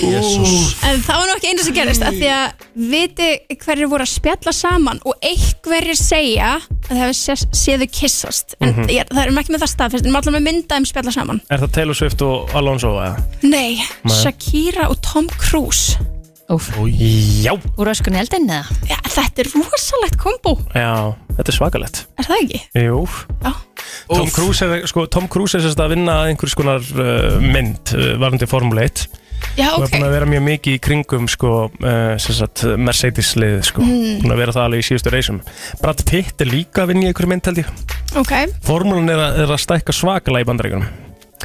S4: Jésús
S5: En það var nú ekki einu sem gerist að því að viti hverjir voru að spjalla saman og einhverjir segja að það hefur sé, séðu kissast en mm
S1: Mhm.
S5: það erum ekki með það staðfest en allar með mynda um spjalla saman
S1: Er það Taylor Swift og Alonso eða?
S5: Nei,
S1: Nei.
S5: Shakira og Tom Cruise
S3: Úf,
S1: Já,
S3: úr öskunni eldin eða?
S5: ja, Þetta er rosalegt kombo,
S1: já, þetta er svakalegt
S5: er það ekki?
S1: Jú
S5: Já.
S1: Tom Cruise er, sko, Tom Cruise er sérst að vinna að einhvers konar uh, mynd uh, varandi Formule 1
S5: Já,
S1: og er búin
S5: ok
S1: að vera mjög mikið í kringum sko, uh, sérst, Mercedes lið sko.
S5: Mm.
S1: búin að vera það alveg í síðustu reysum Brad Pitt er líka að vinna í einhverju mynd held ég
S5: Ok,
S1: Formúlan er, að- er að stækka svakala í bandaríkunum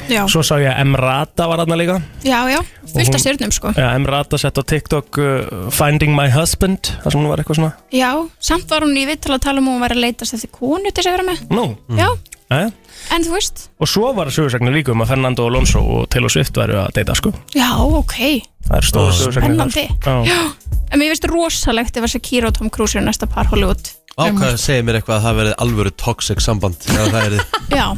S5: já,
S1: Svo sá ég að Emrata var aðna líka
S5: já, já,
S1: Og
S5: fullt
S1: hún-
S5: af stjörnum sko
S1: ja, Emrata sett á TikTok uh, Finding my husband Það sem hún var eitthvað svona
S5: Já, samt var hún í viðtal að tala um að hún var að leitast eftir konu til þess að vera með
S1: Nú,
S5: Já,
S1: eh?
S5: en þú veist,
S1: Og svo var sögursagnir líka um að Fernando Alonso og Taylor Swift væru að deyta sko
S5: já, ok
S1: Það er stóra sögursagnir
S5: Spennandi.
S1: Já,
S5: En mér finnst rosalegt ef að Shakira og Tom Cruise eru næsta par Hollywood
S1: Um,
S4: Ákvað segir mér eitthvað að það verið alvöru toxic samband Já, það er
S5: Já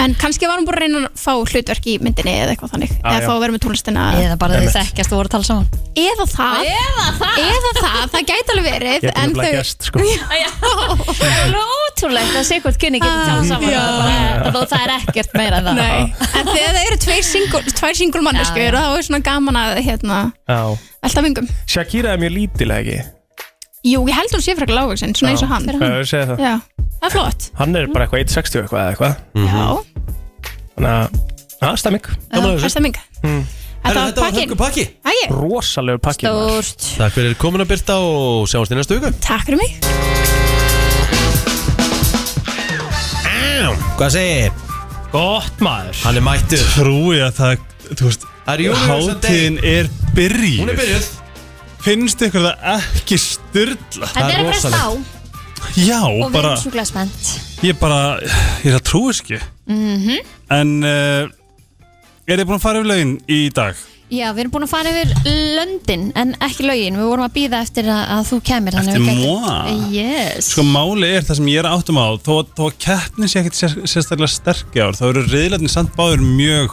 S5: En kannski var hún bara að reyna að fá hlutverk í myndinni eða eitthvað þannig
S1: Já,
S5: Eða
S1: já.
S5: fá að vera með tónlistina
S3: Eða bara þau
S1: Einmitt.
S3: þekkjast og voru að tala saman
S5: Eða það Eða það Eða það, það gæti alveg verið
S1: Getur
S5: En
S1: nefnilega
S5: þau
S1: gæst sko
S3: Ótrúlegt að sé hvort kynni getur tala saman
S5: Ah, Já.
S3: Það bara- það er ekkert meira en það
S5: Nei En þegar það eru tveir single, tvær single
S3: Já,
S5: manneskur
S3: já.
S5: Þá er svona gaman að hérna
S1: Já.
S5: Alltaf vingum
S1: Shakira er mjög lítilega ekki
S5: Jú, ég held hún sé frekar lágvöksin Svona eins og hann
S1: Já, ég segi það
S5: Já, það er flott
S1: Hann er bara eitthvað 1.60 eitthvað eða eitthvað Mhm.
S5: Já,
S1: Þannig að, það er stemming
S5: það er stemming Þetta var pakkin
S4: pakki
S5: Ægir,
S1: Rosalegu pakki maður.
S3: Stórt
S4: Takk fyrir komin að byrta og sjáumst í næstu viku
S5: takk fyrir mig
S4: Hvað segir?
S1: Gott maður
S4: Hann er mættur
S11: Trúi að það, þú veist
S4: Það er Eurovision
S11: Hátíðin er byrjuð
S4: Hún er byrjuð
S11: Finnst ykkur það ekki styrla?
S3: Þetta er að fara þá
S11: Já,
S3: og við
S11: bara,
S3: erum sjúklega spennt
S11: ég bara Ég er að trúi þessu ekki
S3: Mhm.
S11: -hmm. En uh, Er þið búin að fara yfir lögin í dag?
S3: Já, við erum búin að fara yfir löndin en ekki lögin, við vorum að býða eftir að, að þú kemir þannig
S11: Eftir
S3: við gætum-
S11: moi?
S3: Yes
S11: Sko máli er það sem ég er áttum á Þó, þó að keppni sé ekkit sér- sérstaklega sterk í ár Þá eru reyðlarnir samt báður mjög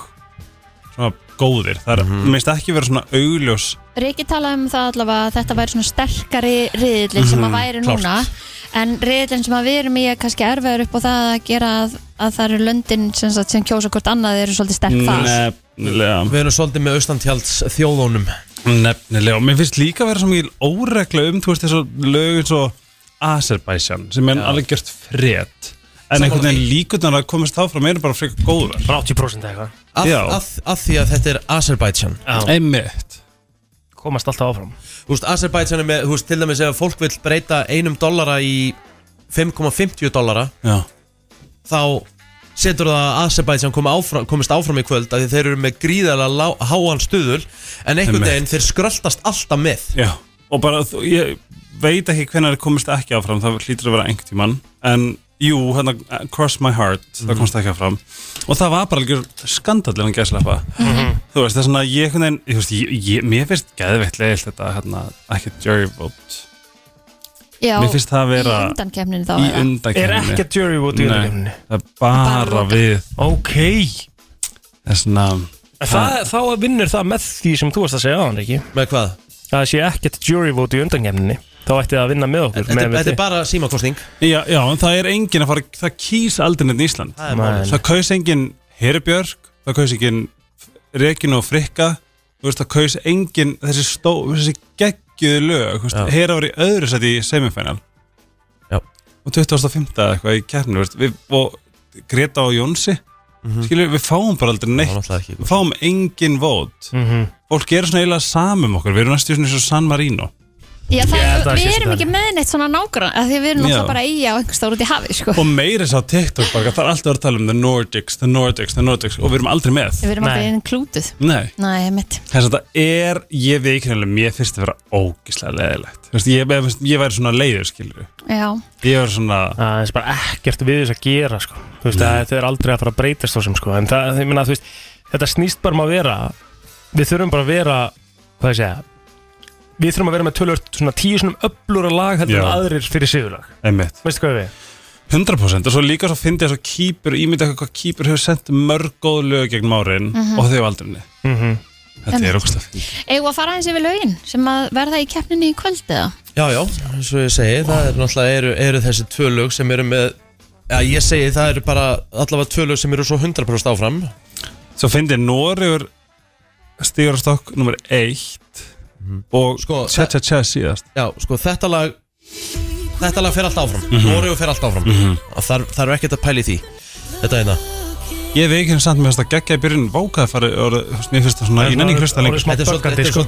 S11: Svona góðir Það er,
S4: Mhm.
S11: mm minnst ekki vera svona augljós
S3: Riki talaði um það allavega að þetta væri svona sterkari riðillin sem að væri
S11: Mhm, klárt.
S3: núna en riðillin sem að við erum í er kannski erfiður upp á það að gera að, að það eru löndin sem, sagt, sem kjósa hvort annað eru svolítið sterk
S11: Mm,
S3: það
S11: eh, Nefnilega
S4: Við erum svolítið með austantjalds þjóðónum
S11: Nefnilega, og mér finnst líka að vera svo mikil óregla um, þú veist, þessu lög eins og Azerbaijan, sem er alveg gjört fred, en einhvern veginn líkurnar að komast áfram eru bara frekar góðar
S1: 80% eitthvað
S4: að,
S11: Já.
S4: að, að því að þetta er Azerbaijan
S11: Einmitt
S1: Komast alltaf áfram
S4: Þú veist, Azerbaijan er með, þú veist, til dæmis ef fólk vil breyta einum dollara í 5,50 dollara
S11: Já,
S4: þá setur það að Azerbaijan komi áfram, komist áfram í kvöld af því þeir eru með gríðarlega lá, háan stuðul en einhvern
S11: Einmitt.
S4: veginn þeir skröltast alltaf með
S11: já Og bara, þú, ég veit ekki hvenær það komist ekki áfram, það hlýtur að vera einhvern tímann En, jú, hérna, Cross My Heart,
S1: Mhm.
S11: það komst ekki áfram Og það var bara algjör skandallið hann gæslepa
S3: Mhm.
S11: Þú veist, það er svona, ég einhvern veginn, þú veist, ég, ég, mér finnst geðveitt leiðilt þetta, hérna, ekki jury vote
S3: Já,
S11: Mér finnst það að vera
S3: í undankefninu þá
S11: í
S3: eða?
S1: Er
S11: undankemni
S1: ekki að jury vote í
S11: Nei.
S1: undankefninni
S11: það er bara við
S1: Ok
S11: þessna
S1: Það, þá vinnur það með því sem þú varst að segja á hann, Riki
S4: með hvað?
S1: að það sé ekkert jury vote í undankefninni þá ætti það að vinna með okkur
S4: Þetta,
S1: með
S4: þetta er bara símakostning
S11: já, já, en það er engin að fara það kýs aldrei neitt Ísland
S4: Það er
S1: Nei.
S4: málið.
S11: það kaus engin Herubjörg það kaus engin Regin og Frikka þú veist, það kaus engin þessi, stó, þessi geggjuðu lög þú veist,
S4: Já.
S11: Hera var í öðru sæti í semifinal
S4: Já.
S11: og 2005 eitthvað í kærni og Greta og Jónsi skilur, við fáum bara aldrei
S4: Mhm. Það var
S11: neitt
S4: náttúrulega ekki Mhm.
S11: við fáum engin vót
S1: mm -hmm.
S11: fólk er svona eiginlega samum okkur við erum næstu eins og San Marino
S3: Já, það
S1: Ég held að
S3: er,
S1: það sé
S3: við erum
S1: svo
S3: ekki með neitt svona nágrann af því við erum
S11: Já.
S3: náttúrulega bara í á einhvers stór út í hafi sko.
S11: og meira þess að TikTok bara, það er alltaf að tala um the Nordics, the Nordics, the Nordics og við erum aldrei með
S3: Við erum
S1: Nei.
S3: aldrei inklútið
S11: Nei,
S3: Nei, mitt
S11: þess að það er, ég veit ekki nefnilega, mér finnst það vera ógislega leðilegt Vist, ég, ég, ég væri svona leiður, skilur
S3: Já,
S11: ég væri svona,
S1: Það er bara ekkert við þess að gera sko. Þú veist, að, þetta er aldrei að fara að breytast þessum sko. en það, ég meina, þú veist þetta snýst bara um að vera við þurfum bara að vera hvað ég segja við þurfum að vera með tölvört svona tíu svona öflúra lag heldur en
S11: Já.
S1: aðrir fyrir sigurlag
S11: Einmitt.
S1: veistu hvað við
S11: 100% og svo líka svo fyndi ég svo kýpur ímynda eitthvað hvað kýpur hefur sendt mörg góð lög gegn márin
S3: Mhm.
S11: og þau aldrinni
S1: mm -hmm.
S11: þetta er ógst að
S3: Eigum við að fara aðeins yfir lögin sem að verða í keppninni í kvöld eða?
S4: Já, já, eins og ég segi, það er náttúrulega eru, eru þessi tvö lög sem eru með Já, ég segi það eru bara allavega tvö lög sem eru svo 100% áfram
S11: Svo fyndi Noregur stígur á stokk nummer 1 og
S4: sko,
S11: tja tja tja síðast
S4: Já, sko þetta lag Þetta lag fer allt áfram mm
S11: Mhm.
S4: fer allt áfram mm
S11: Mhm.
S4: þarf, þarf ekkert að pæla í því Þetta hérna. er það
S11: Ég veik hérna samt með þess að geggja í byrjun vákaði farið og mér finnst það svona
S1: Það er
S11: ég nenni
S1: orðið-
S11: ekki hlusta
S1: orðið
S11: lengur
S1: smá böggandi, sko.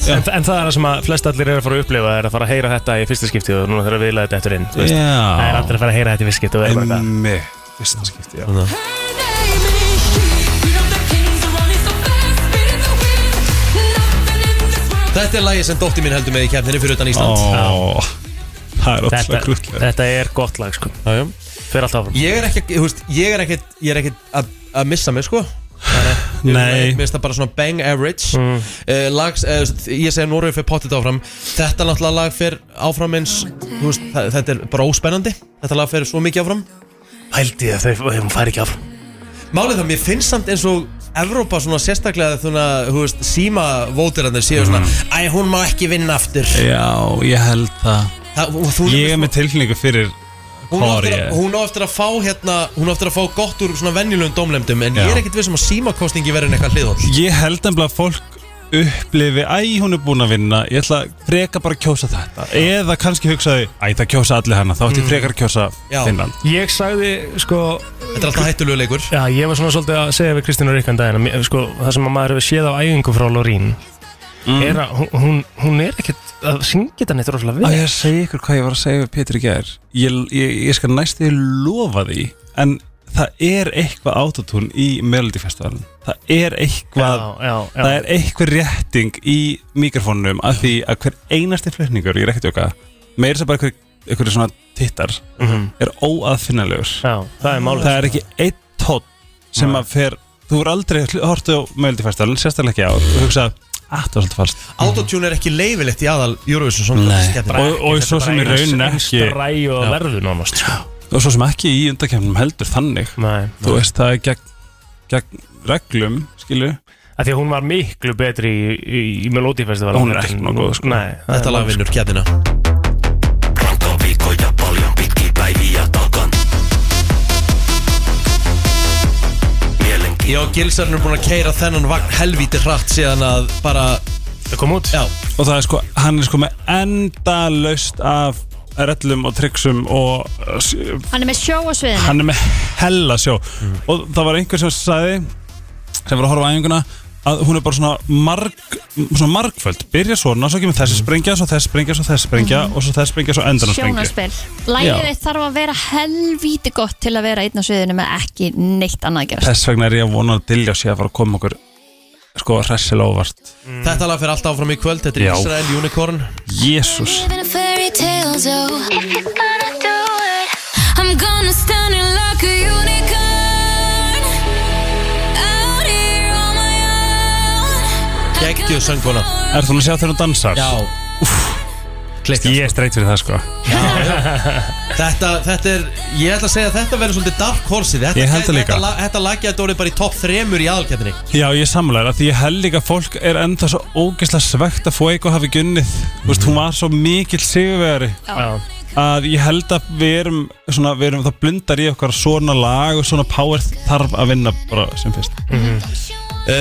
S1: Já. en, en það er það sem að flest allir eru að fara að upplifa er að fara að heyra þetta í fyrsta skipti og núna þeirra viðla þetta eftir inn þú veist.
S11: Já.
S1: það er allir að fara að heyra þetta í fyrsta skipti og það er bara
S11: Einmitt, fyrsta skipti, já
S4: Hérna. Þetta er lagið sem dótti mín heldur með í kefninni fyrir utan Ísland
S11: Ó, Það er
S1: Þetta-
S11: ótrúlega grútlega
S1: Þetta er gott lag sko
S4: Já, já
S1: Fyrir alltaf áfram
S4: Ég er ekki, þú veist, ég er ekki, ég er ekki að, að missa mig, sko Nei Mér finnst það bara svona bang average mm. Lags, eh, þú veist, ég segi Norröf fyrir pottit áfram Þetta náttúrulega lag fyrir áfram eins, þú veist, það, þetta er bara óspennandi Þetta lag fyrir svo mikið áfram
S1: Hældi ég að þau, þau fær ekki áfram
S4: Málið það, mér finnst samt eins og Evrópa svona sérstaklega þúna, þú veist, síma vótirarnir séu svona
S1: Mm.
S4: Æ, hún má ekki vinna aftur
S11: Já, ég held það,
S4: það og þú-
S11: Ég er með tilfinningu fyrir
S4: Hún á eftir að-
S11: Kóri
S4: hún á eftir að fá hérna, hún á eftir að fá gott úr svona venjulegum dómlemdum En ég
S11: Já.
S4: er ekkit vissum að símakostningi verður eitthvað hliðhóll
S11: Ég held ennbla að fólk upplifi Æ, hún er búin að vinna Ég ætla að freka bara að kjósa þetta Eða kannski hugsaði, æ, það kjósa allir hana Þá ætti ég
S1: Mm.
S11: frekar að kjósa
S1: Já.
S11: Finnland
S1: Ég sagði sko
S4: Þetta er alltaf hættulegu leikur
S1: Já, ég var svona svolítið að segja við Kristín og Ríkan daginn að mér- sko, það sem að maður hefur séð á æfingu frá Lorín
S11: Mm.
S1: er að hún, hún, hún er ekkert að syngja þetta neitt
S11: Á
S1: rosalega vel
S11: ég að segja ykkur hvað ég var að segja við Pétur í gær Ég, ég, ég skal næst því lofa því En það er eitthvað autotún í Melody Festivalin Það er eitthvað
S1: Já, já, já.
S11: Það er eitthvað rétting í mikrofónum Af því að hver einasti flutningur Ég er ekkert jóka Meir sem bara einhver, einhverju svona tittar
S1: Mhm.
S11: Er óaðfinnalegur
S1: já, það, er málið. sko.
S11: það er ekki einn tótt sem
S1: Nei.
S11: að fer Þú er aldrei hortu á Melody Festivalin Sérstaklega ekki á Og hugsa að það var svolítið falskt
S4: Autotune er ekki leifilegt í aðal Eurovision Song
S11: Nei.
S4: Contest keppni.
S11: Og- og svo sem í rauninni ekki-
S1: Stræ og
S11: Já.
S1: verðu nánast sko.
S11: og svo sem ekki í undakefnum heldur þannig
S1: Nei.
S11: þú veist það er gegn, gegn reglum skilu
S1: Af Því að hún var miklu betri í, í, í Melody Festival
S11: Hún er ekki nógu góð, sko.
S1: Nei, það
S11: Þetta
S1: er
S11: lag
S1: málið, sko.
S11: vinnur
S4: keppnina
S2: viikkoja paljon pitkiä päiviä takan.
S4: Já, Gilsarinn er búin að keira þennan vagn helvíti hratt síðan að bara
S1: Það kom út
S4: Já,
S11: og það er sko, hann er sko með endalaust af rellum og tryggsum og uh, s-
S3: Hann er með sjó á sviðinu
S11: hann er með hella sjó
S1: Mhm.
S11: og það var einhver sem sagði sem var að horfa á æfinguna að hún er bara svona, marg, svona margföld byrja svona, svo kemur þessi sprengja svo þessi sprengja, svo þessi sprengja
S1: Mhm.
S11: og svo þessi sprengja, svo endan
S3: Sjónaspil
S11: Já.
S3: Lægið þitt þarf að vera helvíti gott til að vera einn á sviðinu með ekki neitt annað að gera
S11: þess vegna er ég að vona að dilja sé að fara að koma okkur sko hressilega óvart
S4: þetta lag fyrir allt áfram í kvöld Þetta er
S11: Já.
S4: Israel Unicorn
S11: Jésús
S8: Living a fairy tale, so if you're gonna do it, I'm gonna stand in like a unicorn. Out here on my own.
S4: Gekkjuð sönguna
S11: Er þú að sjá þegar hún dansar?
S4: Já Klikkar
S11: Ég er streyt fyrir það sko
S4: Þetta, þetta er, ég ætla að segja að þetta verður svolítið dark horse þetta,
S11: Ég held það líka.
S4: Þetta, lag- þetta lagja þetta orðið bara í topp þremur í aðalkjættinni
S11: Já, ég samlega Því ég held líka að fólk er enda svo ógeðslega svegt að Fuego hafi gunnið Þú veist, hún var svo mikill sigurvegari
S1: Já.
S11: Að ég held að við erum, svona, við erum Það blundar í okkar svona lag Og svona power þarf að vinna bara sem fyrst Eh,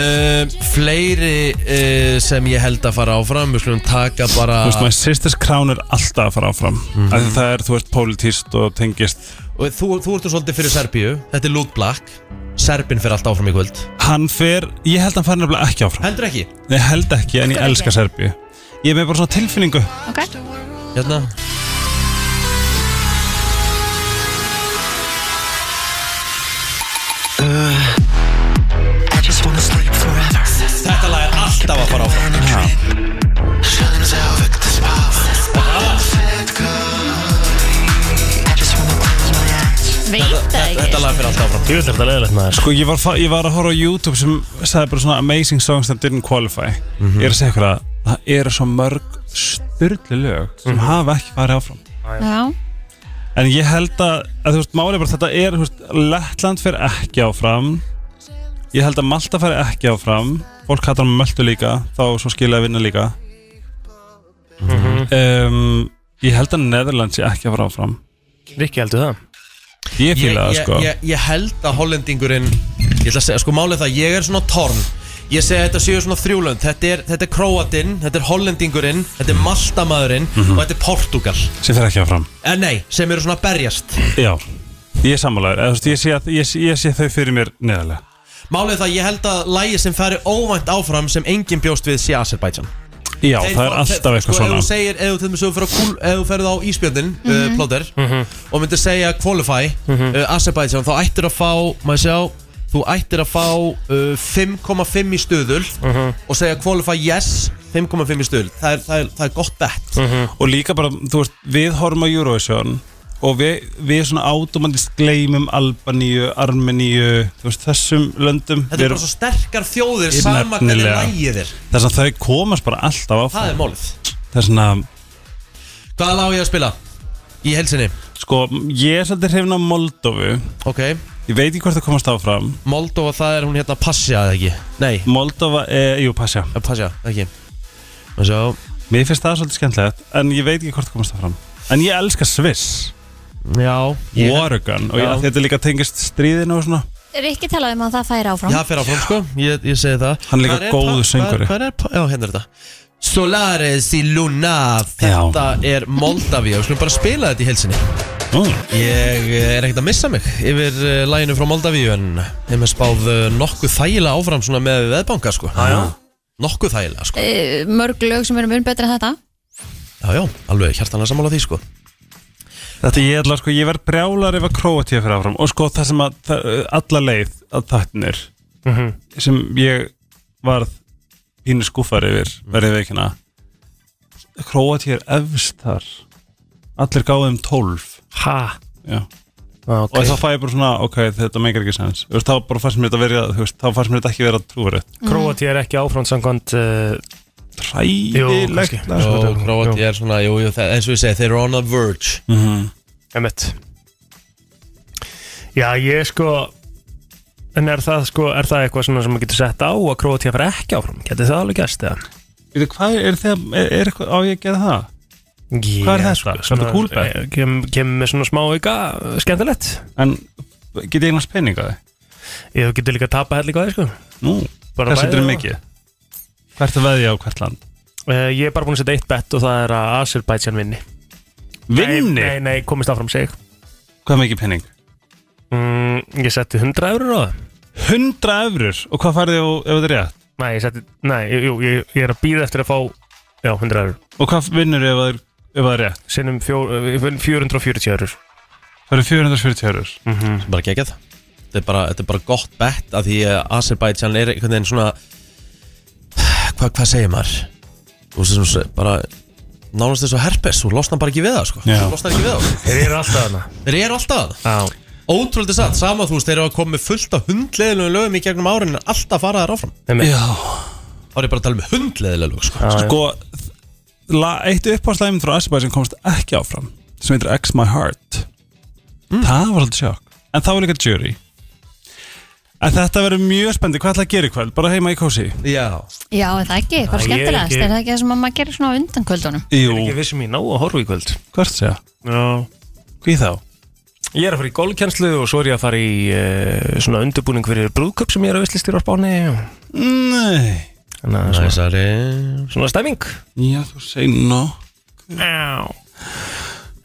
S4: uh, Fleiri uh, sem ég held að fara áfram Við skulum taka bara Mhm.
S11: Þú veist, maður sýstis krán er alltaf að fara áfram mm -hmm. Það er, þú veist, politíst og tengist
S4: Og þú, þú ertu svolítið fyrir Serbíu Þetta er Luke Black Serbin fyrir allt áfram í kvöld
S11: Hann fer, ég held að hann fari nefnilega ekki áfram
S4: Heldur ekki?
S11: Ég held ekki, en ég
S3: Akkur
S11: elska
S3: ekki?
S11: Serbíu Ég er með bara svona tilfinningu
S3: Ok
S4: Hérna Þetta lag er alltaf að fara áfram
S3: Veit það ekki
S4: Þetta lag fyrir alltaf áfram
S1: Ég vil þetta leðilegt maður
S11: Sko ég var, fa- ég var að horfa á YouTube sem sagði bara svona amazing songs that didn't qualify
S1: Mhm.
S11: Ég er að segja ykkur að það eru svo mörg styrli lög sem
S1: Mhm.
S11: hafa ekki farið áfram
S3: Já,
S11: En ég held að, að þú veist, málið er bara þetta er, þú veist, Lettland fer ekki áfram Ég held að Malta fer ekki áfram Fólk hattar með Möltu líka, þá svo skilja að vinna líka
S1: Mhm.
S11: um, Ég held að Netherland sé ekki að fara áfram
S1: Rikki heldur það
S11: Ég fíla það,
S4: ég,
S11: sko
S4: ég, ég held að hollendingurinn Ég ætla að segja, sko málið er það, ég er svona torn Ég segi að þetta séu svona þrjúlönd Þetta er, þetta er Kroatinn, þetta er hollendingurinn Þetta er Maltamaðurinn
S11: Mhm.
S4: og þetta er Portugal
S11: Sem fer ekki áfram
S4: En nei, sem eru svona að berjast
S11: Já, ég er sammálaður Eða, þú veist, ég, sé að, ég, sé- ég sé þau fyrir mér neðarlega
S4: Málið er það, ég held að lægi sem færi óvænt áfram sem enginn bjóst við sé Azerbaijan
S11: Já, það er alltaf eitthvað
S4: sko,
S11: svona
S4: Ef þú segir, ef þú til dæmis ef þú ferð á kúl- ef þú ferð á Ísbjörnin, mm
S11: Mhm.
S4: uh, plóter og myndir segja qualify uh, Azerbaijan, þá ættir að fá, maður sjá þú ættir að fá uh, 5,5 í stöðul
S11: Mhm.
S4: og segja qualify yes 5,5 í stöðul, það er, það er, það er gott bet
S11: Og líka bara, þú veist, við horfum á Eurovision og við, við svona átumandist gleymum Albaníu, Armeníu þú veist, þessum löndum
S4: Þetta er bara svo sterkar þjóðir sama hvernig lægið er
S11: Þess að þau komast bara alltaf áfram
S4: Það er málið
S11: Það er svona
S4: Hvaða lág ég að spila? Í helsinni?
S11: Sko, ég er svolítið hrifin af Moldófu
S4: Ok
S11: Ég veit ekki hvort það komast áfram
S4: Moldófa, það er hún hérna Passja, eða ekki? Nei
S11: Moldófa, e, jú, Passja
S4: Passja, ekki Svo
S11: Mér finnst það svolítið skemmtilegt En ég veit ekki hvort það komast áfram En ég elska Sviss
S4: Já
S11: ég... Oregon Og
S4: Já.
S11: ég, af því þetta líka tengist stríðinu og svona
S3: Rikki talaði um að það færi áfram
S4: Já, fyrir áfram sko, ég, ég segi það
S11: Hann er líka
S4: Hvar
S11: góður
S4: pa-
S11: söngvari.
S4: hvar- hvar er pa- Já, hérna er þetta Solaris í Luna Þetta er Moldavia Við skulum bara spila þetta í helsinni Ég eh, er ekkert að missa mig yfir uh, læginu frá Moldavíu en þeim er spáð eh, nokkuð þægilega áfram svona með veðbanka sko já, já. Nokkuð þægilega sko
S3: Eh, Mörg lög sem eru mun betra en þetta
S4: Já, já, alveg hjartanlega sammála því sko
S11: Þetta ég ætla sko, ég verð brjálar ef að Kroatia fyrir áfram og sko það sem að það, alla leið að þættinir
S1: Mhm.
S11: sem ég varð pínu skúfar yfir verðið veikina Kroatia er efst þar allir gáðum 12
S1: Ha?
S11: Já
S1: Ah, ok.
S11: Og þá fæ ég bara svona, ok, þetta meikar ekki sens Þú veist, Þá bara fannst mér þetta verið, þú veist, þá fannst mér þetta ekki verið að trúa rétt
S1: Króati er ekki áfram samkvæmt uh,
S11: Hræðilegt sko.
S4: Jó, Króati er svona, jú, jú, það- eins og ég segi, þeir eru on the verge
S11: Mhm.
S1: Emmett Já, ég sko En er það sko, er það eitthvað svona sem maður getur sett á að Króati fyrir ekki áfram? Getur það alveg gæst eða?
S11: Veitu, hvað er það, er, er eitthvað, á ég að gera það?
S1: Hvað
S11: er það, sko? Svona kúlbett?
S1: Kemur eh, kem með svona smá auka, eh, skemmtilegt
S11: En getið eignast peninga þig?
S1: Ég getur líka að tapa helli góði sko
S11: Nú,
S1: Bara
S11: hvað
S1: bæði
S11: setur þið
S1: það.
S11: mikið? Hvert að veðja á hvert land?
S1: Eh, Ég er bara búin að setja eitt bett og það er að Azerbaijan vinni
S11: Vinni?
S1: Nei, nei, nei komist áfram sig
S11: Hvað mikið pening?
S1: mm, Ég setti 100 eurur á það
S11: 100 eurur? Og hvað færði þið ef þetta er rétt?
S1: Nei, ég setti, nei, jú, ég, ég er að býða eftir að fá Já, 100 eurur
S11: Og hvað vinnur ef það er, ef það er rétt?
S1: Sinnum fjó, eh, 440 eurur
S11: Það eru 440 eurur
S1: mm -hmm.
S4: bara geggjað þetta er bara, þetta er bara gott bett af því að Azerbaijan er einhvern veginn svona hvað, hvað segir maður þú veist þessu bara nánast þessu herpes, þú losnar bara ekki við það sko.
S11: Já.
S4: þú losnar ekki við það
S1: Þeir eru alltaf þarna
S4: þeir eru alltaf
S1: Já.
S4: ótrúlega satt, sama þú veist, þeir eru að koma með fullt af hundleðilegum lögum í gegnum árin en alltaf fara þær áfram
S1: Einmitt.
S11: Já
S4: þá er ég bara að tala um hundleðilega lög sko.
S11: Sko, la, eitt uppáðslæmin frá Asibæ sem komst ekki áfram sem heitir X My Heart
S1: Mm.
S11: Það var alltaf sjokk En það var líka jury En þetta verður mjög spendi, hvað ætla að gera í kvöld? Bara heima í kósi?
S4: Já
S3: Já, er það ekki,
S1: Já,
S3: bara
S1: ég er
S3: skemmtilegast
S1: ekki-
S3: Er það ekki það sem að maður gerir svona á undan kvöldunum
S1: Ég er
S11: Jú,
S1: ekki vissum í ná að horfa í kvöld
S11: hvert segja?
S1: Já
S11: Hví þá?
S1: Ég er að fara í golfkjænslu og svo er ég að fara í uh, svona undirbúning fyrir brúðköp sem ég er að veistlistýra á spáni
S11: Nei
S1: Þannig að svona,
S4: næsari
S1: svona stemming
S11: Já, þú segir nokk
S1: Já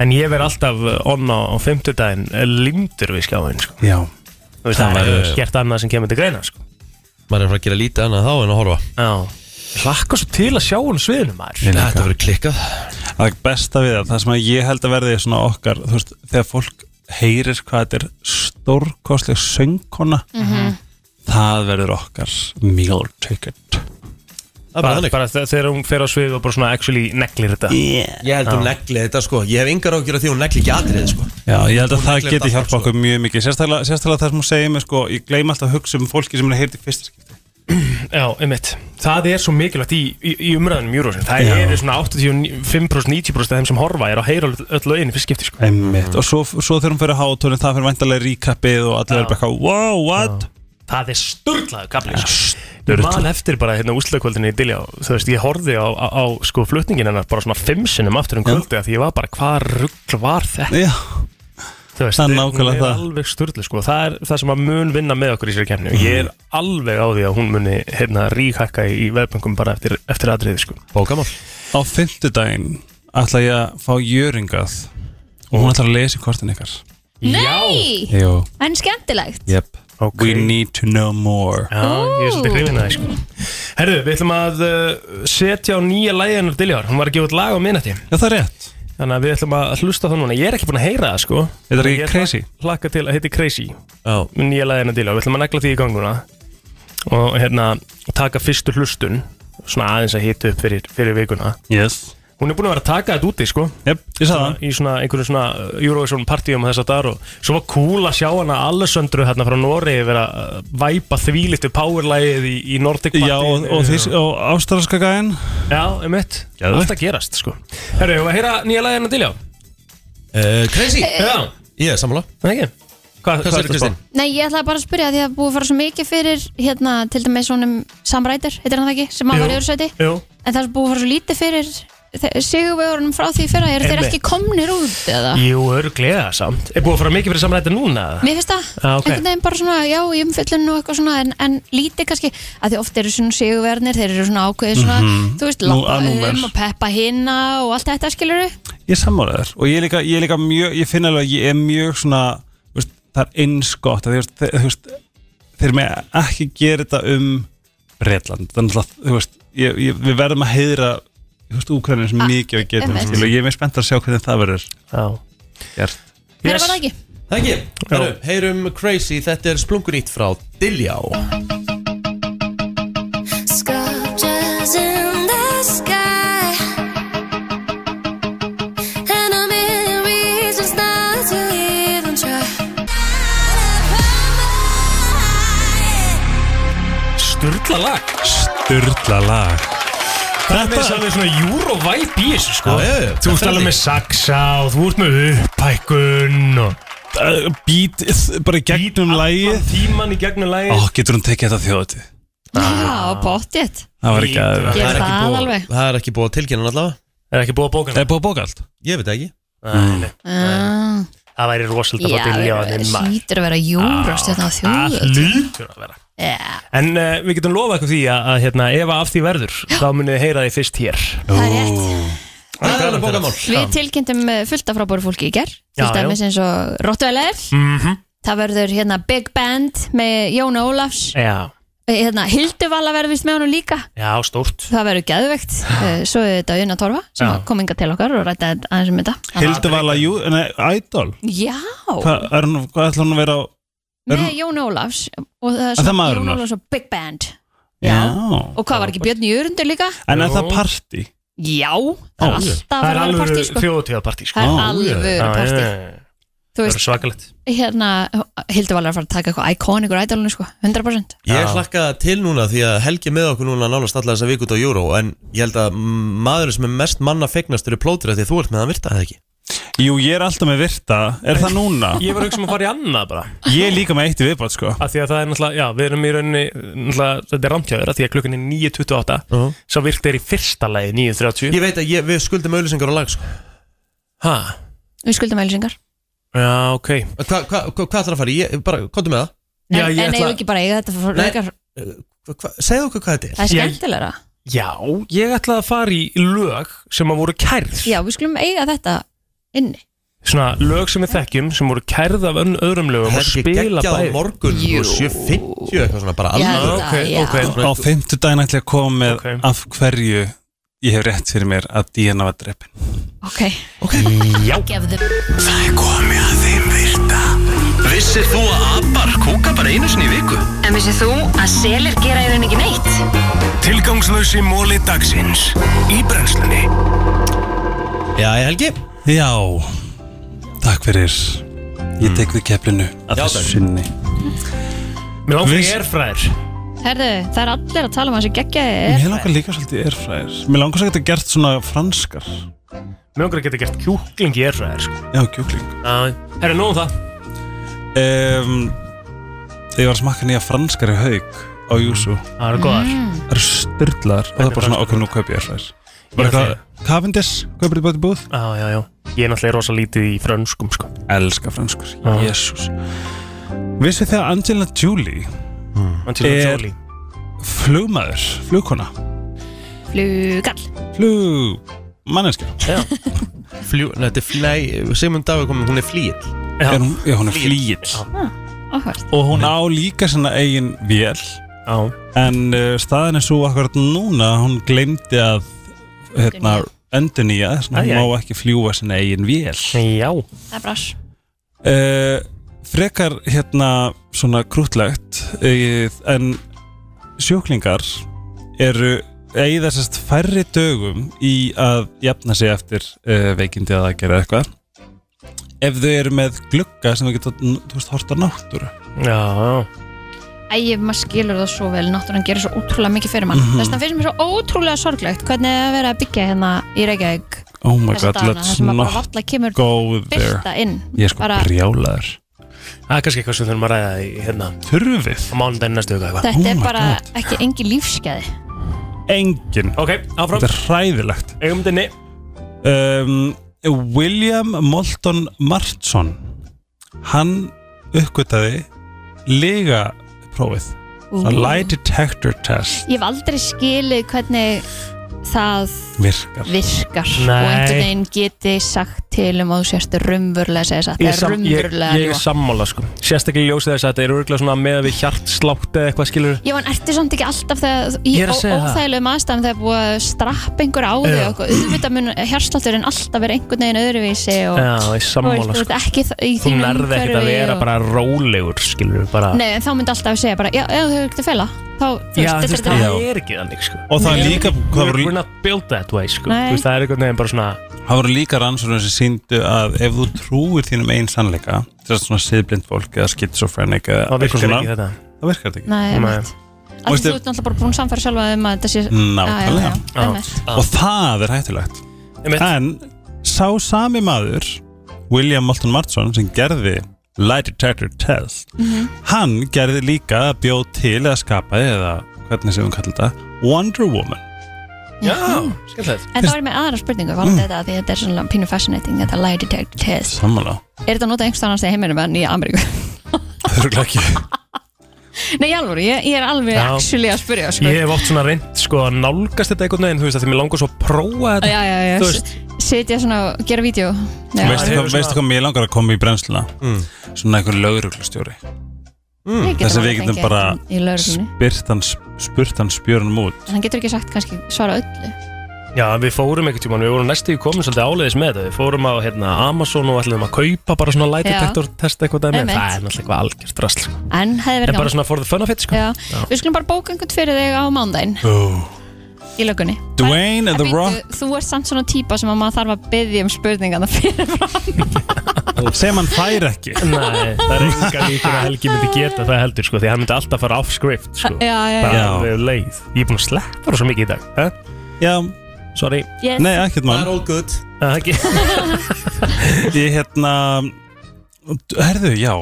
S1: En ég verð alltaf onna á fimmtudaginn limdur við skjáin sko.
S11: Já
S1: Þú veist,
S4: Það
S1: Það er
S4: væri-
S1: gert annað sem kemur til greina sko.
S4: maður er að fara að gera lítið annað þá en að horfa
S1: Já Hlakka svo til að sjá hún á sviðinu maður
S4: þetta verður klikkað
S11: Það besta við það, það sem að ég held að verði svona okkar, þú veist, þegar fólk heyrir hvað þetta er stórkostleg söngkona, það verður okkar meal ticket.
S4: er bara
S1: bara,
S4: þannig.
S1: bara þe- þegar hún fer á svið og bara svona actually neglir þetta
S4: Ég held hún
S1: Já.
S4: negli þetta sko Ég hef engar ágjör að því hún negli ekki atrið sko
S11: Já, ég held að
S4: Hún
S11: það
S4: neglir
S11: geti
S4: þetta sko.
S11: hjálpa okkur mjög mikið sérstaklega, sérstaklega það sem hún segir mig sko, ég gleym alltaf að hugsa um fólki sem er að heyrði fyrsta skipti
S1: Já, einmitt Það er svo mikilvægt í, í, í umræðanum Eurovision Það
S11: Já.
S1: eru svona 85%-90% af þeim sem horfa er að heyra öll- öll lögin í fyrst skipti sko.
S11: Einmitt, og svo, svo þegar hún fyrir hátónin það fyrir væntalega recapið og allir verður bara eitthvað, wow, what?
S1: Það er sturglaðu kapli sko. Ég man eftir bara hérna úsleikvöldinni í Dilljá Þú veist, ég horfði á, á, á sko flutningin hennar bara svona fimm sinnum aftur um kvöldi að því ég var bara, hvað rugl var þetta?
S11: Já
S1: Þú veist, eh,
S11: Það er
S1: hún
S11: nákvæmlega það.
S1: er alveg sturglu sko. það er það sem að mun vinna með okkur í sér kemni og ég er alveg á því að hún muni hérna ríkakka í veðböngum bara eftir, eftir atriði sko.
S4: Bókamál
S11: Á fimmtudaginn ætla ég að fá jöringað og hún ætlar að lesa í kortin ykkar
S3: Nei!
S11: Jú
S3: En skemmtilegt
S11: Yep. We need to know more
S1: Já, ég er svolítið hrifin að það sko. Herru, við ætlum að uh, setja á nýja læginar Dilljár, hún var að gefa út lag á minnati
S11: Já, það er rétt
S1: Þannig að við ætlum að hlusta á það núna, ég er ekki búin að heyra það sko
S11: Þetta er
S1: Ég
S11: ekki Crazy?
S1: Hlakka til að heiti Crazy
S4: Já.
S1: Með nýja læginar Dilljár, við ætlum að negla því í gang núna Og hérna, taka fyrstu hlustun Svona aðeins að hita upp fyrir, fyrir vikuna
S11: Yes
S1: Hún er búin að vera að taka þetta úti sko
S11: Yep, ég sagði
S1: Svona-
S11: það
S1: Í svona einhverjum svona uh, Eurovision partíum þess að dar og svo var cool að sjá hana Alessandru hérna frá Nóri vera að væpa þvílitt við powerlægið í, í Nordic
S11: Já, og, og, þís, og ástralska gæðin
S1: Já, um mitt
S11: Geðveikt.
S1: Allt að gerast sko Herru, hefur að heyra nýja lægina til já?
S4: uh, Crazy
S3: Eh.
S1: Já,
S4: Ég er sammála
S1: það ekki Hvað
S4: Hvað
S1: hva
S4: segir Kristín?
S3: Nei, ég ætlaði bara að spyrja því að það er búið að fara svo mikið fyrir hérna, til dæmis svonum samrætur, heitir hann það ekki, sem að
S1: Jú.
S3: var í öðru sæti
S1: Jú,
S3: en það er búið að fara svo lítið fyrir sigurvegurinn frá því fyrra, eru þeir
S1: Einmitt.
S3: ekki komnir út eða?
S1: Jú örglega samt Er búið að fara mikið fyrir samræti núna? eða?
S3: Mér finnst það,
S1: Já, ok.
S3: einhvern veginn bara svona, já, í umfyllun og eitthvað svona, en, en lítið kannski, að því oft eru svona sigurverðnir, þeir eru svona ákveðið svona, þú veist,
S11: Nú,
S3: lappa
S11: að númer.
S3: um og peppa hinna og allt þetta, skilur við?
S11: Ég sammála þér og ég er líka, ég er líka mjög, ég finn alveg að ég er mjög svona þú veist, það er eins gott að, þú veist, þeir, þú veist, þeir með ekki gera þetta um Bretland þannig að þú veist, ég, ég, við verðum að heiðra þú veist, Úkrænir sem
S3: Ah,
S11: mikið við getum
S3: einmitt.
S11: skil, og ég er mjög spennt að sjá hvernig það verður
S1: Já
S11: gert
S3: Yes.
S1: Yes.
S3: var það ekki?
S4: Það ekki Herru, Heyrum Crazy Þetta er splungunýtt frá Dilljá
S8: Sculptures in the sky, and I'm in reasons not to even try.
S1: Sturla lag
S11: Sturla lag
S1: Það er með þess að við svona Eurovibe í þessu sko
S4: Já, já, já.
S1: Þú ert alveg með saxa og þú ert með uppækun og
S4: Eh,
S11: Uh, Beat, bara í gegnum lagið
S1: Tíman í gegnum lagi
S11: Ó, getur hún tekið þetta þjóðati
S1: Ah.
S3: Já,
S4: Ah.
S3: bóttið,
S11: Það var ekki að
S3: ég
S4: er
S3: er
S4: ekki
S3: það
S4: búið-
S3: alveg.
S4: Það er ekki búið að tilkynna hann allavega
S1: Er ekki búið að bóka
S11: Það
S1: hana?
S11: er búið að bóka allt
S4: Ég veit það ekki
S1: Nei, nei.
S3: Ah,
S1: Það væri rosalega að
S3: Já,
S1: fá til já
S3: það hlýtur að vera júrastjörn á
S1: Það
S3: þjóðu.
S1: hlýtur að vera En uh, við getum lofað eitthvað því að, að hérna, ef að af því verður þá munið þið heyra því fyrst hér
S3: Það er rétt.
S4: Það er alveg bókamál
S3: Við tilkynntum eh, fullt af frábóru fólki í ger
S1: Ah. Já,
S3: til
S1: Mm. já.
S3: dæmis eins og Rottweiler
S1: Mhm.
S3: það verður hérna Big Band með Jóna Ólafs
S1: Já,
S3: Eh, hérna, Hilduvala verður vist með honum líka
S1: já, stórt
S3: það verður geðveikt Eh, svo er þetta Unna Torfa sem
S1: Já.
S3: kom inga til okkar og rætta aðeins um þetta
S11: Hilduvala, jú, nei, Idol
S3: Já,
S11: Hvað er hún- hvað ætla hún að vera á er
S3: með
S11: hún-
S3: Jóna Ólafs og það er
S11: það
S3: svona
S11: maður
S3: Jóna
S11: hennar?
S3: Ólafs og Big Band
S11: Já.
S3: og hvað var ekki Björn Jörundur líka?
S11: En er
S1: Jú.
S11: það party?
S3: Já, það er
S11: Ó,
S3: alltaf að
S1: Það er
S3: fara að vera partí
S1: alveg
S3: sko.
S1: þjóðutíðapartí sko.
S11: Ó,
S3: það er
S11: já.
S3: alveg
S1: Já,
S3: partí
S1: já, já.
S3: þú
S1: Það
S3: veist,
S1: er svakalegt
S3: hérna Hilduvala er að fara að taka eitthvað iconic úr ædolunni sko, 100%
S4: Ég hlakka til núna því að helgi með okkur núna nánast alla þessa vik út á Euro en ég held að maður sem er mest manna fegnast eru plótur því að þú ert með að virta það ekki
S11: Jú, ég er alltaf með virta Er það núna?
S1: Ég var að hugsa um að fara í annað bara
S11: Ég er líka með eitt í viðbátt sko
S1: af því að það er náttúrulega, já, við erum í rauninni náttúrulega, þetta er rámtjáður, af því að klukkan er 9.28 uh
S4: Mhm.
S1: svo virkt er í fyrsta lagi 9.30
S4: Ég veit að ég, við skuldum auðlýsingar á lag sko.
S1: Hæ?
S3: Við skuldum ælisingar
S1: Já, ok
S4: Hvað hva, hva, hva ætlar að fara? í? Ég, bara, komdu með það
S1: Já,
S3: En,
S1: ég
S3: en
S1: ætla-
S3: eigum við ekki bara að eiga þetta fyrir
S4: Nei.
S3: frekar
S4: Hva- hva- Segðu okkur hvað þetta er
S3: Það er
S1: Ég-
S3: skemmtilegra
S1: Já, ég ætlaði að fara í lög sem að voru kærð
S3: Já, við skulum eiga þetta inni
S1: Svona lög sem við þekkjum sem voru kærð af önn- öðrum lögum
S4: Það
S1: og
S4: er ekki
S1: spila
S4: geggjað á
S1: bæði
S4: morgun
S3: Jú.
S4: og 7.50 eitthvað svona bara
S3: Ég
S4: alveg
S3: held
S1: ok,
S3: að, já.
S1: ok.
S11: Á fymtu daginn ætla ég að koma með
S1: Ok.
S11: af hverju ég hef rétt fyrir mér að Díana var drepin
S3: ok
S1: Já,
S3: Gefðu
S2: Vissir þú að abar kúka
S12: bara einu sinni í viku
S13: En vissið þú að selir gera í rauninni ekki neitt?
S12: Tilgangslösi móli dagsins Í brennslunni
S4: Já, ég helgi
S11: Já, takk fyrir
S4: Mm.
S11: Ég tek við keflinu að
S1: Já,
S11: þessu
S1: takk.
S11: sinni
S1: Mér langar í
S11: Viss-
S1: erfræðir
S3: Herðu, það er allir að tala um þessi geggjaði
S11: Mér langar líka svolítið erfræðir Mér langar svolítið að geta gert svona franskar
S1: Mér langar að geta gert kjúkling í erfræðir sko.
S11: Já, kjúkling
S1: Herra, nóg um það
S11: um, Þegar ég var að smakka nýja franskar í haug á Júsú
S1: Mm. Það eru góðar. Mm.
S11: Það eru styrlar og það er bara svona okkur nú kaup ég erfræðir
S1: Ég
S11: Bara
S1: ætla
S11: eitthvað Cavendish, kaupir þið bæti búð
S1: Já, já, já Ég er náttúrulega rosa lítið í frönskum sko.
S11: Elska franskur, jésús Vissu þið að Angelina Jolie
S1: Mm. Angelina Jolie.
S11: flugmaður, flugkona
S3: Flugall
S11: flug manneskja
S4: Fljú, nei, þetta er flæ Sigmund Davíð kom, hún er flýill
S11: Já, hún, já, hún er flýill
S3: Áhvert
S11: og hún á líka svona eigin vél
S1: já.
S11: en uh, staðin er svo akkurat núna að hún glemdi að hérna, endurnýja svona,
S1: Æ, æ.
S11: hún má ekki fljúa sinna eigin vél
S1: já
S3: Það er brás
S11: uh, frekar hérna svona krútlegt uh, en sjúklingar eru eða sérst færri dögum í að jafna sig eftir uh, veikindi að gera eitthvað ef þau eru með glugga sem þau geta þú veist, hort á náttúru
S1: Já
S3: Æ, maður skilur það svo vel, náttúrulega gerir svo ótrúlega mikið fyrir mann
S11: Mhm.
S3: Þess vegna finnst mér svo ótrúlega sorglegt hvernig er að vera að byggja hérna í Reykjavík
S11: Oh my
S3: Þessa
S11: god,
S3: dagana, þar
S11: let's
S3: sem að bara
S11: not
S3: varla kemur
S11: go there
S3: birta inn.
S11: Ég er sko
S3: Bara-
S11: brjálaður
S1: Það er kannski eitthvað sem við þurfum að ræða í hérna
S11: Þurfið?
S1: Á mánudaginn næstu vika eitthvað
S11: Oh
S3: Þetta er bara ekki engi lífsgæði
S11: Engin
S1: Ok, áfram
S11: Þetta er hræðilegt
S1: Eigum dinni
S11: um, William Moulton Martson Hann uppgötaði Liga prófið
S3: Ú.
S11: A lie detector test
S3: Ég hef aldrei skilið hvernig það
S11: Virkar.
S3: virkar
S1: Nei.
S3: og einhvern veginn geti sagt til um að þú sérst raunverulega að segja satt
S1: Ég er
S3: það er
S1: sam- ég,
S3: raunverulega
S1: ég er
S3: ljúa
S1: sammála sko Sérstaklega í ljósið þess að þetta er örgulega svona með við hjartslátt eða eitthvað skilur
S3: Já, en ertu samt ekki alltaf þegar í
S1: Ég er að segja það.
S3: óþægilegum aðstæðum þegar búið að strappa einhver á þig
S1: Já.
S3: og eitthvað. auðvitað mun hérslátturinn alltaf vera einhvern veginn öðruvísi og
S1: Já, ég er sammála,
S3: og, sko.
S1: sko.
S3: ekki þ- í
S1: Þú
S3: þínu
S1: nærði ekkert að
S3: umhverfi
S1: vera
S3: og-
S1: bara rólegur skilur bara
S3: Nei, en þá myndi alltaf segja bara, já, ef þú hefur ekkert að fela
S1: Já,
S3: þá, þú
S1: þú
S3: veist,
S1: veist,
S3: þetta er
S1: það
S3: þetta
S1: er ekki þannig sko
S11: Og það er
S1: Nei.
S11: líka- hvað
S1: We're
S11: voru-
S1: we're not built that way sko
S3: Nei.
S1: Þú veist, það er einhvern veginn bara svona
S11: Það voru líka rannsóknir sem síndu að ef þú trúir þínum einn sannleika þess að svona siðblind fólk eða schizofrenik eða
S1: Það virkar
S11: eitthvað svona,
S1: ekki þetta.
S11: Það virkar þetta ekki
S3: Nei, einmitt. Af því
S11: Veistu-
S3: þú ert náttúrulega bara búin að samfæra sjálfa um að þetta sé Já, já,
S11: Nákvæmlega
S3: já, einmitt.
S11: Og það er hættulegt En sá sami maður William Moulton Marston sem gerði Lie Detector Test
S2: Mhm.
S11: Hann gerði líka bjóð til eða skapaði eða hvernig sem hún kallar þetta Wonder Woman
S1: Já, skemmtilegt
S3: En þá er ég með aðra spurningu varðandi
S11: Mm.
S3: þetta af því þetta er svona pínu fascinating þetta lie detect test
S11: Sammála
S3: Er þetta notað einhvers annars í heiminum en í Ameríku?
S11: Þurruglega ekki
S3: Nei, í alvöru, ég, ég er alveg
S1: Já.
S3: actually að spyrja sko.
S1: Ég hef oft svona reynd sko að nálgast þetta einhvern veginn Þú veist, að því mér langar svo að prófa þetta
S3: Já, já, já,
S1: Þú
S3: s-
S1: veist,
S3: sitja svona og gera vídeo Já.
S11: Veistu hvað, veistu hvað mér langar að koma í brennsluna Svona einhver lögreglustjóri
S3: Mm. Við getum
S11: Þess að við
S3: alveg
S11: getum
S3: fengið
S11: bara
S3: hann í lögreglunni.
S11: spyrtan, spurtan spjörnum út
S3: En hann getur ekki sagt kannski svara öllu
S1: Já, við fórum einhvern tímann, við vorum næstu í komin svolítið áleiðis með þetta Við fórum á hérna, Amazon og ætlum að kaupa bara svona light
S3: Já.
S1: detector testa eitthvað dæmi en
S3: Einmitt.
S1: Það er náttúrulega eitthvað algjört rast sko.
S3: En hefði
S1: En
S3: verið
S1: bara svona for the fun of it sko.
S3: Já. Við skulum bara bóka einhvern fyrir þig á mándaginn
S11: oh.
S3: í lögunni
S11: Dwayne
S3: En
S11: and the
S3: bíddu,
S11: Rock
S3: Þú ert samt svona típa sem að maður þarf að byggja um spurningana fyrir
S11: sem hann fær ekki
S1: Nei, það er enga líkur að Helgi myndi geta það heldur sko, Því hann myndi alltaf fara off script sko.
S3: Já, já,
S1: Bara
S3: já.
S1: við leið Ég er búin að sleppa það svo mikið í dag ha?
S11: Já
S1: Sorry
S3: Yes. Nei,
S11: ekkert mál. Það er
S4: all good
S1: Það er ekki
S11: Ég hérna Herðu, já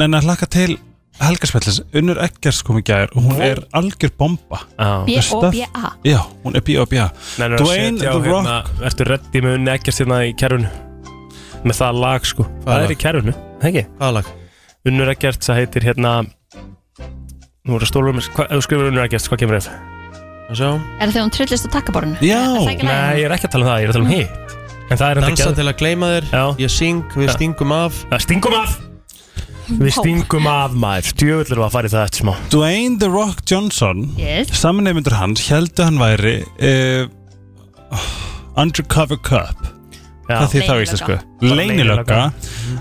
S11: Neina, hlakka til Helgarspellins Unnur Eggers kom í gær og hún er algjör bomba
S1: B.O.B.A..
S11: Stöff- Já, hún er B.O.B.A.
S1: Nennir að
S11: Dwayne
S1: setja á,
S11: The Rock
S1: hérna, Ertu reddi með unni ekkert hérna í kerfinu Með það lag sko
S4: Hvaða
S1: Það
S4: lag?
S1: er í kerfinu, ekki?
S4: Hvaða lag?
S1: Unnur ekkert, það heitir hérna Nú er það stólur með Hvað, ef þú skrifur unnur ekkert, hvað kemur þetta? Það sjá
S3: Er það þegar hún trillist á takkaborun?
S1: Nei, ég er ekki að tala um það, ég er að tala um hitt En það er enda
S4: Dansa
S1: geð-
S4: til að gleyma þér
S1: Já.
S4: Ég syng, við
S1: Já.
S4: stingum af
S1: Já, Stingum af Við stingum af maður Djöfullur var að fara í það eftir smá
S11: Dwayne The Rock Johnson
S1: Yes.
S11: eh, Samnefndur hans heldur hann væri uh, Undercover Cup Hvað því þá í íslensku? Leynilögga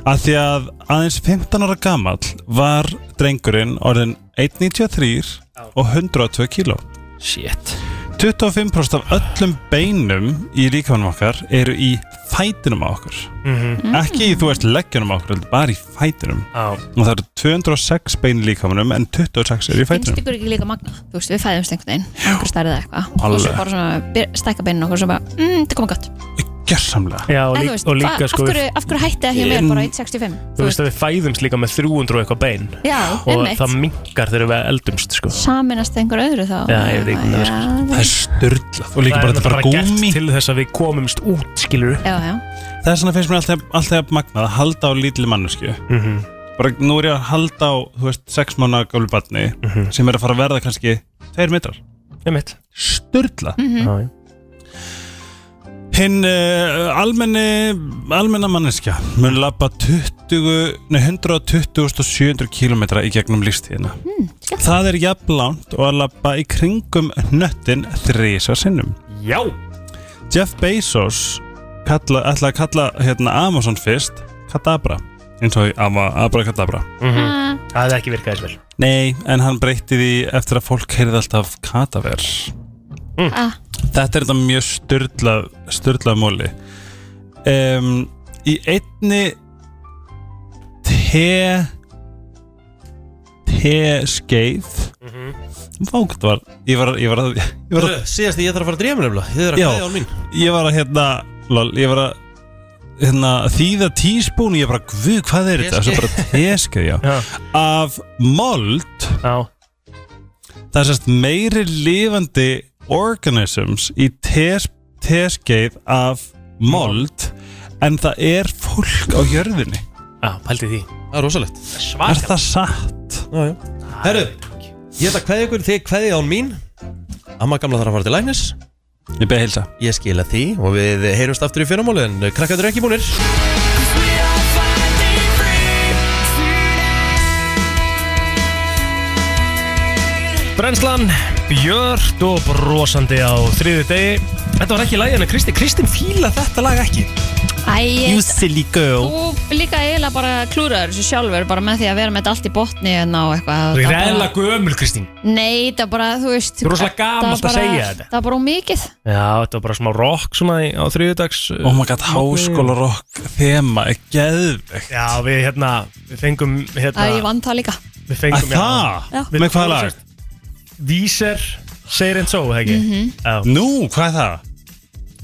S11: að því að aðeins 15 ára gamall var drengurinn orðin 1,93 og 102 kíló
S1: Shit
S11: 25% af öllum beinum í líkamanum okkar eru í fætinum á okkur
S1: Mhm.
S11: ekki í þú veist leggjanum á okkur heldur bara í fætinum
S1: Já.
S11: og það eru 206 bein í líkamanum en 26 eru í
S3: finnst
S11: fætinum
S3: ykkur ekki líka magna þú veist, við fæðumst einhvern veginn einhver stærð eða eitthvað og svo
S11: Alveg.
S3: bara svona stækka beinin okkur og svo bara, mm, þetta komið gott
S11: Gersamlega
S1: Já, og,
S3: En
S1: lík,
S3: þú veist,
S1: og líka
S3: hvað-
S1: sko
S3: af,
S1: við-
S3: hverju, af hverju hætti ekki mér bara 1.65
S1: Þú veist að við fæðumst líka með 300 og eitthvað bein
S3: Já,
S1: Og
S3: einmitt.
S1: það mingar þegar við eldumst sko
S3: saminast einhver öðru þá
S1: Já, ég veit ekki hvernig það virkar.
S11: Það er störtlað
S1: og líka bara
S11: þetta
S1: þetta
S11: bara
S1: bara gert til þess að við komumst út skilur
S3: já, já.
S11: Það er svona finnst mér alltaf, alltaf magnað að halda á lítli mannesku
S1: Mhm.
S11: bara nú er ég að halda á þú veist, sex mánu gamlu barni
S1: Mhm.
S11: sem er að fara að verða kannski tveir metrar
S1: Einmitt.
S11: Sturla
S1: Mhm. Já, já.
S11: Hinn uh, almenni almenna manneskja mun lappa 20, nei, 120.700 km í gegnum lífstíðina Það er jafnlánt og að lappa í kringum nöttin þrísa sinnum
S1: Já
S11: Jeff Bezos kalla, ætlaði að kalla hérna, Amazon fyrst Kadabra eins og í Ama- Abracadabra
S1: Mhm. Það hefði ekki virkað þess vel
S11: Nei, en hann breytti því eftir að fólk heyrði alltaf kataver
S4: Mm.
S3: Ah.
S11: Þetta er þetta mjög styrla styrla móli um, Í einni te te skeið
S4: Mhm.
S11: Vágt var Ég var, ég var, að- ég var að
S4: Síðast ég þarf að fara að drífa mér nefnilega Ég þarf
S11: Já.
S4: að kveðja á mín
S11: ég var að hérna lol, ég var að hérna, þýða tíspún ég bara, guð, hvað er þetta? Þessu bara teskeið, já. af mold
S1: já.
S11: það er sérst meiri lifandi organisms í tes, teskeið af mold en það er fólk á jörðinni
S1: Já, pældi því
S4: Það er rosalegt
S11: Er það satt?
S4: Já, já Herru, ég ætla að kveðja ykkur þig kveðja án mín Amma gamla þarf að fara til læknis
S11: Ég beði heilsa
S4: Ég skila því og við heyrumst aftur í fyrramáli En krakkaður ekki búnir
S1: Brennslan, björt og brosandi á þriði degi Þetta var ekki lægin en Kristi, Kristin fíla þetta lag ekki
S3: Æ,
S11: You silly girl
S3: þú líka eiginlega bara klúraður þessu sjálfur bara með því að vera með þetta allt í botni en á eitthvað
S1: Þú er
S3: Það bara-
S1: reyðlega gömul Kristín
S3: Nei, það bara, þú veist
S1: Þú er rosalega
S3: það
S1: gamalt að
S3: bara-
S1: segja þetta.
S3: Það er bara ómikið
S1: Já, þetta var bara smá rock svona í- á eh, þriðudags
S11: Oh my god, háskólarokk þema er geðvegt
S1: Já, við hérna, við fengum hérna,
S3: Það ég vann það líka
S1: Við fengum
S11: Að það? Já. Með hvaða lag?
S1: Víser, segir einn svo, hegi
S3: Mhm.
S11: Nú, hvað er það?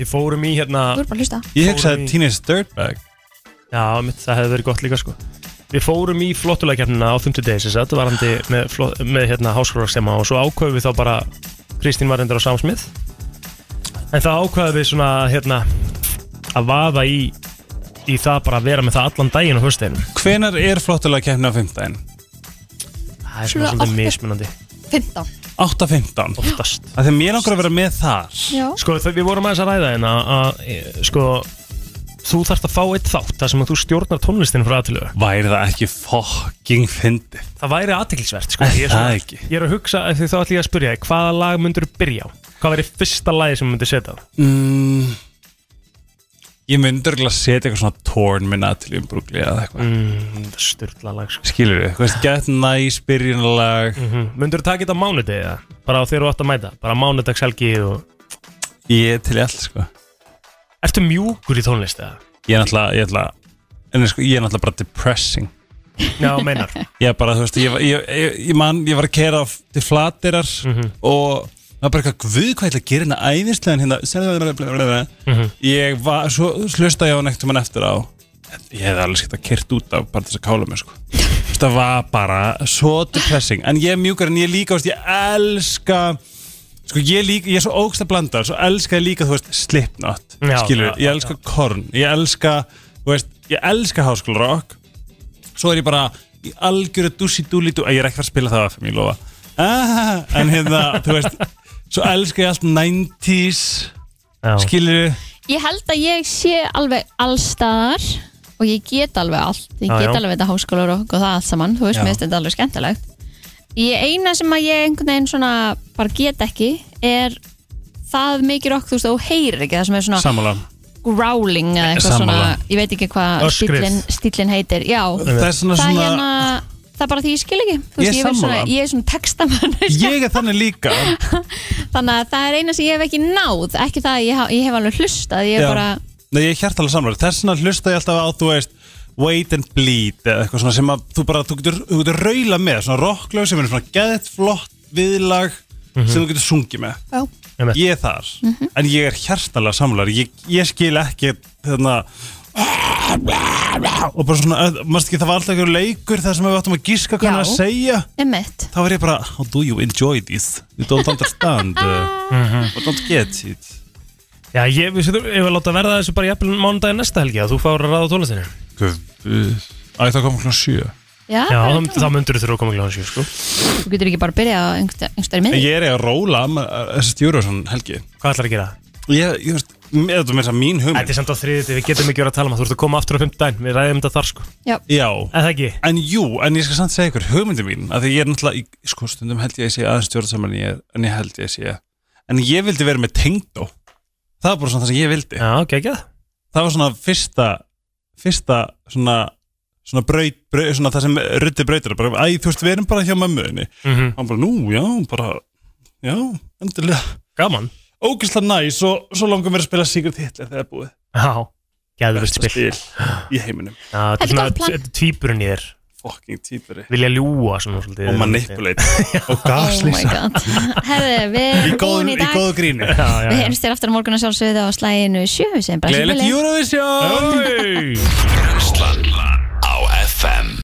S1: Við fórum í hérna
S3: Þú er bara að hlusta
S11: Ég hugsaði Teenage Dirtbag
S1: Já, mitt, það hefði verið gott líka sko Við fórum í flottulækjarnina á 50 days þess að varandi með, flott- með hérna háskólarstema og svo ákveðum við þá bara Kristín var endur á samsmið en þá ákveðum við svona hérna að vaða í í það bara að vera með það allan daginn á hösteginum
S11: Hvenar er flottulega keppni á 15?
S1: Það er svona
S3: Svona
S1: svolítið
S3: átta-
S1: mismunandi
S3: 15
S11: 8.15
S1: Oftast
S11: Þegar mér langar að vera með þar
S3: Já.
S1: Sko, þegar við vorum aðeins að ræða hérna að, e, sko, þú þarft að fá eitt þátt þar sem að þú stjórnar tónlistin frá aðtilögu
S11: Væri það ekki fucking fyndið
S1: Það væri aðtiklisvert, sko
S11: Er
S1: Ég er svona-
S11: það ekki?
S1: Ég er að hugsa, af því þá ætlum ég að spyrja þig, hvaða lag myndur þú byrja á? Hvað væri fyrsta lagi sem þú myndir setja á?
S11: mm, Ég myndi örgulega setja eitthvað svona tórn með Natalie Brugli eða eitthvað
S1: mm, Sturla lag sko.
S11: Skilur við, hvað veist, gett næs byrjunarlag
S1: mm -hmm. Myndur þú taka þetta á mánudegi eða? Bara á þegar þú átt að mæta, bara mánudags helgi og...
S11: Ég er til í allt sko
S1: Ertu mjúkur í tónlist eða?
S11: Ég er náttúrulega, ég er náttúrulega, en, sko, ég er náttúrulega bara depressing
S1: Já, meinar
S11: Ég er bara, þú veist, ég, var- ég, ég, ég man, ég var að kera til flatirar
S1: Mhm.
S11: og það var bara eitthvað, guð, hvað ég ætla að gera hérna æðislegan hérna, blablabla
S1: Mhm.
S11: Ég var, svo slusta ég á nektum hann eftir á Ég hefði alveg skipt að kert út af bara þess að kála mig, sko Þú veist, Það var bara svo depressing En ég er mjúkar en ég líka, þú veist, ég elska Sko, ég, líka, ég er svo ógst að blanda Svo elska ég líka, þú veist, Slipknot
S1: Já,
S11: Skilur,
S1: já,
S11: ég elska Korn Ég elska, þú veist, ég elska Háskólarokk Svo er ég bara í algjöru dussi dúlítu Ég er ekki að fara að spila það af þeim, ég lofa ah, En hérna, þú veist Svo elska ég allt um 90s
S1: Já.
S11: Skilur
S3: Ég held að ég sé alveg allstaðar og ég get alveg allt ég
S11: Já,
S3: get
S11: já.
S3: alveg þetta háskólar og það allt saman þú veist,
S11: Já.
S3: mér finnst þetta alveg skemmtilegt Ég eina sem að ég einhvern veginn svona bara get ekki er það mikið rokk, þú veist, þú heyrir ekki það sem er svona
S11: Sammála
S3: growling eða eitthvað
S11: Sammála.
S3: svona, ég veit ekki hvað
S11: Öskrið.
S3: stílinn stílin heitir, já
S11: Það er svona svona-
S3: hérna, það er bara því ég skil ekki Þú
S11: Ég
S3: veist,
S11: er
S3: ég, vil svona,
S11: sammála.
S3: ég er svona textamann
S11: Ég er þannig líka
S3: þannig að það er eina sem ég hef ekki náð ekki það að ég, haf, ég hef alveg hlustað ég
S11: Já.
S3: er bara,
S11: Nei, ég er hjartalega samlar Þess vegna hlusta ég alltaf á, þú veist Wait and Bleed eða eitthvað svona sem að þú bara, þú getur, þú getur raula með svona rocklög sem er svona geðt flott viðlag
S1: Mhm.
S11: sem þú getur sungið með
S3: Já. Mhm.
S11: Ég er þar en ég er hjartalega samlar ég, ég skil ekki þarna og bara svona, maður ekki það var alltaf einhver leikur þar sem við áttum að gíska hvað hann er að segja
S3: emmett
S11: þá er ég bara, how do you enjoy this? You don't understand uh, or don't get it
S1: Mhm. Já, ég, við setum, ég vil láta verða þessu bara jafnvel mánudaginn næsta helgi að þú fáir að ráða tónlistinu.
S11: Æ, það kom klokkan 7
S3: já,
S1: Já,
S3: bara
S1: þá, þá myndur þú þurfa að koma klokkan 7, sko.
S3: þú getur ekki bara að byrja á einhver- einhverstari
S11: En
S3: miðri
S11: Ég er eiginlega að róla amma- að- þessi stjórnarsson helgi
S1: Hvað ætlar að gera?
S11: Ég, ég veist, með þetta með þess að mín hugmynd
S1: Þetta er samt á þriðið, við getum ekki verið að tala um það, þú ert að koma aftur á fimmtudaginn, við ræðum þetta þar, sko.
S3: Já,
S11: Já
S1: En það ekki?
S11: En jú, en ég skal samt segja ykkur hugmyndi mín að því ég er náttúrulega, í, sko, stundum held ég að ég sé aðeins stjórnarsamann en ég, er- en ég held ég sé En ég vildi vera með tengdó Það var bara svona það sem ég vildi
S1: Já, geggjað
S11: Það var svona fyrsta fyrsta svona svona braut, braut svona það sem ruddi brautir bara, æ, þú veist, við erum bara hjá mömmuðinni
S1: Mhm.
S11: Hann bara, nú, já, bara já, endilega
S1: Gaman
S11: Ógislega næs og svo langar mér að spila Sigurd Hitler þegar það er búið
S1: Já, geðvist
S11: Besta
S1: spil.
S11: í heiminum
S1: Já,
S11: Þetta er
S1: þetta er svona
S11: gott plan.
S1: þetta er tvíburinn í þér.
S11: Fucking tvíburi.
S1: Vilja ljúa svona svolítið.
S11: Og manipulate. og
S3: Oh my god. Herðu, við erum búin í dag
S11: gríni.
S1: Já, já,
S3: Við
S1: já.
S3: heyrumst þér aftur á morgun að sjálfsögðu á slæginu 7 sem bara
S1: Gleðilegt
S3: sem
S1: Eurovision! Hey!
S12: Brennslan